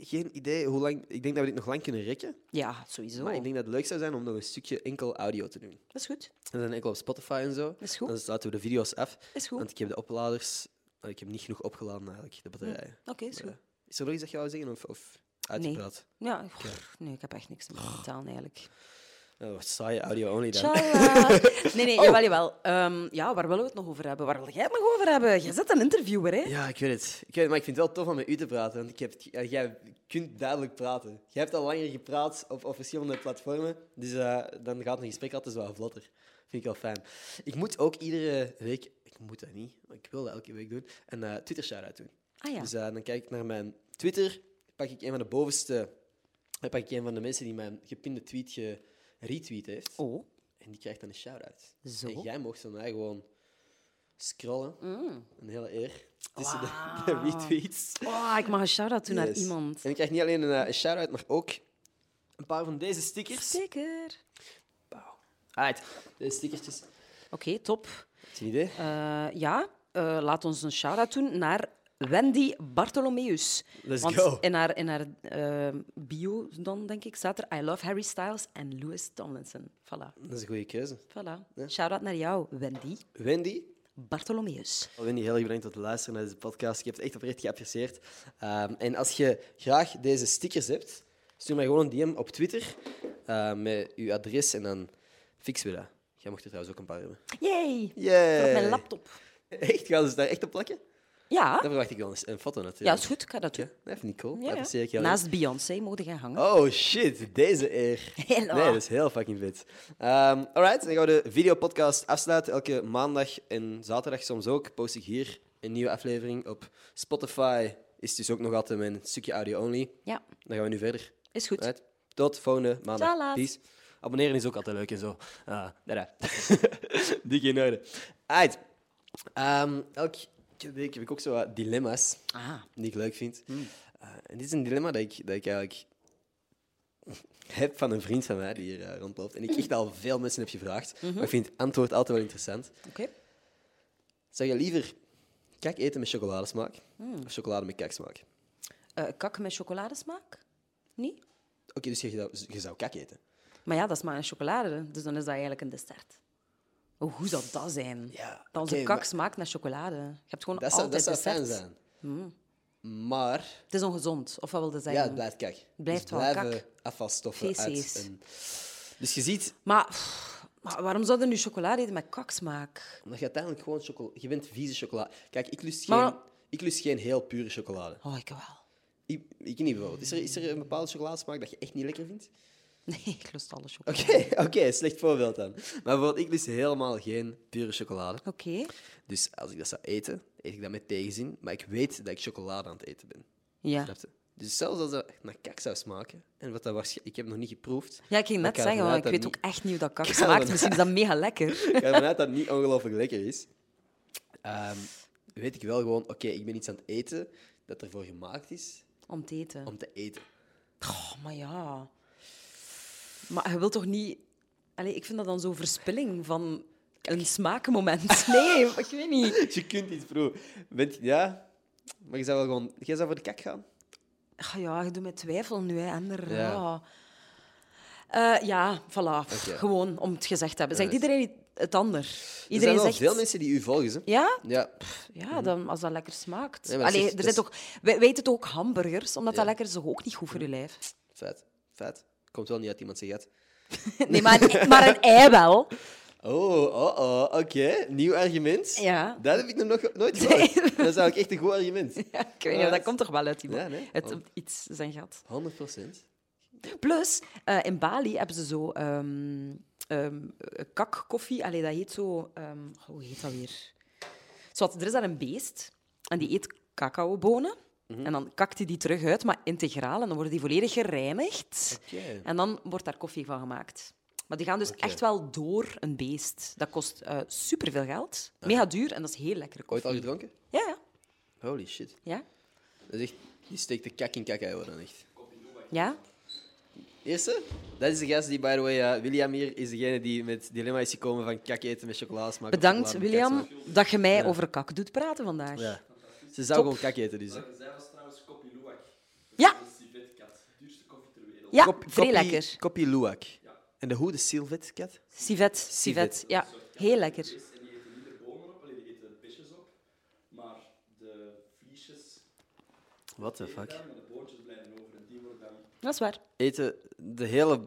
Speaker 1: geen idee hoe lang. Ik denk dat we dit nog lang kunnen rekken.
Speaker 2: Ja, sowieso.
Speaker 1: Maar ik denk dat het leuk zou zijn om nog een stukje enkel audio te doen.
Speaker 2: Dat is goed.
Speaker 1: Dat zijn enkel op Spotify en zo.
Speaker 2: Is goed.
Speaker 1: Dan sluiten we de video's af.
Speaker 2: Is goed.
Speaker 1: Want ik heb de opladers. eh, Ik heb niet genoeg opgeladen eigenlijk, de batterijen.
Speaker 2: Oké, Hmm. is goed.
Speaker 1: Maar, Is er nog iets dat je wou zeggen of, of uitgepraat?
Speaker 2: Ja, pff, nee, ik heb echt niks meer gedaan, eigenlijk.
Speaker 1: Oh, wat saaie audio only dan.
Speaker 2: Tjalla. Nee,
Speaker 1: Oh.
Speaker 2: nee, jawel, jawel. Ehm, ja, waar willen we het nog over hebben? Waar wil jij het nog over hebben? Jij zit een interviewer, hè?
Speaker 1: Ja, ik weet het. Ik weet het, maar ik vind het wel tof om met u te praten. Want ik heb het ge- eh, jij kunt duidelijk praten. Jij hebt al langer gepraat op, op verschillende platformen. Dus eh, dan gaat een gesprek altijd wel vlotter. Vind ik wel fijn. Ik moet ook iedere week... Ik moet dat niet, maar ik wil dat elke week doen. Een eh, Twitter-shout-out doen.
Speaker 2: Ah ja.
Speaker 1: Dus eh, dan kijk ik naar mijn Twitter. Pak ik een van de bovenste... Dan pak ik een van de mensen die mijn gepinde tweet geretweet heeft.
Speaker 2: Oh,
Speaker 1: En die krijgt dan een shout-out.
Speaker 2: Zo.
Speaker 1: En jij mocht van mij gewoon scrollen.
Speaker 2: Mm.
Speaker 1: Een hele eer. Tussen de, de retweets.
Speaker 2: Oh, ik mag een shout-out doen naar
Speaker 1: Yes.
Speaker 2: iemand.
Speaker 1: En ik krijg niet alleen een, eh, een shout-out, maar ook een paar van deze stickers.
Speaker 2: Zeker.
Speaker 1: Alright, deze stickertjes.
Speaker 2: Oké, top.
Speaker 1: Heb je een idee?
Speaker 2: Eh, ja, eh, laat ons een shout-out doen naar Wendy Bartholomeus.
Speaker 1: Let's
Speaker 2: Want
Speaker 1: go.
Speaker 2: in haar, in haar eh, bio dan, denk ik, staat er I love Harry Styles en Louis Tomlinson. Voilà.
Speaker 1: Dat is een goede keuze.
Speaker 2: voilà. Shout-out naar jou, Wendy
Speaker 1: Wendy.
Speaker 2: Bartholomeus.
Speaker 1: Oh, Wendy, heel erg bedankt voor het luisteren naar deze podcast. Ik heb het echt oprecht geapprecieerd. Ehm, en als je graag deze stickers hebt, stuur mij gewoon een DM op Twitter eh, met uw adres en dan fixen we dat. Jij mocht er trouwens ook een paar hebben.
Speaker 2: Yay!
Speaker 1: Yay.
Speaker 2: Voor op mijn laptop.
Speaker 1: Echt? Gaan ze daar echt op plakken?
Speaker 2: Ja,
Speaker 1: Dan verwacht ik wel eens een foto natuurlijk.
Speaker 2: ja, is goed. Ik ga dat
Speaker 1: Ja,
Speaker 2: doen.
Speaker 1: dat vind ik cool.
Speaker 2: Ja, ja.
Speaker 1: Apprecieer ik heel erg.
Speaker 2: Naast Beyoncé mogen gaan hangen.
Speaker 1: Oh shit, deze eer.
Speaker 2: Hello.
Speaker 1: Nee, dat is heel fucking vet. Ehm alright, dan gaan we de videopodcast afsluiten. Elke maandag en zaterdag soms ook post ik hier een nieuwe aflevering op Spotify. Is dus ook nog altijd mijn stukje audio only.
Speaker 2: Ja,
Speaker 1: Dan gaan we nu verder.
Speaker 2: is goed.
Speaker 1: Alright, tot volgende maandag.
Speaker 2: Tjallaat.
Speaker 1: Peace. Abonneren is ook altijd leuk en zo. Eh dada. Dikke in orde. Alright. Ehm, elke week heb ik ook zo wat dilemma's
Speaker 2: Ah,
Speaker 1: die ik leuk vind. Eh, en dit is een dilemma dat ik, dat ik eigenlijk heb van een vriend van mij die hier eh, rondloopt. En ik echt al veel mensen heb gevraagd.
Speaker 2: Mhm.
Speaker 1: Maar ik vind het antwoord altijd wel interessant.
Speaker 2: oké.
Speaker 1: Zou je liever kak eten met chocoladesmaak
Speaker 2: Hmm.
Speaker 1: of chocolade met kaksmaak?
Speaker 2: Eh, kak met chocoladesmaak? Nee?
Speaker 1: Oké, dus je, zou- je zou kak eten.
Speaker 2: Maar ja, dat is maar een chocolade, dus dan is dat eigenlijk een dessert. Oh, hoe zou dat zijn?
Speaker 1: Ja,
Speaker 2: dat onze
Speaker 1: oké,
Speaker 2: kak
Speaker 1: maar-
Speaker 2: smaakt naar chocolade. Je hebt gewoon
Speaker 1: Dat zou,
Speaker 2: altijd Hmm.
Speaker 1: dat zou
Speaker 2: dessert.
Speaker 1: fijn zijn. Maar
Speaker 2: Het is ongezond, of wat wilde
Speaker 1: ja,
Speaker 2: zeggen?
Speaker 1: het blijft kak.
Speaker 2: Hmm. blijft
Speaker 1: dus
Speaker 2: wel
Speaker 1: blijven
Speaker 2: kak.
Speaker 1: afvalstoffen uit.
Speaker 2: Feces.
Speaker 1: een- Dus je ziet,
Speaker 2: maar, pff, maar waarom zouden nu chocolade eten met kaksmaak?
Speaker 1: omdat je uiteindelijk gewoon chocolade... Je bent vieze chocolade. Kijk, ik lust, geen,
Speaker 2: Maar-
Speaker 1: ik lust geen heel pure chocolade.
Speaker 2: Oh, ik wel.
Speaker 1: Ik, ik niet bijvoorbeeld. Is er, is er een bepaalde chocoladesmaak dat je echt niet lekker vindt?
Speaker 2: Nee, ik lust alle chocolade.
Speaker 1: Oké, oké, slecht voorbeeld dan. Maar bijvoorbeeld, ik lust helemaal geen pure chocolade.
Speaker 2: Oké.
Speaker 1: Dus als ik dat zou eten, eet ik dat met tegenzin. Maar ik weet dat ik chocolade aan het eten ben.
Speaker 2: Ja.
Speaker 1: Snap je? Dus zelfs als dat echt naar kak zou smaken, en wat dat waarschijnlijk... Ik heb het nog niet geproefd.
Speaker 2: Ja, ik ging
Speaker 1: maar
Speaker 2: net
Speaker 1: ik ga
Speaker 2: zeggen,
Speaker 1: ervan
Speaker 2: want ik
Speaker 1: uit
Speaker 2: weet
Speaker 1: dat
Speaker 2: ook echt niet hoe dat kak
Speaker 1: Ik ga
Speaker 2: smaakt.
Speaker 1: ervan
Speaker 2: Misschien is dat mega lekker.
Speaker 1: Ik ga ervan uit dat het niet ongelooflijk lekker is. Ehm, weet ik wel gewoon, oké, ik ben iets aan het eten dat ervoor gemaakt is
Speaker 2: Om te eten.
Speaker 1: om te eten.
Speaker 2: Oh, maar ja. Maar je wilt toch niet... Allee, ik vind dat dan zo'n verspilling van een smaakmoment. Nee, ik weet niet.
Speaker 1: Je kunt iets proeven. Weet je- ja, maar je zou wel gewoon... Jij zou voor de kak gaan?
Speaker 2: Ah ja, je doet mij twijfel nu, hè, Ender.
Speaker 1: Ja.
Speaker 2: Ja, Eh, ja voilà. Pff,
Speaker 1: Oké.
Speaker 2: Gewoon om het gezegd te hebben. Zegt
Speaker 1: Nice.
Speaker 2: iedereen i- het ander?
Speaker 1: Er zijn
Speaker 2: Iedereen
Speaker 1: wel
Speaker 2: zegt...
Speaker 1: veel mensen die u volgen, hè?
Speaker 2: Ja?
Speaker 1: Ja,
Speaker 2: Ja, dan, als dat lekker smaakt.
Speaker 1: Nee, maar dat
Speaker 2: Allee,
Speaker 1: is-
Speaker 2: er
Speaker 1: dat
Speaker 2: zijn
Speaker 1: is-
Speaker 2: toch... Wij weten toch ook hamburgers, omdat
Speaker 1: Ja. Mhm.
Speaker 2: dat lekker is toch ook niet goed voor je lijf.
Speaker 1: feit. Feit. Komt wel niet uit iemand zijn gat.
Speaker 2: Nee, maar een, maar een ei wel.
Speaker 1: Oh, oh, oh, oké. Nieuw argument.
Speaker 2: Ja.
Speaker 1: Dat heb ik nog nog nooit gehoord. Dat is eigenlijk echt een goed argument.
Speaker 2: Ja, ik weet niet, maar dat komt toch wel uit iemand.
Speaker 1: Ja, nee.
Speaker 2: Het,
Speaker 1: Oh.
Speaker 2: iets zijn gat.
Speaker 1: 100 procent.
Speaker 2: Plus, eh, in Bali hebben ze zo ehm ehm, eh, kakkoffie. Allee, dat heet zo... ehm, goh, hoe heet dat weer? Zowat, er is daar een beest en die eet cacaobonen.
Speaker 1: Mhm.
Speaker 2: En dan kakt hij die terug uit, maar integraal. En dan worden die volledig gereinigd.
Speaker 1: Oké.
Speaker 2: En dan wordt daar koffie van gemaakt. Maar die gaan dus echt wel door een beest. Dat kost eh superveel geld, mega duur en dat is heel lekkere
Speaker 1: Ooit al
Speaker 2: koffie.
Speaker 1: gedronken?
Speaker 2: Ja, ja.
Speaker 1: Holy shit.
Speaker 2: Ja?
Speaker 1: Dat is echt... Je steekt de kak in cacao dan echt.
Speaker 2: Ja?
Speaker 1: Eerste? Dat is de gast die, by the way, eh, William hier is degene die met dilemma is gekomen van kak eten met chocoladesmaak. of
Speaker 2: Bedankt,
Speaker 1: chocolade met kaksmaak.
Speaker 2: William, dat je mij over kak doet praten vandaag.
Speaker 1: Ja. Ze zou gewoon kak eten, dus.
Speaker 3: Zij was trouwens Kopi Luwak.
Speaker 2: Ja.
Speaker 3: Dat is die vetkat. Duurste koffie ter wereld.
Speaker 2: Ja,
Speaker 1: Kop-
Speaker 2: vrij
Speaker 1: koppie-
Speaker 2: lekker.
Speaker 1: Koppie luwak. En de hoe, de silvetkat?
Speaker 2: Civet,
Speaker 1: Civet.
Speaker 2: civet. Ja, heel lekker.
Speaker 3: En die eten niet de bomen op, alleen die eten de visjes op. Maar de vliesjes
Speaker 1: What the fuck?
Speaker 3: en de boontjes blijven over. En die worden dan
Speaker 2: Dat is waar.
Speaker 1: eten de hele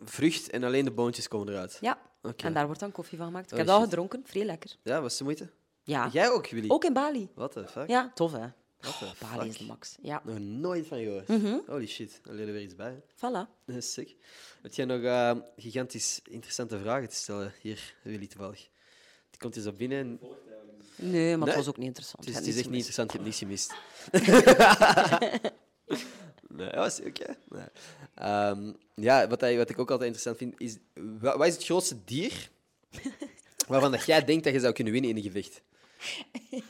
Speaker 1: vrucht en alleen de boontjes komen eruit.
Speaker 2: Ja.
Speaker 1: Oké.
Speaker 2: En daar wordt dan koffie van gemaakt. Ik
Speaker 1: Oh,
Speaker 2: heb dat al
Speaker 1: shit.
Speaker 2: gedronken, vrij lekker.
Speaker 1: Ja, was de moeite?
Speaker 2: Ja.
Speaker 1: Jij ook, Willy?
Speaker 2: Ook in Bali.
Speaker 1: What the fuck?
Speaker 2: Ja, tof hè.
Speaker 1: What the
Speaker 2: Bali is
Speaker 1: fuck?
Speaker 2: de Mhm. max. Ja,
Speaker 1: Nog nooit van gehoord. Holy shit, daar leren we weer iets bij. hè.
Speaker 2: voilà.
Speaker 1: Dat is sick. Heb jij nog eh, gigantisch interessante vragen te stellen hier, Willy, toevallig? Die komt eens op binnen en
Speaker 2: Nee, maar
Speaker 1: Nee? Dus
Speaker 2: het was ook niet interessant.
Speaker 1: het is,
Speaker 2: Je
Speaker 1: het
Speaker 2: hebt
Speaker 1: is echt niet
Speaker 2: niets
Speaker 1: interessant, je hebt niets gemist. nee, dat was oké. Nee. Ehm, ja, wat, hij- wat ik ook altijd interessant vind, is... wa- Wat is het grootste dier waarvan dat jij denkt dat je zou kunnen winnen in een gevecht?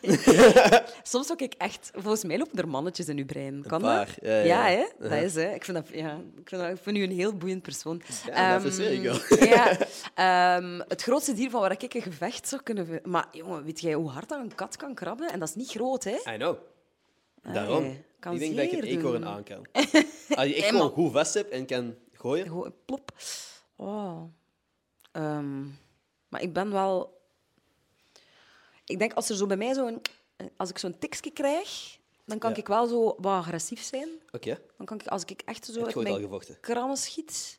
Speaker 2: gemist. Soms ook ik echt... Volgens mij lopen er mannetjes in uw brein. Kan
Speaker 1: paar,
Speaker 2: dat?
Speaker 1: ja, ja, Uh-huh. ja.
Speaker 2: hè? Dat is, hè? Ik vind, dat, ja, ik vind, dat, ik vind u een heel boeiend persoon.
Speaker 1: Ja, dat
Speaker 2: Ehm,
Speaker 1: verzeer ik wel.
Speaker 2: ja, ehm, het grootste dier van waar ik een gevecht zou kunnen... vi- Maar jongen, weet jij hoe hard dat een kat kan krabben? En dat is niet groot, hè?
Speaker 1: I know. Daarom.
Speaker 2: kan
Speaker 1: ik denk dat ik een
Speaker 2: zeer
Speaker 1: eekhoorn
Speaker 2: doen.
Speaker 1: aan kan. Als je echt
Speaker 2: man.
Speaker 1: gewoon goed vast hebt en kan gooien.
Speaker 2: Gewoon een plop. Oh. Ehm, maar ik ben wel... Ik denk, als er zo bij mij zo'n... Als ik zo'n tikje krijg, dan kan
Speaker 1: Ja.
Speaker 2: ik wel zo wat agressief zijn.
Speaker 1: Oké.
Speaker 2: Dan kan ik, als ik echt zo uit
Speaker 1: gooit al
Speaker 2: mijn
Speaker 1: gevochten?
Speaker 2: krammen schiet...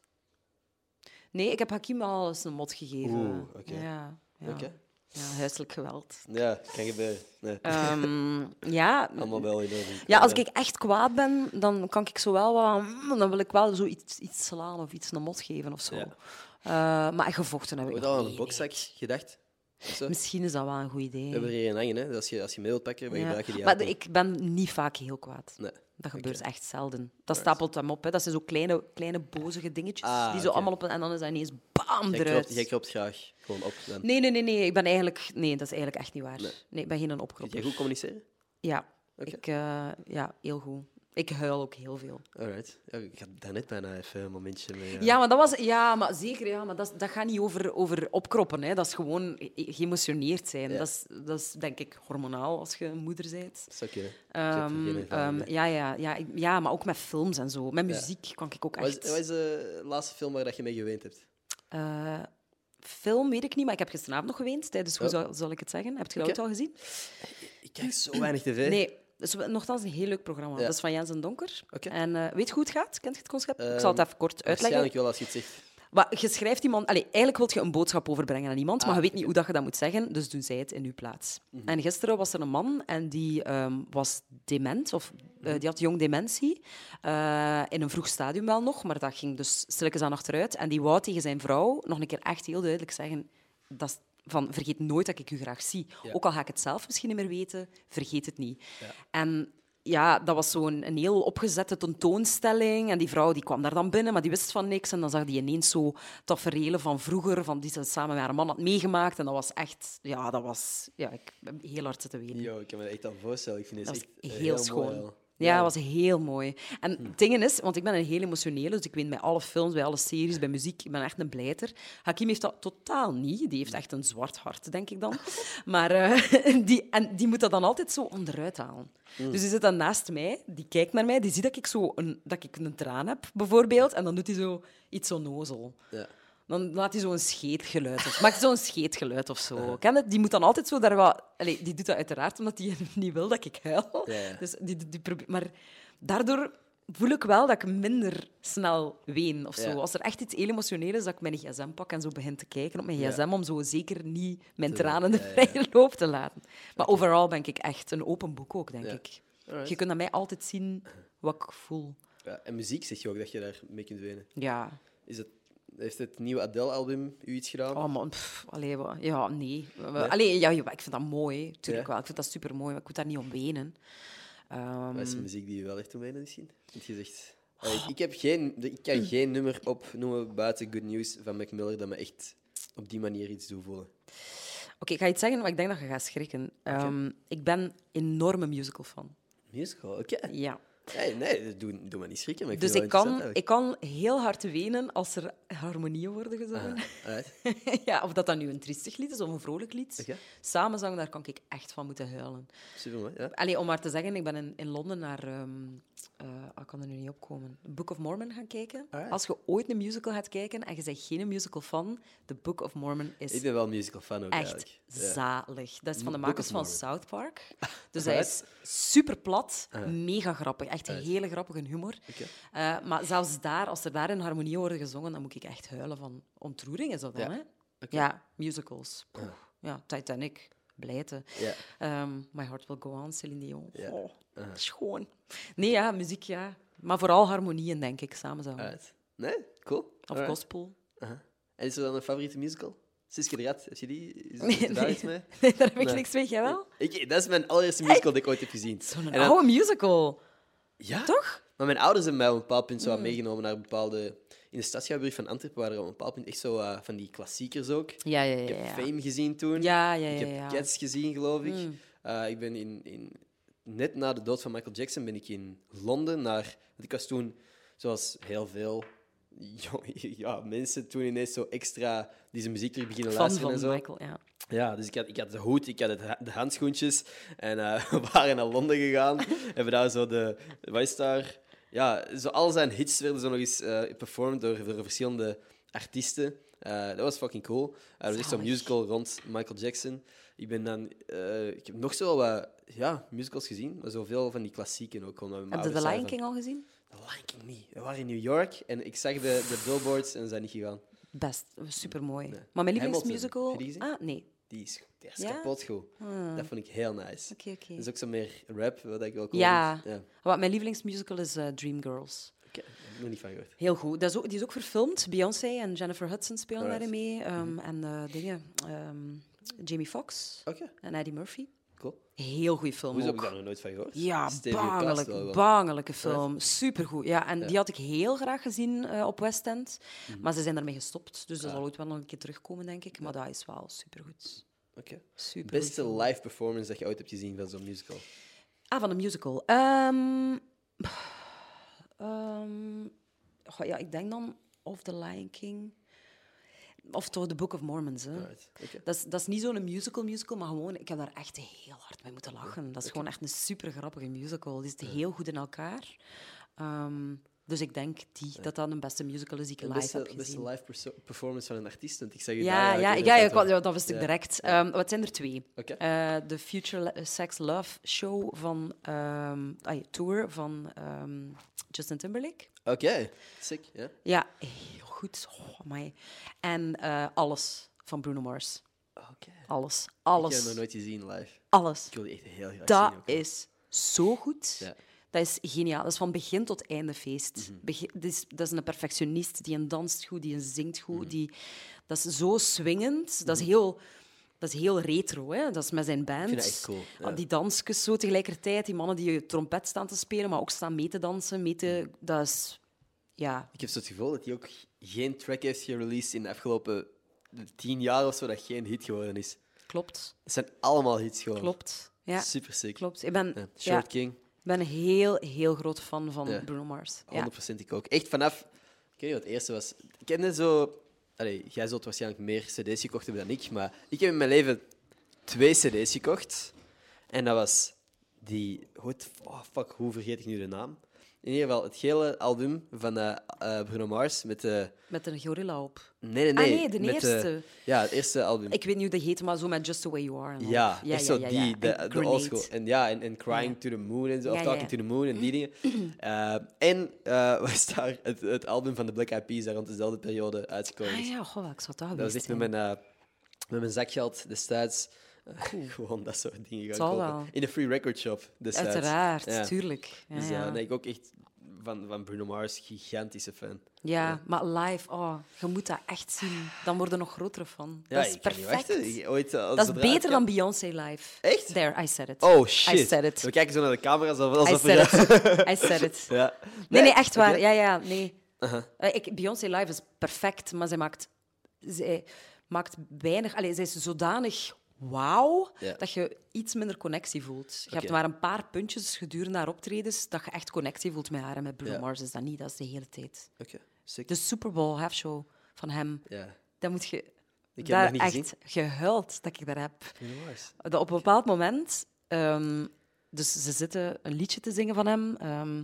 Speaker 2: Nee, ik heb Hakim al eens een mot gegeven.
Speaker 1: Oeh, oké.
Speaker 2: Ja, ja.
Speaker 1: Oké.
Speaker 2: Ja, huiselijk geweld.
Speaker 1: Ja, kan gebeuren. Nee.
Speaker 2: Ehm, ja,
Speaker 1: Allemaal wel in orde.
Speaker 2: ja, als ik echt kwaad ben, dan kan ik zo wel wat... mm, Dan wil ik wel zo iets, iets slaan of iets een mot geven of zo.
Speaker 1: Ja.
Speaker 2: Eh, maar gevochten heb ik
Speaker 1: Wordt
Speaker 2: nog
Speaker 1: al aan een
Speaker 2: niet,
Speaker 1: bokzak gedacht? Of zo?
Speaker 2: nee.
Speaker 1: We
Speaker 2: Misschien is dat wel een goed idee.
Speaker 1: hebben er hier een hangen, hè? Dus als je, als je mee wilt pakken, dan
Speaker 2: Ja.
Speaker 1: gebruik je die
Speaker 2: Maar
Speaker 1: hand niet.
Speaker 2: ik ben niet vaak heel kwaad.
Speaker 1: Nee.
Speaker 2: Dat gebeurt echt zelden. Dat stapelt hem op. Hè. Dat zijn zo kleine, kleine bozige dingetjes.
Speaker 1: Ah,
Speaker 2: die zo
Speaker 1: oké.
Speaker 2: allemaal op... En dan is dat ineens bam
Speaker 1: Jij
Speaker 2: eruit.
Speaker 1: klopt, jij klopt graag gewoon op. Dan.
Speaker 2: Nee, nee, nee, nee. Ik ben eigenlijk... Nee, dat is eigenlijk echt niet waar. Nee, ik ben geen
Speaker 1: Kun
Speaker 2: opkropper.
Speaker 1: jij goed communiceren?
Speaker 2: Ja.
Speaker 1: Oké.
Speaker 2: Ik, eh, ja, heel goed. Ik huil ook heel veel.
Speaker 1: Alright. Ja, ik had daarnet bijna even een momentje mee. eh,
Speaker 2: Ja, maar dat was... Ja, maar zeker. Ja, maar dat, is- dat gaat niet over, over opkroppen. Hè. Dat is gewoon e- e- geëmotioneerd zijn.
Speaker 1: Ja.
Speaker 2: Dat, is, dat is, denk ik, hormonaal als je een moeder bent.
Speaker 1: Dat zou kunnen. Ik heb er
Speaker 2: Ehm,
Speaker 1: geen ervaring
Speaker 2: ehm,
Speaker 1: mee.
Speaker 2: ja, ja, ja, ik- ja, maar ook met films en zo. Met muziek kan ik ook
Speaker 1: Wat is,
Speaker 2: ehm, echt...
Speaker 1: wat is de laatste film waar dat je mee geweend hebt?
Speaker 2: Eh, film weet ik niet, maar ik heb gisteravond nog geweend. Tijdens, hoe
Speaker 1: Oh.
Speaker 2: zal, zal ik het zeggen? Heb je dat
Speaker 1: Oké.
Speaker 2: ooit al gezien?
Speaker 1: Ik kijk zo weinig tv.
Speaker 2: Nee. Dat is wel- nogthans een heel leuk programma.
Speaker 1: Ja.
Speaker 2: Dat is van Jens en Donker.
Speaker 1: Oké.
Speaker 2: En eh, weet je hoe het gaat? Kent je het concept? ik zal
Speaker 1: Ehm,
Speaker 2: het even kort uitleggen.
Speaker 1: Waarschijnlijk wel als je het zegt.
Speaker 2: Maar je schrijft iemand... Allee, eigenlijk wil je een boodschap overbrengen aan iemand, maar
Speaker 1: Ah, Mhm.
Speaker 2: je weet niet hoe dat je dat moet zeggen, dus doen zij het in uw plaats. En gisteren was er een man en die ehm, was dement, of
Speaker 1: Mhm.
Speaker 2: eh, die had jong dementie. eh, in een vroeg stadium wel nog, maar dat ging dus stilletjes aan achteruit. En die wou tegen zijn vrouw nog een keer echt heel duidelijk zeggen... Dat is- van, vergeet nooit dat ik u graag zie.
Speaker 1: Ja.
Speaker 2: Ook al ga ik het zelf misschien niet meer weten, vergeet het niet. En ja, dat was zo'n een heel opgezette tentoonstelling. En die vrouw die kwam daar dan binnen, maar die wist van niks. En dan zag die ineens zo tafereelen van vroeger, van die ze samen met haar man had meegemaakt. En dat was echt... Ja, dat was... Ja, ik heb heel hard zitten weten.
Speaker 1: Yo, ik kan me dat echt aan voorstellen. Ik vind dit
Speaker 2: Dat was
Speaker 1: echt
Speaker 2: heel,
Speaker 1: mooi
Speaker 2: schoon.
Speaker 1: al.
Speaker 2: ja, dat was heel mooi. En het ding is, want ik ben een heel emotionele, dus ik weet bij alle films, bij alle series, bij muziek, ik ben echt een blijter. Hakim heeft dat totaal niet. Die heeft echt een zwart hart, denk ik dan. Maar eh, die, en die moet dat dan altijd zo onderuit halen. Dus die zit dan naast mij, die kijkt naar mij, die ziet dat ik, zo een, dat ik een traan heb, bijvoorbeeld. En dan doet hij zo iets onnozel.
Speaker 1: Ja.
Speaker 2: Dan laat hij zo'n scheetgeluid. Of, maakt zo'n scheetgeluid of zo. Ken je? Die moet dan altijd zo daar wat... Allee, die doet dat uiteraard omdat hij niet wil dat ik huil.
Speaker 1: Ja, ja.
Speaker 2: Dus die, die, die probeert- Maar daardoor voel ik wel dat ik minder snel ween of zo.
Speaker 1: Ja.
Speaker 2: Als er echt iets heel emotioneel is, dat ik mijn gsm pak en zo begin te kijken op mijn
Speaker 1: Ja.
Speaker 2: gsm om zo zeker niet mijn
Speaker 1: Te-
Speaker 2: tranen de
Speaker 1: ja, ja.
Speaker 2: vrije loop te laten. Maar overal ben ik echt een open boek ook, denk
Speaker 1: Ja.
Speaker 2: ik.
Speaker 1: Alright.
Speaker 2: Je kunt aan mij altijd zien wat ik voel.
Speaker 1: Ja, en muziek zeg je ook dat je daar mee kunt wenen.
Speaker 2: Ja.
Speaker 1: Is het, heeft het nieuwe Adele-album u iets gedaan?
Speaker 2: Oh man, pff, allee, wat- ja, nee. Allee, ja, jawel, ik vind dat mooi, tuurlijk
Speaker 1: Ja.
Speaker 2: wel. Ik vind dat super mooi, maar ik moet daar niet om wenen. Ehm,
Speaker 1: Wat is muziek die je wel echt om wenen misschien? Want je zegt... Allee,
Speaker 2: Ah.
Speaker 1: ik- ik, heb geen, ik kan geen nummer opnoemen buiten Good News van Mac Miller dat me echt op die manier iets doet voelen.
Speaker 2: Oké, ik ga iets zeggen, maar ik denk dat je gaat schrikken. Ehm, Ik ben een enorme musical fan.
Speaker 1: Musical, oké.
Speaker 2: Ja.
Speaker 1: Nee, nee, dat doe, doe me niet schrikken, maar ik
Speaker 2: Dus
Speaker 1: vind
Speaker 2: ik
Speaker 1: het wel
Speaker 2: kan, ik
Speaker 1: interessant
Speaker 2: kan heel hard wenen als er harmonieën worden gezongen.
Speaker 1: eigenlijk. Ah, alright.
Speaker 2: ja, of dat dan nu een triestig lied is of een vrolijk lied.
Speaker 1: Oké.
Speaker 2: Samenzang, daar kan ik echt van moeten huilen.
Speaker 1: Supermooi, ja.
Speaker 2: Allee, om maar te zeggen, ik ben in, in Londen naar... ehm, eh, ah, ik kan er nu niet opkomen. Book of Mormon gaan kijken.
Speaker 1: Alright.
Speaker 2: Als je ooit een musical gaat kijken en je bent geen musical fan, The Book of Mormon is
Speaker 1: Ik ben wel musical fan ook
Speaker 2: echt
Speaker 1: eigenlijk. Ja.
Speaker 2: zalig. Dat is van de
Speaker 1: Book
Speaker 2: makers
Speaker 1: of
Speaker 2: van
Speaker 1: Mormon.
Speaker 2: South Park. Dus hij is super plat, mega grappig. Echt hele grappige humor.
Speaker 1: Uh-huh. Oké.
Speaker 2: Eh, maar zelfs daar, als er daar in harmonie worden gezongen, dan moet ik echt huilen van ontroering. Is dat dan,
Speaker 1: Ja.
Speaker 2: hè?
Speaker 1: Oké. Uh.
Speaker 2: Ja, musicals. Poeh. Ja, Titanic. Blijten.
Speaker 1: Ja.
Speaker 2: Ehm, My Heart Will Go On, Celine Dion.
Speaker 1: Ja. Uh-huh.
Speaker 2: Oh, Schoon. Nee, ja, muziek, ja. Maar vooral harmonieën, denk ik, samen zo.
Speaker 1: Alright. Nee, cool.
Speaker 2: of
Speaker 1: Uh, Alright.
Speaker 2: gospel.
Speaker 1: Aha. En is er dan een favoriete musical? Siske de Rat, heb je die? Is
Speaker 2: Nee,
Speaker 1: nee, daar
Speaker 2: nee.
Speaker 1: iets mee?
Speaker 2: Nee, daar heb ik
Speaker 1: Nee.
Speaker 2: niks mee. Jij wel?
Speaker 1: Ik, dat is mijn allereerste musical dat ik ooit heb gezien.
Speaker 2: Zo'n
Speaker 1: En dan-
Speaker 2: oude musical.
Speaker 1: ja?
Speaker 2: Toch?
Speaker 1: Maar Maar mijn ouders hebben mij op een bepaald punt zo
Speaker 2: Mm.
Speaker 1: wat meegenomen naar bepaalde... In de stadsschouwburg van Antwerpen waren er op een bepaald punt echt zo eh, van die klassiekers ook.
Speaker 2: Ja, ja, ja.
Speaker 1: Ik heb
Speaker 2: ja.
Speaker 1: Fame gezien toen.
Speaker 2: Ja, ja, ja.
Speaker 1: Ik heb
Speaker 2: ja. Mm.
Speaker 1: Cats gezien, geloof ik. Eh, ik ben in, in, net na de dood van Michael Jackson ben ik in Londen naar... Want ik was toen, zoals heel veel jong- ja, mensen, toen ineens zo extra die zijn muziek terug beginnen
Speaker 2: Fan
Speaker 1: luisteren
Speaker 2: van
Speaker 1: en zo.
Speaker 2: Michael, ja.
Speaker 1: Ja, dus ik had, ik had de hoed, ik had het ha- de handschoentjes. En eh, we waren naar Londen gegaan. Hebben daar zo de... Wat is daar? Ja, zo al zijn hits werden zo nog eens eh, performed door, door verschillende artiesten. Eh, dat was fucking cool. Eh, er was echt zo'n
Speaker 2: Zalig.
Speaker 1: musical rond Michael Jackson. Ik ben dan... eh, ik heb nog zo wel wat ja, musicals gezien. Maar zoveel van die klassieken ook. eh, omdat mijn
Speaker 2: Heb je
Speaker 1: ouders
Speaker 2: The Lion
Speaker 1: zeiden
Speaker 2: King al gezien?
Speaker 1: van, The Lion King niet. We waren in New York en ik zag de, de billboards en zijn niet gegaan.
Speaker 2: Best, supermooi.
Speaker 1: Nee.
Speaker 2: Maar mijn
Speaker 1: Hamilton,
Speaker 2: lievelingsmusical...
Speaker 1: heb je die gezien?
Speaker 2: Ah, nee.
Speaker 1: Die is, die is
Speaker 2: Ja? Ah.
Speaker 1: kapot goed. Dat vond ik heel nice.
Speaker 2: Oké, oké.
Speaker 1: Dat is ook zo meer rap, wat ik wel cool
Speaker 2: Ja.
Speaker 1: vind. Ja.
Speaker 2: Wat mijn lievelingsmusical is eh, Dreamgirls.
Speaker 1: Oké, daar heb ik nog niet van gehoord.
Speaker 2: Heel goed. Dat is ook, die is ook verfilmd. Beyoncé en Jennifer Hudson spelen
Speaker 1: Alright.
Speaker 2: daarin mee. ehm, En eh, dingen. ehm, Jamie Foxx
Speaker 1: Oké,
Speaker 2: en Eddie Murphy.
Speaker 1: cool.
Speaker 2: Heel goede film
Speaker 1: Hoezo heb ik
Speaker 2: ook.
Speaker 1: daar nog nooit van gehoord?
Speaker 2: Ja,
Speaker 1: Stevie Past wel
Speaker 2: bangelijk,
Speaker 1: wel.
Speaker 2: bangelijke film. Supergoed. Ja, en die had ik heel graag gezien eh, op West End.
Speaker 1: Mhm.
Speaker 2: Maar ze zijn daarmee gestopt. Dus dat zal ooit wel nog een keer terugkomen, denk ik. Maar dat is wel supergoed.
Speaker 1: Oké.
Speaker 2: Super
Speaker 1: Beste live performance dat je ooit hebt gezien van zo'n musical.
Speaker 2: Ah, van een musical. Ehm, ehm, goh, ja, ik denk dan of The Lion King. Of toch The Book of Mormons. Hè.
Speaker 1: Alright, oké.
Speaker 2: Dat, is, dat is niet zo'n musical musical, maar gewoon, ik heb daar echt heel hard mee moeten lachen. Dat is gewoon echt een super grappige musical. Die zit heel goed in elkaar. Ehm, dus ik denk die, dat dat een beste musical is die ik
Speaker 1: De
Speaker 2: live heb
Speaker 1: Beste,
Speaker 2: gezien.
Speaker 1: beste live perso- performance van een artiest, want ik zeg je
Speaker 2: Ja,
Speaker 1: daar,
Speaker 2: ja,
Speaker 1: ik
Speaker 2: ik-
Speaker 1: weet
Speaker 2: ja,
Speaker 1: het
Speaker 2: ik wou-
Speaker 1: wel.
Speaker 2: ja, dat wist ik
Speaker 1: Ja.
Speaker 2: direct. Ehm, wat zijn er twee?
Speaker 1: Oké.
Speaker 2: Eh, de Future Le- Sex Love Show van ehm, ai, Tour van ehm, Justin Timberlake.
Speaker 1: Oké, sick. Ja.
Speaker 2: Ja, heel goed. Oh, amai. En eh, alles van Bruno Mars.
Speaker 1: Oké.
Speaker 2: Alles,
Speaker 1: Ik heb hem nog
Speaker 2: alles,
Speaker 1: nooit gezien live.
Speaker 2: alles.
Speaker 1: Ik wil die echt heel graag
Speaker 2: Dat
Speaker 1: zien. ook.
Speaker 2: is zo goed.
Speaker 1: Ja. Mhm.
Speaker 2: Dat is geniaal. Dat is van begin tot einde feest. Begi- dat, is, dat is een perfectionist die een danst goed, die een zingt goed.
Speaker 1: Mhm.
Speaker 2: Die, dat is zo swingend. Dat is heel... Dat is heel retro, hè? dat is met zijn band.
Speaker 1: vind dat echt cool, ja.
Speaker 2: Al Die dansjes zo tegelijkertijd, die mannen die trompet staan te spelen, maar ook staan mee te dansen. Mee te...
Speaker 1: Mhm.
Speaker 2: Dat is, ja,
Speaker 1: Ik heb zo het gevoel dat hij ook geen track heeft gereleased in de afgelopen tien jaar of zo, dat geen hit geworden is.
Speaker 2: klopt.
Speaker 1: Het zijn allemaal hits gewoon.
Speaker 2: Klopt. Ja,
Speaker 1: Super sick.
Speaker 2: klopt. Ik ben,
Speaker 1: Ja.
Speaker 2: ja,
Speaker 1: Short King.
Speaker 2: ik ben een heel, heel groot fan van
Speaker 1: Ja.
Speaker 2: Bruno Mars. Ja.
Speaker 1: 100% ik ook. Echt vanaf. Ik weet niet wat het eerste was. Ik kende zo. Allee, jij zult waarschijnlijk meer CD's gekocht hebben dan ik. Maar ik heb in mijn leven twee CD's gekocht. En dat was die. hoe het- Oh fuck, hoe vergeet ik nu de naam? In ieder geval het gele album van eh, eh, Bruno Mars met de.
Speaker 2: Met een gorilla op.
Speaker 1: Nee, nee,
Speaker 2: Ah,
Speaker 1: nee.
Speaker 2: nee, de
Speaker 1: met eh,
Speaker 2: eerste.
Speaker 1: ja, het eerste album.
Speaker 2: Ik weet niet hoe dat heet, maar zo met Just the Way You Are. en al.
Speaker 1: Ja, echt zo die,
Speaker 2: En
Speaker 1: de, de
Speaker 2: Grenade.
Speaker 1: oldschool. En ja, en, en Crying to the Moon en zo, of
Speaker 2: Ja, ja,
Speaker 1: Talking
Speaker 2: ja.
Speaker 1: to the Moon en die dingen. Eh, en eh, was daar het, het album van de Black Eyed Peas daar rond dezelfde periode uitgekomen.
Speaker 2: Ah ja, goh, ik zou dat
Speaker 1: dat was
Speaker 2: geweest
Speaker 1: echt met
Speaker 2: zijn.
Speaker 1: mijn, eh, met mijn zakgeld destijds. eh, gewoon dat soort dingen gaan
Speaker 2: Zal
Speaker 1: kopen.
Speaker 2: wel.
Speaker 1: In de free record shop destijds.
Speaker 2: Uiteraard,
Speaker 1: Ja.
Speaker 2: tuurlijk. Ja,
Speaker 1: Dus eh,
Speaker 2: ja.
Speaker 1: nee, ik ook echt van, van Bruno Mars gigantische fan.
Speaker 2: Ja, maar live, oh, je moet dat echt zien. Dan word je nog groter van.
Speaker 1: Ja,
Speaker 2: dat is
Speaker 1: ik kan niet
Speaker 2: perfect.
Speaker 1: wachten. Ik- Ooit, eh, als
Speaker 2: Dat is
Speaker 1: het
Speaker 2: beter
Speaker 1: eruit kan-
Speaker 2: dan Beyoncé live.
Speaker 1: Echt?
Speaker 2: There, I said it.
Speaker 1: Oh shit.
Speaker 2: I said it.
Speaker 1: We kijken zo naar de camera alsof,
Speaker 2: I
Speaker 1: alsof
Speaker 2: said
Speaker 1: we-
Speaker 2: it. I said it.
Speaker 1: Ja.
Speaker 2: Nee, nee, echt waar.
Speaker 1: oké. Uh-huh.
Speaker 2: Ja, ja, nee. Eh, ik, Beyoncé live is perfect, maar zij maakt, zij maakt weinig... Allee, zij is zodanig wauw
Speaker 1: Ja.
Speaker 2: dat je iets minder connectie voelt. Je hebt
Speaker 1: Oké.
Speaker 2: maar een paar puntjes gedurende haar optredens dat je echt connectie voelt met haar. En met Bruno
Speaker 1: Ja.
Speaker 2: Mars is dat niet, dat is de hele tijd.
Speaker 1: Oké, sick.
Speaker 2: De Super Bowl halfshow van hem,
Speaker 1: Ja.
Speaker 2: dat moet je...
Speaker 1: heb
Speaker 2: daar
Speaker 1: nog niet
Speaker 2: echt
Speaker 1: gezien.
Speaker 2: gehuild dat ik daar heb.
Speaker 1: Bruno Mars.
Speaker 2: Dat op een bepaald moment, ehm, dus ze zitten een liedje te zingen van hem. ehm,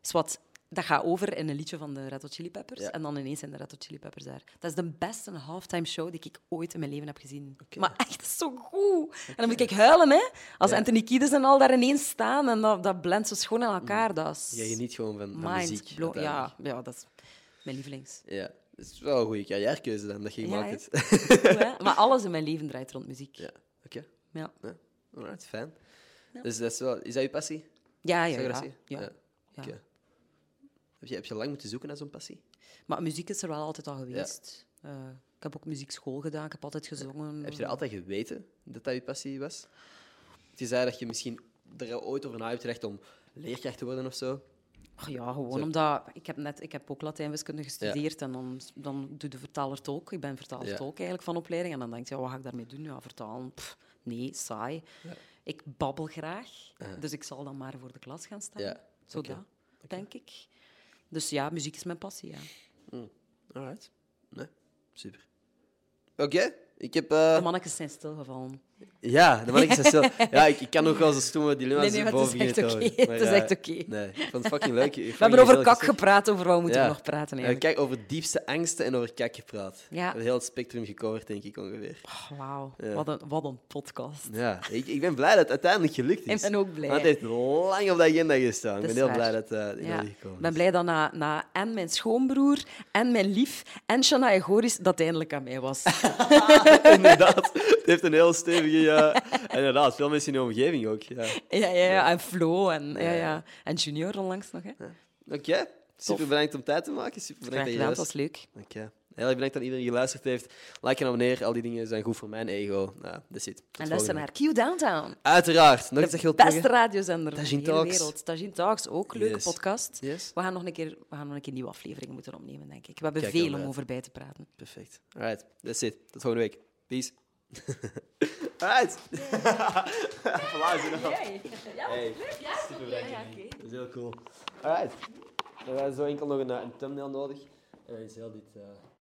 Speaker 2: zwart, dat gaat over in een liedje van de Red Hot Chili Peppers.
Speaker 1: Ja.
Speaker 2: En dan ineens zijn de Red Hot Chili Peppers daar. Dat is de beste halftime show die ik ooit in mijn leven heb gezien. Maar echt, dat is zo goed. En dan moet ik huilen, hè. Als Anthony Kiedis en al daar ineens staan. En dat, dat blendt zo schoon in elkaar. Dat is
Speaker 1: Mm. Jij geniet gewoon van, van
Speaker 2: mind
Speaker 1: muziek.
Speaker 2: blow-
Speaker 1: uiteindelijk.
Speaker 2: Ja, ja, dat is mijn lievelings.
Speaker 1: ja. Dat is wel een goede carrièrekeuze dan, dat je
Speaker 2: Ja,
Speaker 1: gemaakt
Speaker 2: hè?
Speaker 1: hebt.
Speaker 2: Goed, hè? maar alles in mijn leven draait rond muziek.
Speaker 1: Ja, oké.
Speaker 2: Ja,
Speaker 1: Ja. Alright, fijn. Dus dat is wel... Is dat je passie?
Speaker 2: Ah, ja, ja.
Speaker 1: Zou je dat
Speaker 2: ja,
Speaker 1: zeggen?
Speaker 2: ja.
Speaker 1: Oké. Heb, je, heb je lang moeten zoeken naar zo'n passie?
Speaker 2: Maar muziek is er wel altijd al geweest. Eh, ik heb ook muziekschool gedaan, ik heb altijd gezongen.
Speaker 1: Heb je dat altijd geweten, dat dat je passie was? Je zei dat je misschien er ooit over na hebt gedacht om leerkracht te worden of zo.
Speaker 2: Ach ja, gewoon
Speaker 1: Zo.
Speaker 2: omdat... Ik heb, net, ik heb ook Latijn-wiskunde gestudeerd en dan, dan doet de vertaler tolk. Ik ben vertaler
Speaker 1: Ja.
Speaker 2: tolk eigenlijk van opleiding. En dan denk je, ja, wat ga ik daarmee doen? Ja, vertalen? Pff, nee, saai. Ik babbel graag, dus ik zal dan maar voor de klas gaan staan.
Speaker 1: Ja,
Speaker 2: Zo dat, denk ik. Dus ja, muziek is mijn passie, ja.
Speaker 1: Alright. Nee, super. Oké, ik heb... eh,
Speaker 2: De mannetjes zijn stilgevallen.
Speaker 1: Ja, de mannetjes zijn stil. Ja, ik, ik kan nog wel zo'n stomme dilemma's
Speaker 2: Nee, nee, maar het is
Speaker 1: boven
Speaker 2: echt
Speaker 1: hier
Speaker 2: oké.
Speaker 1: houden.
Speaker 2: Het is
Speaker 1: eh,
Speaker 2: echt oké.
Speaker 1: Nee, ik vond het fucking leuk.
Speaker 2: We hebben over kak gepraat, over wat we moeten
Speaker 1: Ja.
Speaker 2: we nog praten
Speaker 1: Eh,
Speaker 2: eigenlijk.
Speaker 1: kijk, over diepste angsten en over kak gepraat.
Speaker 2: Ja.
Speaker 1: We hebben heel het spectrum gecoverd, denk ik ongeveer.
Speaker 2: Oh, Wauw,
Speaker 1: Ja.
Speaker 2: wat, een, wat een podcast.
Speaker 1: Ja, ik, ik ben blij dat het uiteindelijk gelukt is.
Speaker 2: Ik ben ook blij.
Speaker 1: Want het heeft lang op de agenda gestaan. Ik
Speaker 2: Dat
Speaker 1: ben
Speaker 2: is
Speaker 1: heel
Speaker 2: waar.
Speaker 1: blij dat eh, het in
Speaker 2: Ja,
Speaker 1: orde
Speaker 2: ik
Speaker 1: gekomen
Speaker 2: ben
Speaker 1: is.
Speaker 2: blij dat na, na en mijn schoonbroer en mijn lief en Shania Goris dat eindelijk aan mij was.
Speaker 1: inderdaad. Het heeft een heel stevige... ja. inderdaad, veel mensen in de omgeving ook. Ja.
Speaker 2: ja, ja, ja, en Flo en, ja, ja. en Junior onlangs nog. Hè.
Speaker 1: Oké, super bedankt om tijd te maken. Super
Speaker 2: Graag
Speaker 1: bedankt dat je
Speaker 2: gedaan,
Speaker 1: er
Speaker 2: dat
Speaker 1: was.
Speaker 2: was leuk.
Speaker 1: Oké. Heel erg bedankt aan iedereen die geluisterd heeft. Like en abonneer, al die dingen zijn goed voor mijn ego. Nou, that's it. Tot
Speaker 2: en
Speaker 1: volgende
Speaker 2: luister naar Q Downtown,
Speaker 1: week. Uiteraard. Nog iets
Speaker 2: de
Speaker 1: Oh, dat je wilt
Speaker 2: beste
Speaker 1: pluggen?
Speaker 2: radiozender van de
Speaker 1: Tajin
Speaker 2: hele
Speaker 1: Talks.
Speaker 2: wereld. Tajin Talks, ook leuke
Speaker 1: Yes.
Speaker 2: podcast.
Speaker 1: Yes.
Speaker 2: We gaan nog een keer, we gaan nog een keer nieuwe afleveringen moeten opnemen, denk ik. We hebben
Speaker 1: Kijk
Speaker 2: veel
Speaker 1: ernaar
Speaker 2: om
Speaker 1: uit.
Speaker 2: over bij te praten.
Speaker 1: Perfect. Alright, that's it. Tot volgende week. Peace. Alright. Applaus in de hand. Hey. Super bedankt. Dat is heel cool. Alright. We hebben zo enkel nog een, eh, een thumbnail nodig. En dan is heel dit... eh,